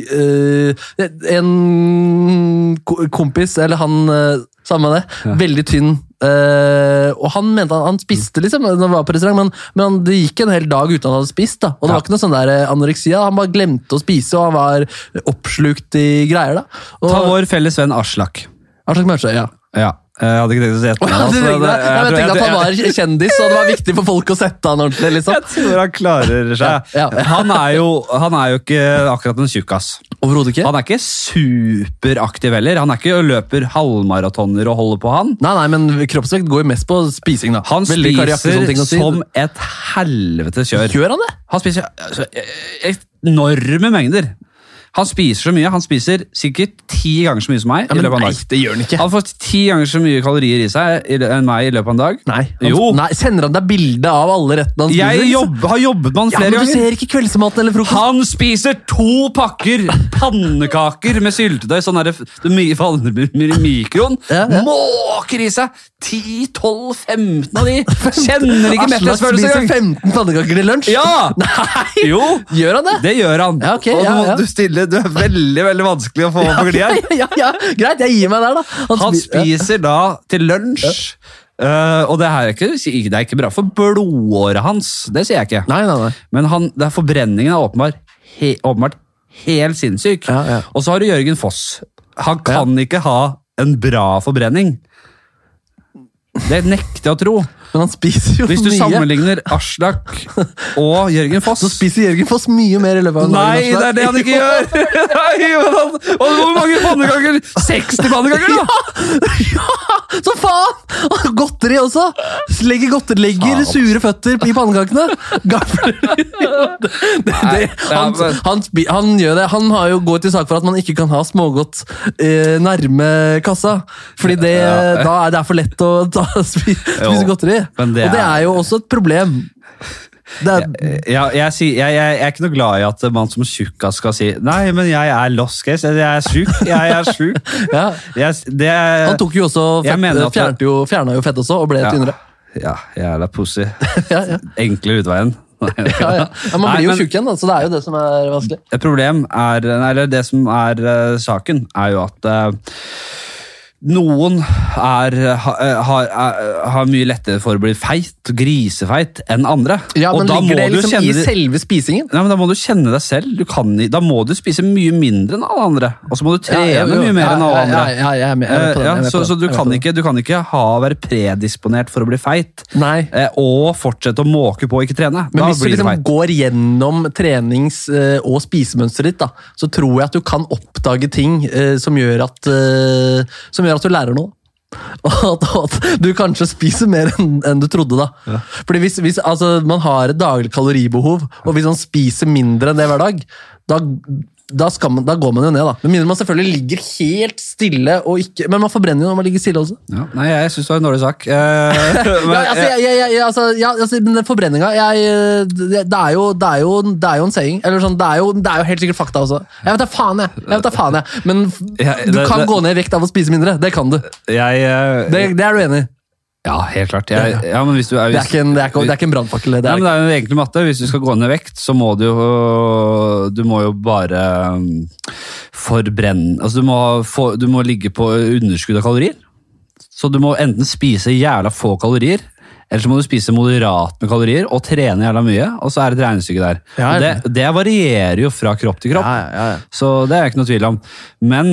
B: Eh, en ko- kompis, eller han eh, samme det, veldig tynn. eh, og han mente han, han spiste, liksom, når han var på restaurant, men, men han- det gikk en hel dag uten han hadde spist. da Og det
A: Ja.
B: var ikke noe sånn der eh, anoreksia. Han bare glemte å spise, og han var oppslukt i greier. da og,
A: Ta vår felles venn Aslak.
B: Aslak Maurstad, ja.
A: Ja. Jeg hadde ikke tenkt å si etter.
B: Å, ja, du tenkte det? Nei, men jeg tenkte at han var kjendis, og det var viktig for folk å sette han ordentlig.
A: Jeg
B: liksom.
A: tror han klarer seg.
B: Ja, ja.
A: Han, er jo, han er jo ikke akkurat en tjukkas.
B: Overhodet ikke.
A: Han er ikke superaktiv heller. Han er ikke og løper halvmaratoner og holder på, han.
B: Nei, nei, men kroppsvekt går jo mest på spising, da.
A: Han
B: Veldig kariaktig, sånne
A: spiser
B: ting å si.
A: som et helvete kjør.
B: Gjør han det?
A: Han spiser altså, eh, enorme mengder. Han spiser så mye. Han spiser sikkert ti ganger så mye som meg. i
B: Ja, men
A: løpet av en
B: nei,
A: dag.
B: det gjør han ikke.
A: Han får ti ganger så mye kalorier i seg i lø- enn meg i løpet av en dag.
B: Nei. Han,
A: Jo.
B: nei Sender han deg bilde av alle rettene han
A: Jeg
B: liksom?
A: jobb, har jobbet med han
B: Ja,
A: flere
B: men du
A: ganger.
B: ser ikke kveldsmaten eller frokost.
A: Han spiser to pakker pannekaker med syltetøy. Sånn er det, det mye faller i mikroen.
B: Ja, ja.
A: Måker i seg 10-12-15 av de. Kjenner ikke metthetsfølelse
B: spiser
A: engang.
B: 15 pannekaker til lunsj.
A: Ja!
B: Nei!
A: Jo,
B: Gjør han det?
A: det gjør han.
B: Ja, ok,
A: og
B: ja,
A: nå må
B: ja.
A: Du, stille, du er veldig veldig vanskelig å få på glia.
B: Ja, ja, Greit, jeg gir meg der, da.
A: Han
B: spi- ja.
A: spiser da til lunsj. eh, og det, her er ikke, det er ikke bra for blodåret hans. Det sier jeg ikke.
B: Nei, nei, nei.
A: Men han, det er forbrenningen er åpenbart, he, åpenbart helt sinnssyk.
B: Ja, ja.
A: Og så har du Jørgen Foss. Han kan ikke ha en bra forbrenning. Det nekter jeg å tro.
B: Men han spiser jo
A: Hvis du
B: mye.
A: sammenligner Aslak og Jørgen Foss
B: Så spiser Jørgen Foss mye mer i løpet av en dag
A: Nei, det er
B: enn Aslak.
A: det han ikke gjør! Nei, men han, og hvor mange pannekaker? 60 pannekaker, da!
B: Så faen! Og Godteri også! Legger godtelegger,
A: Faen.
B: sure føtter i pannekakene. Gafler. Det, det, han,
A: Nei, men-
B: han, spi- han gjør det. Han har jo gått i sak for at man ikke kan ha smågodt eh, nærme kassa. Fordi det,
A: Ja.
B: da er det er for lett å ta, spi, spise godteri.
A: men det
B: Og det
A: er-
B: er jo også et problem. Det er,
A: Ja, jeg, sier- jeg, jeg, jeg er ikke noe glad i at man som tjukkas skal si Nei, men jeg er lost case. Jeg er sjuk. Jeg er sjuk.
B: ja.
A: Jeg, det er,
B: Han tok jo også
A: Jeg
B: fett,
A: mener at-
B: fjernet jo, fjerna jo fett også, og ble tynnere.
A: Ja, jævla pussy.
B: Ja, ja.
A: Enklere utveien.
B: Ja, ja. Ja, man
A: Nei,
B: blir jo
A: men-
B: tjukk igjen, da, så det er jo det som er vanskelig.
A: Et problem er, eller det som er eh, saken, er jo at eh, noen er, ha, eh, har, er, har mye lettere for å bli feit, grisefeit, enn andre.
B: Ja,
A: Og
B: men
A: da må
B: ligger det
A: du jo
B: liksom
A: kjenne
B: i
A: det-
B: selve spisingen?
A: Nei, men Da må du kjenne deg selv. Du kan, i- da må du spise mye mindre enn alle andre. Og så må du trene
B: Ja, jo, jo.
A: mye mer enn alle
B: Ja, ja,
A: andre.
B: ja, ja, jeg er med- jeg er med på
A: Eh,
B: den, jeg er med
A: så
B: på
A: så
B: den,
A: du,
B: jeg er
A: kan
B: med på
A: ikke, du kan ikke ha, være predisponert for å bli feit
B: Nei.
A: eh, og fortsette å måke på og ikke trene.
B: Men
A: da
B: hvis du
A: blir du
B: liksom
A: feit.
B: går gjennom trenings- eh, og spisemønsteret ditt, da, så tror jeg at du kan oppdage ting eh, som gjør at, eh, som gjør at du lærer noe. Og at, og at du kanskje spiser mer enn enn du trodde. da. Fordi hvis, hvis altså, man har et daglig kaloribehov, og hvis man spiser mindre enn det hver dag, da, da, skal man, da går man jo ned. da. Med mindre man selvfølgelig ligger helt stille, og ikke, men man forbrenner jo når man ligger stille også.
A: Ja, nei, jeg syns det var en dårlig sak. Eh, men-
B: ja, altså, jeg, jeg, jeg, altså, ja, altså, men den forbrenninga jeg, det, det, er jo, det, er jo, det er jo en saying. Eller sånn, det, er jo, det er jo helt sikkert fakta også. Jeg vet da faen, jeg. jeg, vet da faen jeg. Men f-
A: Ja, det-
B: du kan
A: det-
B: gå ned i vekt av å spise mindre. Det kan du.
A: jeg, eh,
B: Det, det er du enig i.
A: ja, helt klart. Jeg, ja, men hvis du er,
B: Det er ikke en, det er ikke, det er ikke en brannfakkel. det
A: Nei,
B: er
A: men det
B: det
A: er jo egentlig matte. Hvis du skal gå ned i vekt, så må du jo Du må jo bare um, forbrenne Altså, du må, få, du må ligge på underskudd av kalorier. Så du må enten spise jævla få kalorier, eller så må du spise moderat med kalorier og trene jævla mye, og så er det et regnestykke der.
B: Ja,
A: Og det,
B: ja.
A: det varierer jo fra kropp til
B: ikke.
A: kropp.
B: Ja, ja, ja, ja.
A: Så det er jeg ikke noe tvil om. Men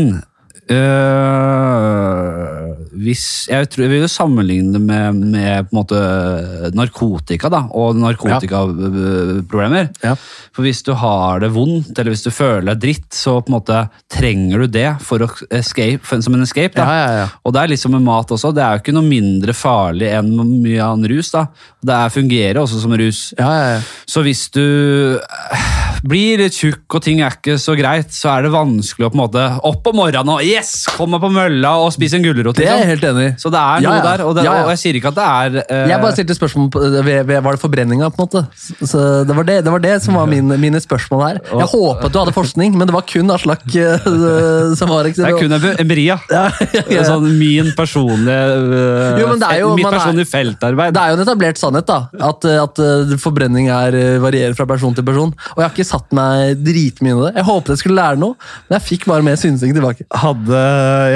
A: øh, hvis, jeg, tror, jeg vil jo sammenligne det med, med på en måte øh, narkotika da, og narkotikaproblemer.
B: Ja.
A: For hvis du har det vondt, eller hvis du føler deg dritt, så på en måte trenger du det for å escape, for, som en escape. Da.
B: Ja, ja, ja.
A: Og det er liksom med mat også. Det er jo ikke noe mindre farlig enn mye annen rus. da. Det er, fungerer også som rus.
B: Ja, ja, ja.
A: Så hvis du eh, blir litt tjukk og ting er ikke så greit, så er det vanskelig å på en måte opp om morgenen og yes, komme på mølla og spise en gulrot.
B: Det er jeg
A: Liksom.
B: helt enig i.
A: Så det er noe
B: Ja, ja.
A: der, og, det,
B: Ja, ja.
A: og jeg sier ikke at det er eh,
B: Jeg bare stilte spørsmål på, eh, ved, ved, Var det forbrenninga, på en måte? Så det var det, det, var det som var mine, mine spørsmål her. Jeg håpet du hadde forskning, men det var kun Aslak eh, som var
A: Det er kun em- emeri, ja.
B: ja, ja,
A: Det
B: ja.
A: er Sånn min personlige eh,
B: Jo, men det er jo-
A: Mitt
B: man er-
A: personlige feltarbeid.
B: Det er jo en etablert sannhet, da. At, eh, at eh, forbrenning er, eh, varierer fra person til person. Og jeg har ikke satt meg dritmye inn i det. Jeg håpet jeg skulle lære noe, men jeg fikk bare mer synsing tilbake.
A: Hadde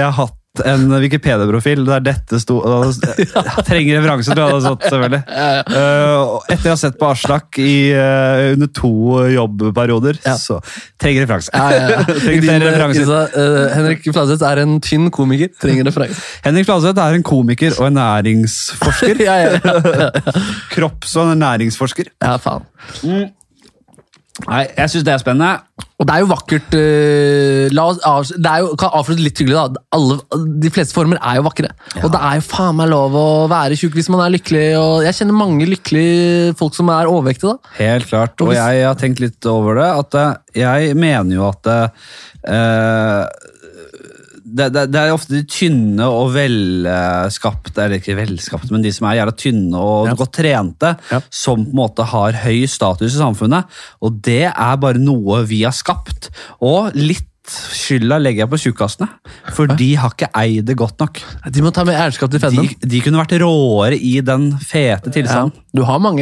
A: jeg hatt en Wikipedia-profil der dette sto Jeg trenger referanse til det hadde stått, selvfølgelig. Eh, og etter jeg har sett på Aslak i, eh, under to jobbperioder,
B: Ja.
A: så trenger referanse.
B: Ja, ja, ja.
A: trenger
B: Din,
A: flere
B: eh,
A: referanser.
B: Isa, eh, Henrik Fladseth er en tynn komiker. Trenger referanse.
A: Henrik Fladseth er en komiker og en næringsforsker.
B: ja, ja, ja.
A: Kropps- og en næringsforsker.
B: ja, faen.
A: Nei, jeg syns det er spennende.
B: Og det er jo vakkert eh, la oss avs- Det er jo, kan avslutte litt hyggelig, da. Alle, de fleste former er jo vakre. Og det er jo faen meg lov å være tjukk hvis man er lykkelig. Og jeg kjenner mange lykkelige folk som er overvektige, da.
A: Helt klart. Og
B: hvis-
A: jeg har tenkt litt over det. At eh, jeg mener jo at eh, det, det, det er ofte de tynne og velskapte, eller ikke velskapte, men de som er jævla tynne og godt trente, som på en måte har høy status i samfunnet. Og det er bare noe vi har skapt. Og litt skylda legger jeg på tjukkasene, for de har ikke eid det godt nok.
B: De må ta med eierskap til
A: De,
B: fedmen.
A: de kunne vært råere i den fete
B: Ja.
A: tilstanden.
B: Du har mange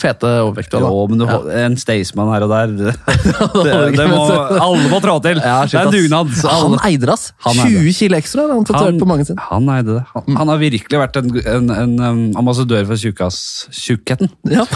B: fete overvektige. da.
A: Jo, men du, hold- en Staysman her og der det, det, det må, Alle må trå til!
B: Ja,
A: det
B: shit,
A: er
B: ass.
A: dugnad. så
B: Han
A: alle-
B: eide det, ass.
A: Han eide det.
B: 20 kilo ekstra hadde han tatovert på magen sin.
A: han eide det. Han, han har virkelig vært en, en, en um, ambassadør for tjukkas- tjukkheten.
B: Ja.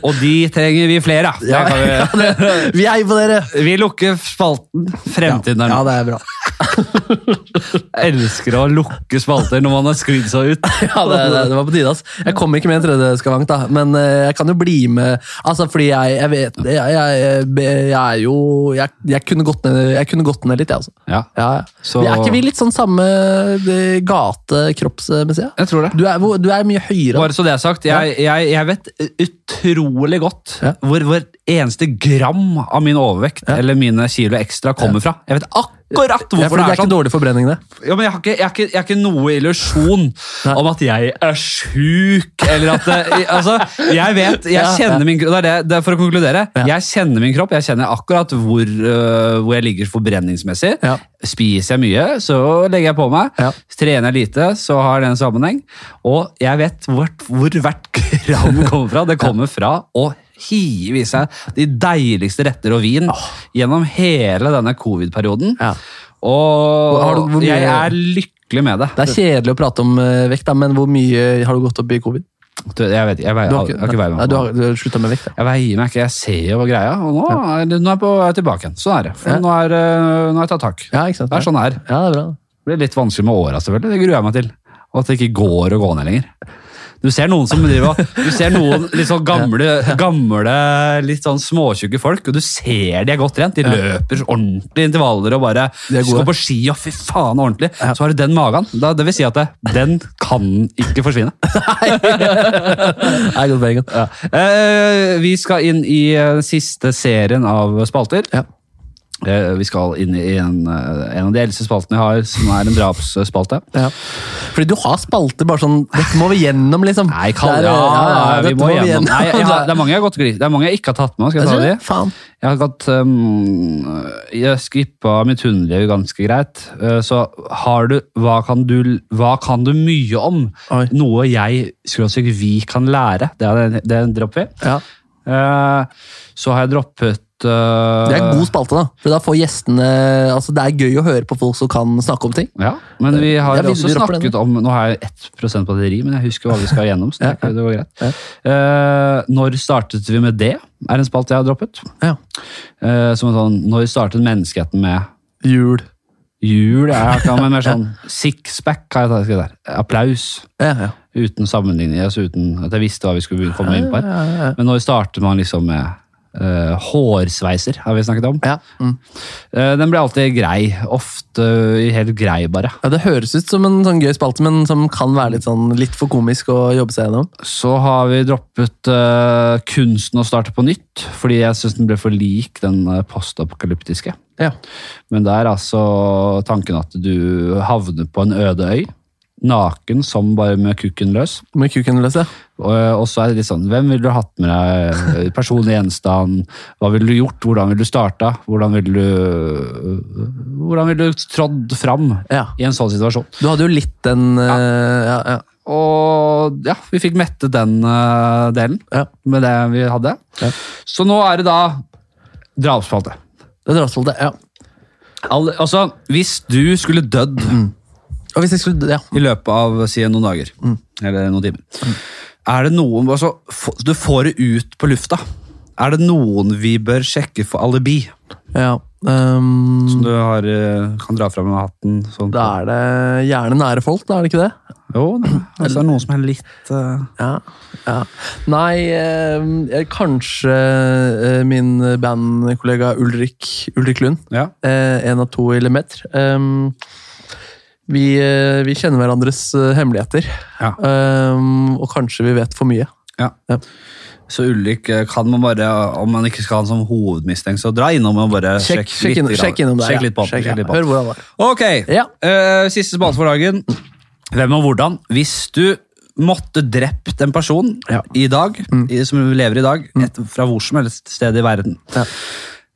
A: Og de trenger vi flere av! Det kan
B: Ja,
A: vi-
B: det- Vi heier på dere!
A: Vi lukker spalten. Fremtiden er
B: Ja,
A: nå.
B: det er bra.
A: Jeg elsker å lukke spalter når man har sklidd seg ut.
B: Ja, det, det, det var på tide, ass. Jeg kom ikke med en tredje skavank, da. Men eh, jeg kan jo bli med Altså, fordi jeg, jeg vet jeg, jeg, jeg, jeg er jo jeg, jeg, kunne gått ned, jeg kunne gått ned litt, jeg, altså.
A: Ja,
B: Ja, ja.
A: Så-
B: Vi er ikke vi litt sånn samme eh, gate kroppsmessig? ja?
A: jeg tror det.
B: Du, er- hvor- du er mye høyere.
A: Bare så det er sagt, jeg, jeg, jeg vet utrolig godt
B: Ja.
A: hvor hvor eneste gram av min overvekt eller mine kilo ekstra kommer fra. Jeg vet akkurat
B: Ja,
A: hvorfor
B: fordi
A: det er
B: ikke
A: sånn.
B: dårlig forbrenning, det.
A: Ja, men jeg har ikke, jeg har ikke, jeg har ikke noe illusjon
B: Nei.
A: om at jeg er sjuk, eller at det, altså, Jeg vet, jeg
B: Ja, ja.
A: kjenner min kropp, det er det, det er for å konkludere. Jeg kjenner min kropp, jeg kjenner akkurat hvor, øh, hvor jeg ligger forbrenningsmessig.
B: Ja.
A: Spiser jeg mye, så legger jeg på meg.
B: Ja.
A: Trener jeg lite, så har det en sammenheng. Og jeg vet hvor, hvor hvert gram kommer fra. Det kommer fra å hive i seg de deiligste retter og vin gjennom hele denne covid-perioden.
B: Ja.
A: Og
B: Har du- hvor mye-
A: jeg er lykkelig med det.
B: Det er kjedelig å prate om eh, vekt, da, men hvor mye har du gått opp i covid?
A: Du, Jeg vet jeg veier,
B: Du
A: jeg har ikke altså. veier
B: nei,
A: meg
B: du
A: på.
B: har, du har slutta med vekt, ja.
A: Jeg veier meg ikke, jeg ser jo hva greia, og nå er, det- nå er jeg på, er jeg tilbake igjen. Sånn er det. For
B: Ja.
A: nå, er, øh, nå har jeg tatt tak.
B: Ja, ikke sant?
A: Det er sånn det er.
B: Ja, det er bra.
A: Det blir litt vanskelig med åra, selvfølgelig. Det gruer jeg meg til. Og at det ikke går å gå ned lenger. Du ser noen som driver og Du ser noen litt sånn gamle, gamle litt sånn småtjukke folk, og du ser de er godt trent. De løper ordentlig intervaller og bare
B: De er gode.
A: skal på ski og fy faen ordentlig. Så har du den magen. Da, det vil si at det, den kan ikke forsvinne.
B: Det er godt poeng. Ja.
A: Eh, vi skal inn i eh, siste serien av spalter.
B: Ja.
A: Eh, vi skal inn i en, eh, en av de eldste spaltene jeg har, som er en drapsspalte.
B: Ja. Fordi du har spalter bare sånn Dette må vi gjennom, liksom.
A: Nei, kall,
B: Det er-
A: ja, ja, vi
B: dette
A: må igjennom. Nei, jeg, har-
B: Det
A: det,
B: er-
A: er mange jeg har gått glipp Det er mange jeg ikke har tatt med. Skal jeg ta de?
B: Faen.
A: Jeg har gått um, Jeg skippa mitt hundeliv ganske greit. Eh, så har du Hva kan du, hva kan du mye om?
B: Oi.
A: Noe jeg, skråstrek vi, kan lære. Det, er, det dropper vi.
B: Ja.
A: Eh, så har jeg droppet eh,
B: Det er en god spalte, da. For da får gjestene Altså, det er gøy å høre på folk som kan snakke om ting.
A: Ja, men vi har
B: Ja, vi-
A: også
B: vi dropper
A: snakket
B: den.
A: om Nå har jeg 1 batteri, men jeg husker hva vi skal gjennom. så det,
B: Ja,
A: det går greit. Eh, når startet vi med det? Er en spalt jeg har droppet.
B: Ja.
A: Eh, som en sånn, Når startet menneskeheten med
B: Jul.
A: jul? Jeg har ikke men mer sånn sixpack har jeg tatt skrevet der. Applaus.
B: Ja, ja.
A: Uten sammenligning, altså uten at jeg visste hva vi skulle begynne- komme inn på. her.
B: ja, ja.
A: Men når startet man liksom med eh, hårsveiser, har vi snakket om.
B: Ja. Mm.
A: Eh, den ble alltid grei. Ofte helt grei, bare.
B: ja, Det høres ut som en sånn gøy spalte, men som kan være litt, sånn, litt for komisk å jobbe seg gjennom.
A: Så har vi droppet eh, kunsten å starte på nytt, fordi jeg syns den ble for lik den eh, postapokalyptiske.
B: Ja.
A: Men det er altså tanken at du havner på en øde øy, naken som bare med kukken løs.
B: Med kuken løs, ja.
A: Og, og så er det litt sånn, hvem ville du hatt med deg? Personlig gjenstand, hva ville du gjort, hvordan ville du starta, hvordan ville du, eh, hvordan ville du trådd fram
B: ja.
A: i en sånn situasjon?
B: Du hadde jo litt den eh, ja. Ja,
A: Og ja, vi fikk mette den eh, delen
B: ja.
A: med det vi hadde.
B: Ja.
A: Så nå er det da drapsfalte.
B: Det dras til det, ja.
A: Al- Altså, hvis du skulle dødd
B: Mm. Og hvis jeg skulle, ja.
A: i løpet av si, noen dager,
B: Mm.
A: eller noen timer. Er det noen, altså, få- Du får det ut på lufta. Er det noen vi bør sjekke for alibi?
B: ja. ehm,
A: Som du har, eh, kan dra fram med hatten? Sånn.
B: da er det gjerne nære folk, da er det ikke det?
A: Jo, da. altså, det er noen som er litt eh,
B: Ja. ja. Nei, ehm, eh, kanskje eh, min bandkollega Ulrik, Ulrik Lund.
A: Ja.
B: Eh, en av to i Lemetre. Ehm, vi, eh, vi kjenner hverandres eh, hemmeligheter.
A: Ja.
B: Ehm, og kanskje vi vet for mye.
A: ja.
B: Ja.
A: Så Ulrik eh, kan man bare, om man ikke skal ha han som hovedmistenkt, så dra innom og bare sjekk,
B: Sjekk, sjekk, inn,
A: litt,
B: sjekk innom der.
A: sjekk litt på
B: ja.
A: han. Sjekk litt på han.
B: Hør hvordan det er.
A: Ok,
B: Ja.
A: eh, siste spalte for dagen. Hvem og hvordan? Hvis du måtte drept en person
B: Ja. Mm.
A: i dag, i, som lever i dag, et, fra hvor som helst sted i verden
B: Ja.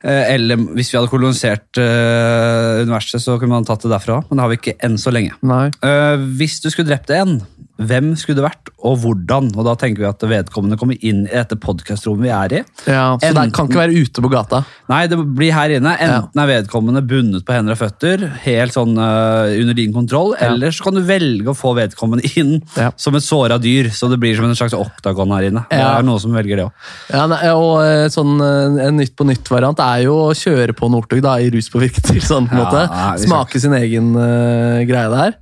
A: eh, Eller hvis vi hadde kolonisert eh, universet, så kunne man tatt det derfra. Men det har vi ikke enn så lenge.
B: Nei.
A: Eh, hvis du skulle drept en, hvem skulle det vært, og hvordan? Og da tenker vi at vedkommende kommer inn i dette podkastrommet vi er i.
B: Ja, så det kan ikke være ute på gata.
A: Nei, det blir her inne. Enten er vedkommende bundet på hender og føtter, helt sånn øh, under din kontroll, eller så kan du velge å få vedkommende inn
B: Ja.
A: som et såra dyr, så det blir som en slags oktagon her inne. Det
B: Ja.
A: er noen som velger det òg.
B: Ja, nei, og eh, sånn, eh, En Nytt på nytt-variant er jo å kjøre på Northug da, i ruspåvirket tilstand. på en
A: Ja,
B: måte.
A: nei, vi skal-
B: Smake sin egen eh, greie der.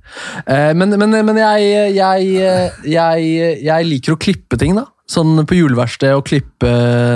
B: Eh, men men, men jeg, jeg, eh, jeg, jeg liker å klippe ting, da. Sånn på juleverksted å klippe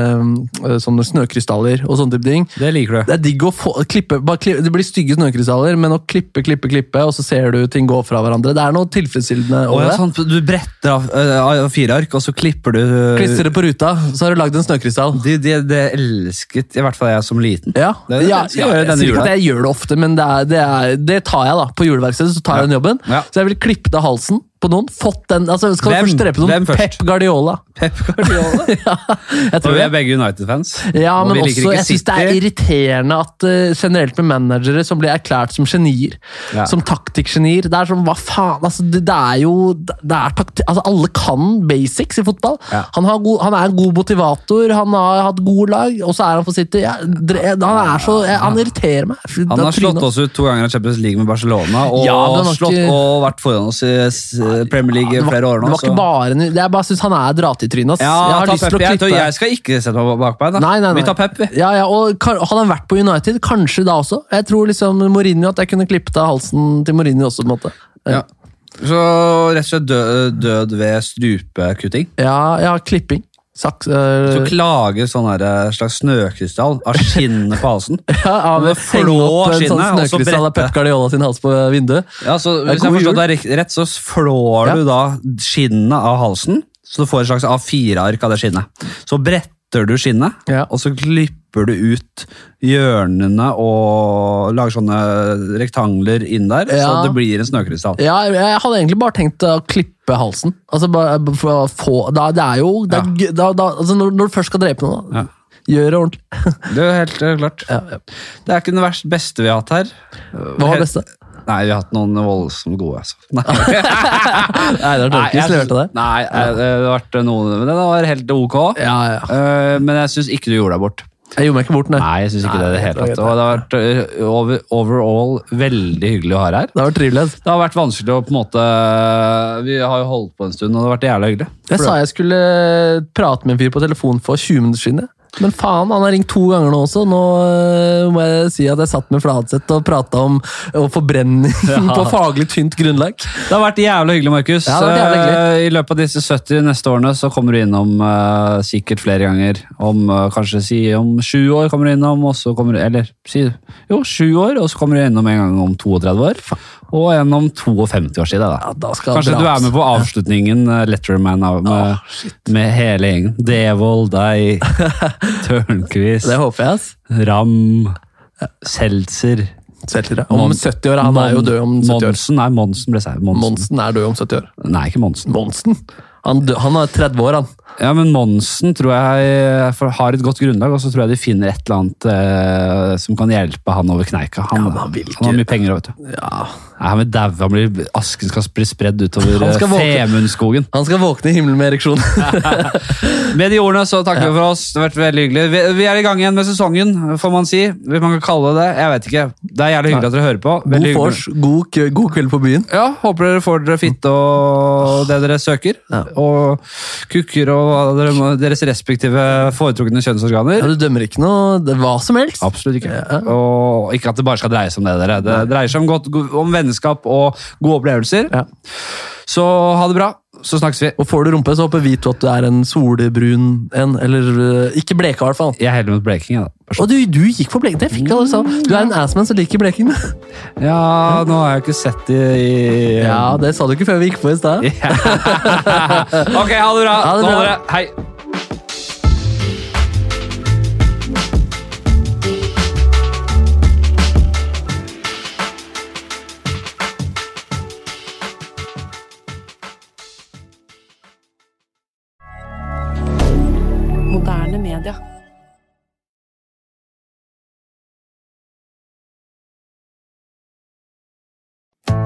B: eh, sånne snøkrystaller og sånne type ting.
A: Det liker du.
B: Det er digg å få, klippe, bare klippe, det blir stygge snøkrystaller, men å klippe, klippe, klippe, og så ser du ting gå fra hverandre. Det er noe tilfredsstillende
A: Og
B: over det.
A: sånn, du bretter av, øh, av fire ark, og så klipper du øh,
B: Klistrer det på ruta, så har du lagd en snøkrystall.
A: det, det, det elsket i hvert fall jeg som liten.
B: Ja,
A: Det er det
B: ja,
A: jeg skal
B: ja
A: gjøre
B: jeg
A: denne
B: sier ikke
A: jula.
B: at jeg gjør det ofte, men det, er, det, er, det tar jeg da. På juleverkstedet så tar jeg den jobben.
A: Ja.
B: Så jeg ville klippet av halsen på noen. fått den, altså Skal
A: Hvem?
B: du først drepe noen?
A: Hvem først?
B: Pep Guardiola.
A: Pep Guardiola.
B: ja, jeg
A: Og
B: tror
A: vi
B: det.
A: er begge United-fans.
B: Ja,
A: og
B: men
A: vi liker
B: også,
A: ikke
B: jeg syns det er
A: City.
B: irriterende at eh, generelt med managere som blir erklært som genier.
A: Ja.
B: Som taktikkgenier. Det er som, hva faen, altså det, det er jo det det er takti altså, Alle kan basics i fotball.
A: Ja.
B: Han, har god, han er en god motivator, han har hatt gode lag, og så er han for City. Ja, dre, han er så, jeg, han irriterer meg. Fy,
A: Han
B: da
A: har slått
B: trynet.
A: oss ut to ganger av Champions League med Barcelona, og,
B: Ja, men han har
A: slått,
B: ikke-
A: og vært foran oss i s- Premier League i
B: det var,
A: flere år nå.
B: det var
A: så-
B: ikke bare en, Jeg bare syns han er drate i trynet. ass.
A: Ja,
B: jeg har
A: ta
B: lyst til å
A: Pep. Jeg tror-
B: klippe.
A: Jeg skal ikke sette meg bak beina.
B: Nei, nei, nei.
A: Vi tar Pep, vi.
B: Ja, ja, og kan- Hadde han vært på United, kanskje da også. Jeg tror liksom Mourinho at jeg kunne klippet av halsen til Mourinho også. på en måte.
A: Ja. Så rett og slett død, død ved strupekutting.
B: Ja, ja klipping. Saks
A: Så
B: øh,
A: klager sånn her, eh, slags snøkrystall av skinnet på halsen.
B: ja, av
A: det
B: henge
A: flå
B: opp en sånn
A: skinnet, og så
B: snøkrystall av
A: brette.
B: Pep Guardiola sin hals på eh, vinduet.
A: Ja, så Hvis
B: Ja,
A: jeg
B: god
A: forstår deg rett, rett, så flår
B: Ja.
A: du da skinnet av halsen, så du får et slags A4-ark av det skinnet. Så bretter du skinnet,
B: Ja.
A: og så klipper du ut hjørnene og lager sånne rektangler inn der,
B: Ja.
A: så det blir en snøkrystall.
B: Ja, jeg hadde egentlig bare tenkt å klippe halsen. Altså, bare for å få, da, Det er jo det er, gøy- da, da, altså, når, når du først skal drepe noen, da, gjør det ordentlig.
A: Det er helt eh, klart.
B: Ja, ja.
A: Det er ikke den verst beste vi har hatt her.
B: Hva var det beste?
A: Nei, vi har hatt noen voldsomt gode. Altså. Nei,
B: Einar Tørkis
A: jeg syns-
B: leverte det.
A: nei, eh, det har vært noen, men den var helt ok.
B: Ja, ja.
A: Eh, Men jeg syns ikke du gjorde deg bort.
B: Jeg gjorde meg ikke bort, nei.
A: Nei, jeg syns ikke
B: Nei,
A: det i det hele
B: det
A: tatt. Og det har vært eh, over, overall veldig hyggelig å ha deg her.
B: Det har vært trivelig. altså. ass.
A: Det har vært vanskelig å på en måte eh, Vi har jo holdt på en stund, og det har vært jævla hyggelig.
B: eh, Jeg sa jeg skulle prate med en fyr på telefon for 20 minutter siden. jeg. Men faen, han har ringt to ganger nå også. Nå øh, må jeg si at jeg satt med Fladseth og prata om øh, forbrenning på faglig tynt grunnlag.
A: Det har vært jævla hyggelig, Markus.
B: Ja, det har vært jævla
A: Eh, I løpet av disse 70 neste årene så kommer du innom eh, sikkert flere ganger. Om eh, kanskje si om sju år kommer du innom, og så kommer du Eller si jo, sju år, og så kommer du innom en gang om 32 år. Og en om 52 år siden. Da.
B: Ja, da skal
A: Kanskje du
B: draps.
A: er med på avslutningen, eh, Letterman, av, med, med hele gjengen. Devold, deg, Tørnquist,
B: Det håper jeg. ass.
A: Ram, Seltzer
B: Selvtillit. Om
A: Mon-
B: 70 år. Han er jo død om 70 år.
A: Monsen, nei, Monsen ble sagt. Monsen.
B: Monsen er død om 70 år.
A: Nei, ikke Monsen.
B: Monsen? Han, dø, han er 30 år, han.
A: Ja, men Monsen tror jeg for, har et godt grunnlag, og så tror jeg de finner et eller annet eh, som kan hjelpe han over kneika. Han,
B: men han vil ikke.
A: har mye penger, vet du.
B: Ja.
A: Nei, han vil daue, han blir, asken skal bli spredd utover
B: Han
A: eh,
B: skal våkne.
A: Femundskogen.
B: Han skal våkne i himmelen med ereksjon.
A: Med de ordene så takker vi for oss. Det har vært veldig hyggelig. Vi, vi er i gang igjen med sesongen, får man si. Hvis man kan kalle det det. Jeg vet ikke. Det er jævlig hyggelig at dere hører på.
B: God
A: Veldig hyggelig.
B: vors, god, kø- god kveld på byen.
A: Ja, Håper dere får dere fitte og det dere søker.
B: Ja.
A: Og kukker og hva dere, må- deres respektive foretrukne kjønnsorganer.
B: Ja, du dømmer ikke noe det, hva som helst.
A: Absolutt ikke. Og ikke at det bare skal dreie seg om det. Dere. Det dreier seg om, godt, om vennskap og gode opplevelser.
B: Ja.
A: Så ha det bra, så snakkes vi.
B: Og får du rumpe, så håper vi to at du er en solbrun en. Eller øh, ikke bleka, i hvert fall.
A: Jeg heller mot bleking. jeg, Da.
B: Og du, du gikk for bleking. Det fikk jeg alle sammen. Du er en assman som liker bleking.
A: Ja, nå har jeg ikke sett det i
B: Ja, det sa du ikke før vi gikk på i stad.
A: Ok, ha det bra.
B: Ha det
A: Nå
B: bra.
A: holder jeg. Hei.
C: Moderne media.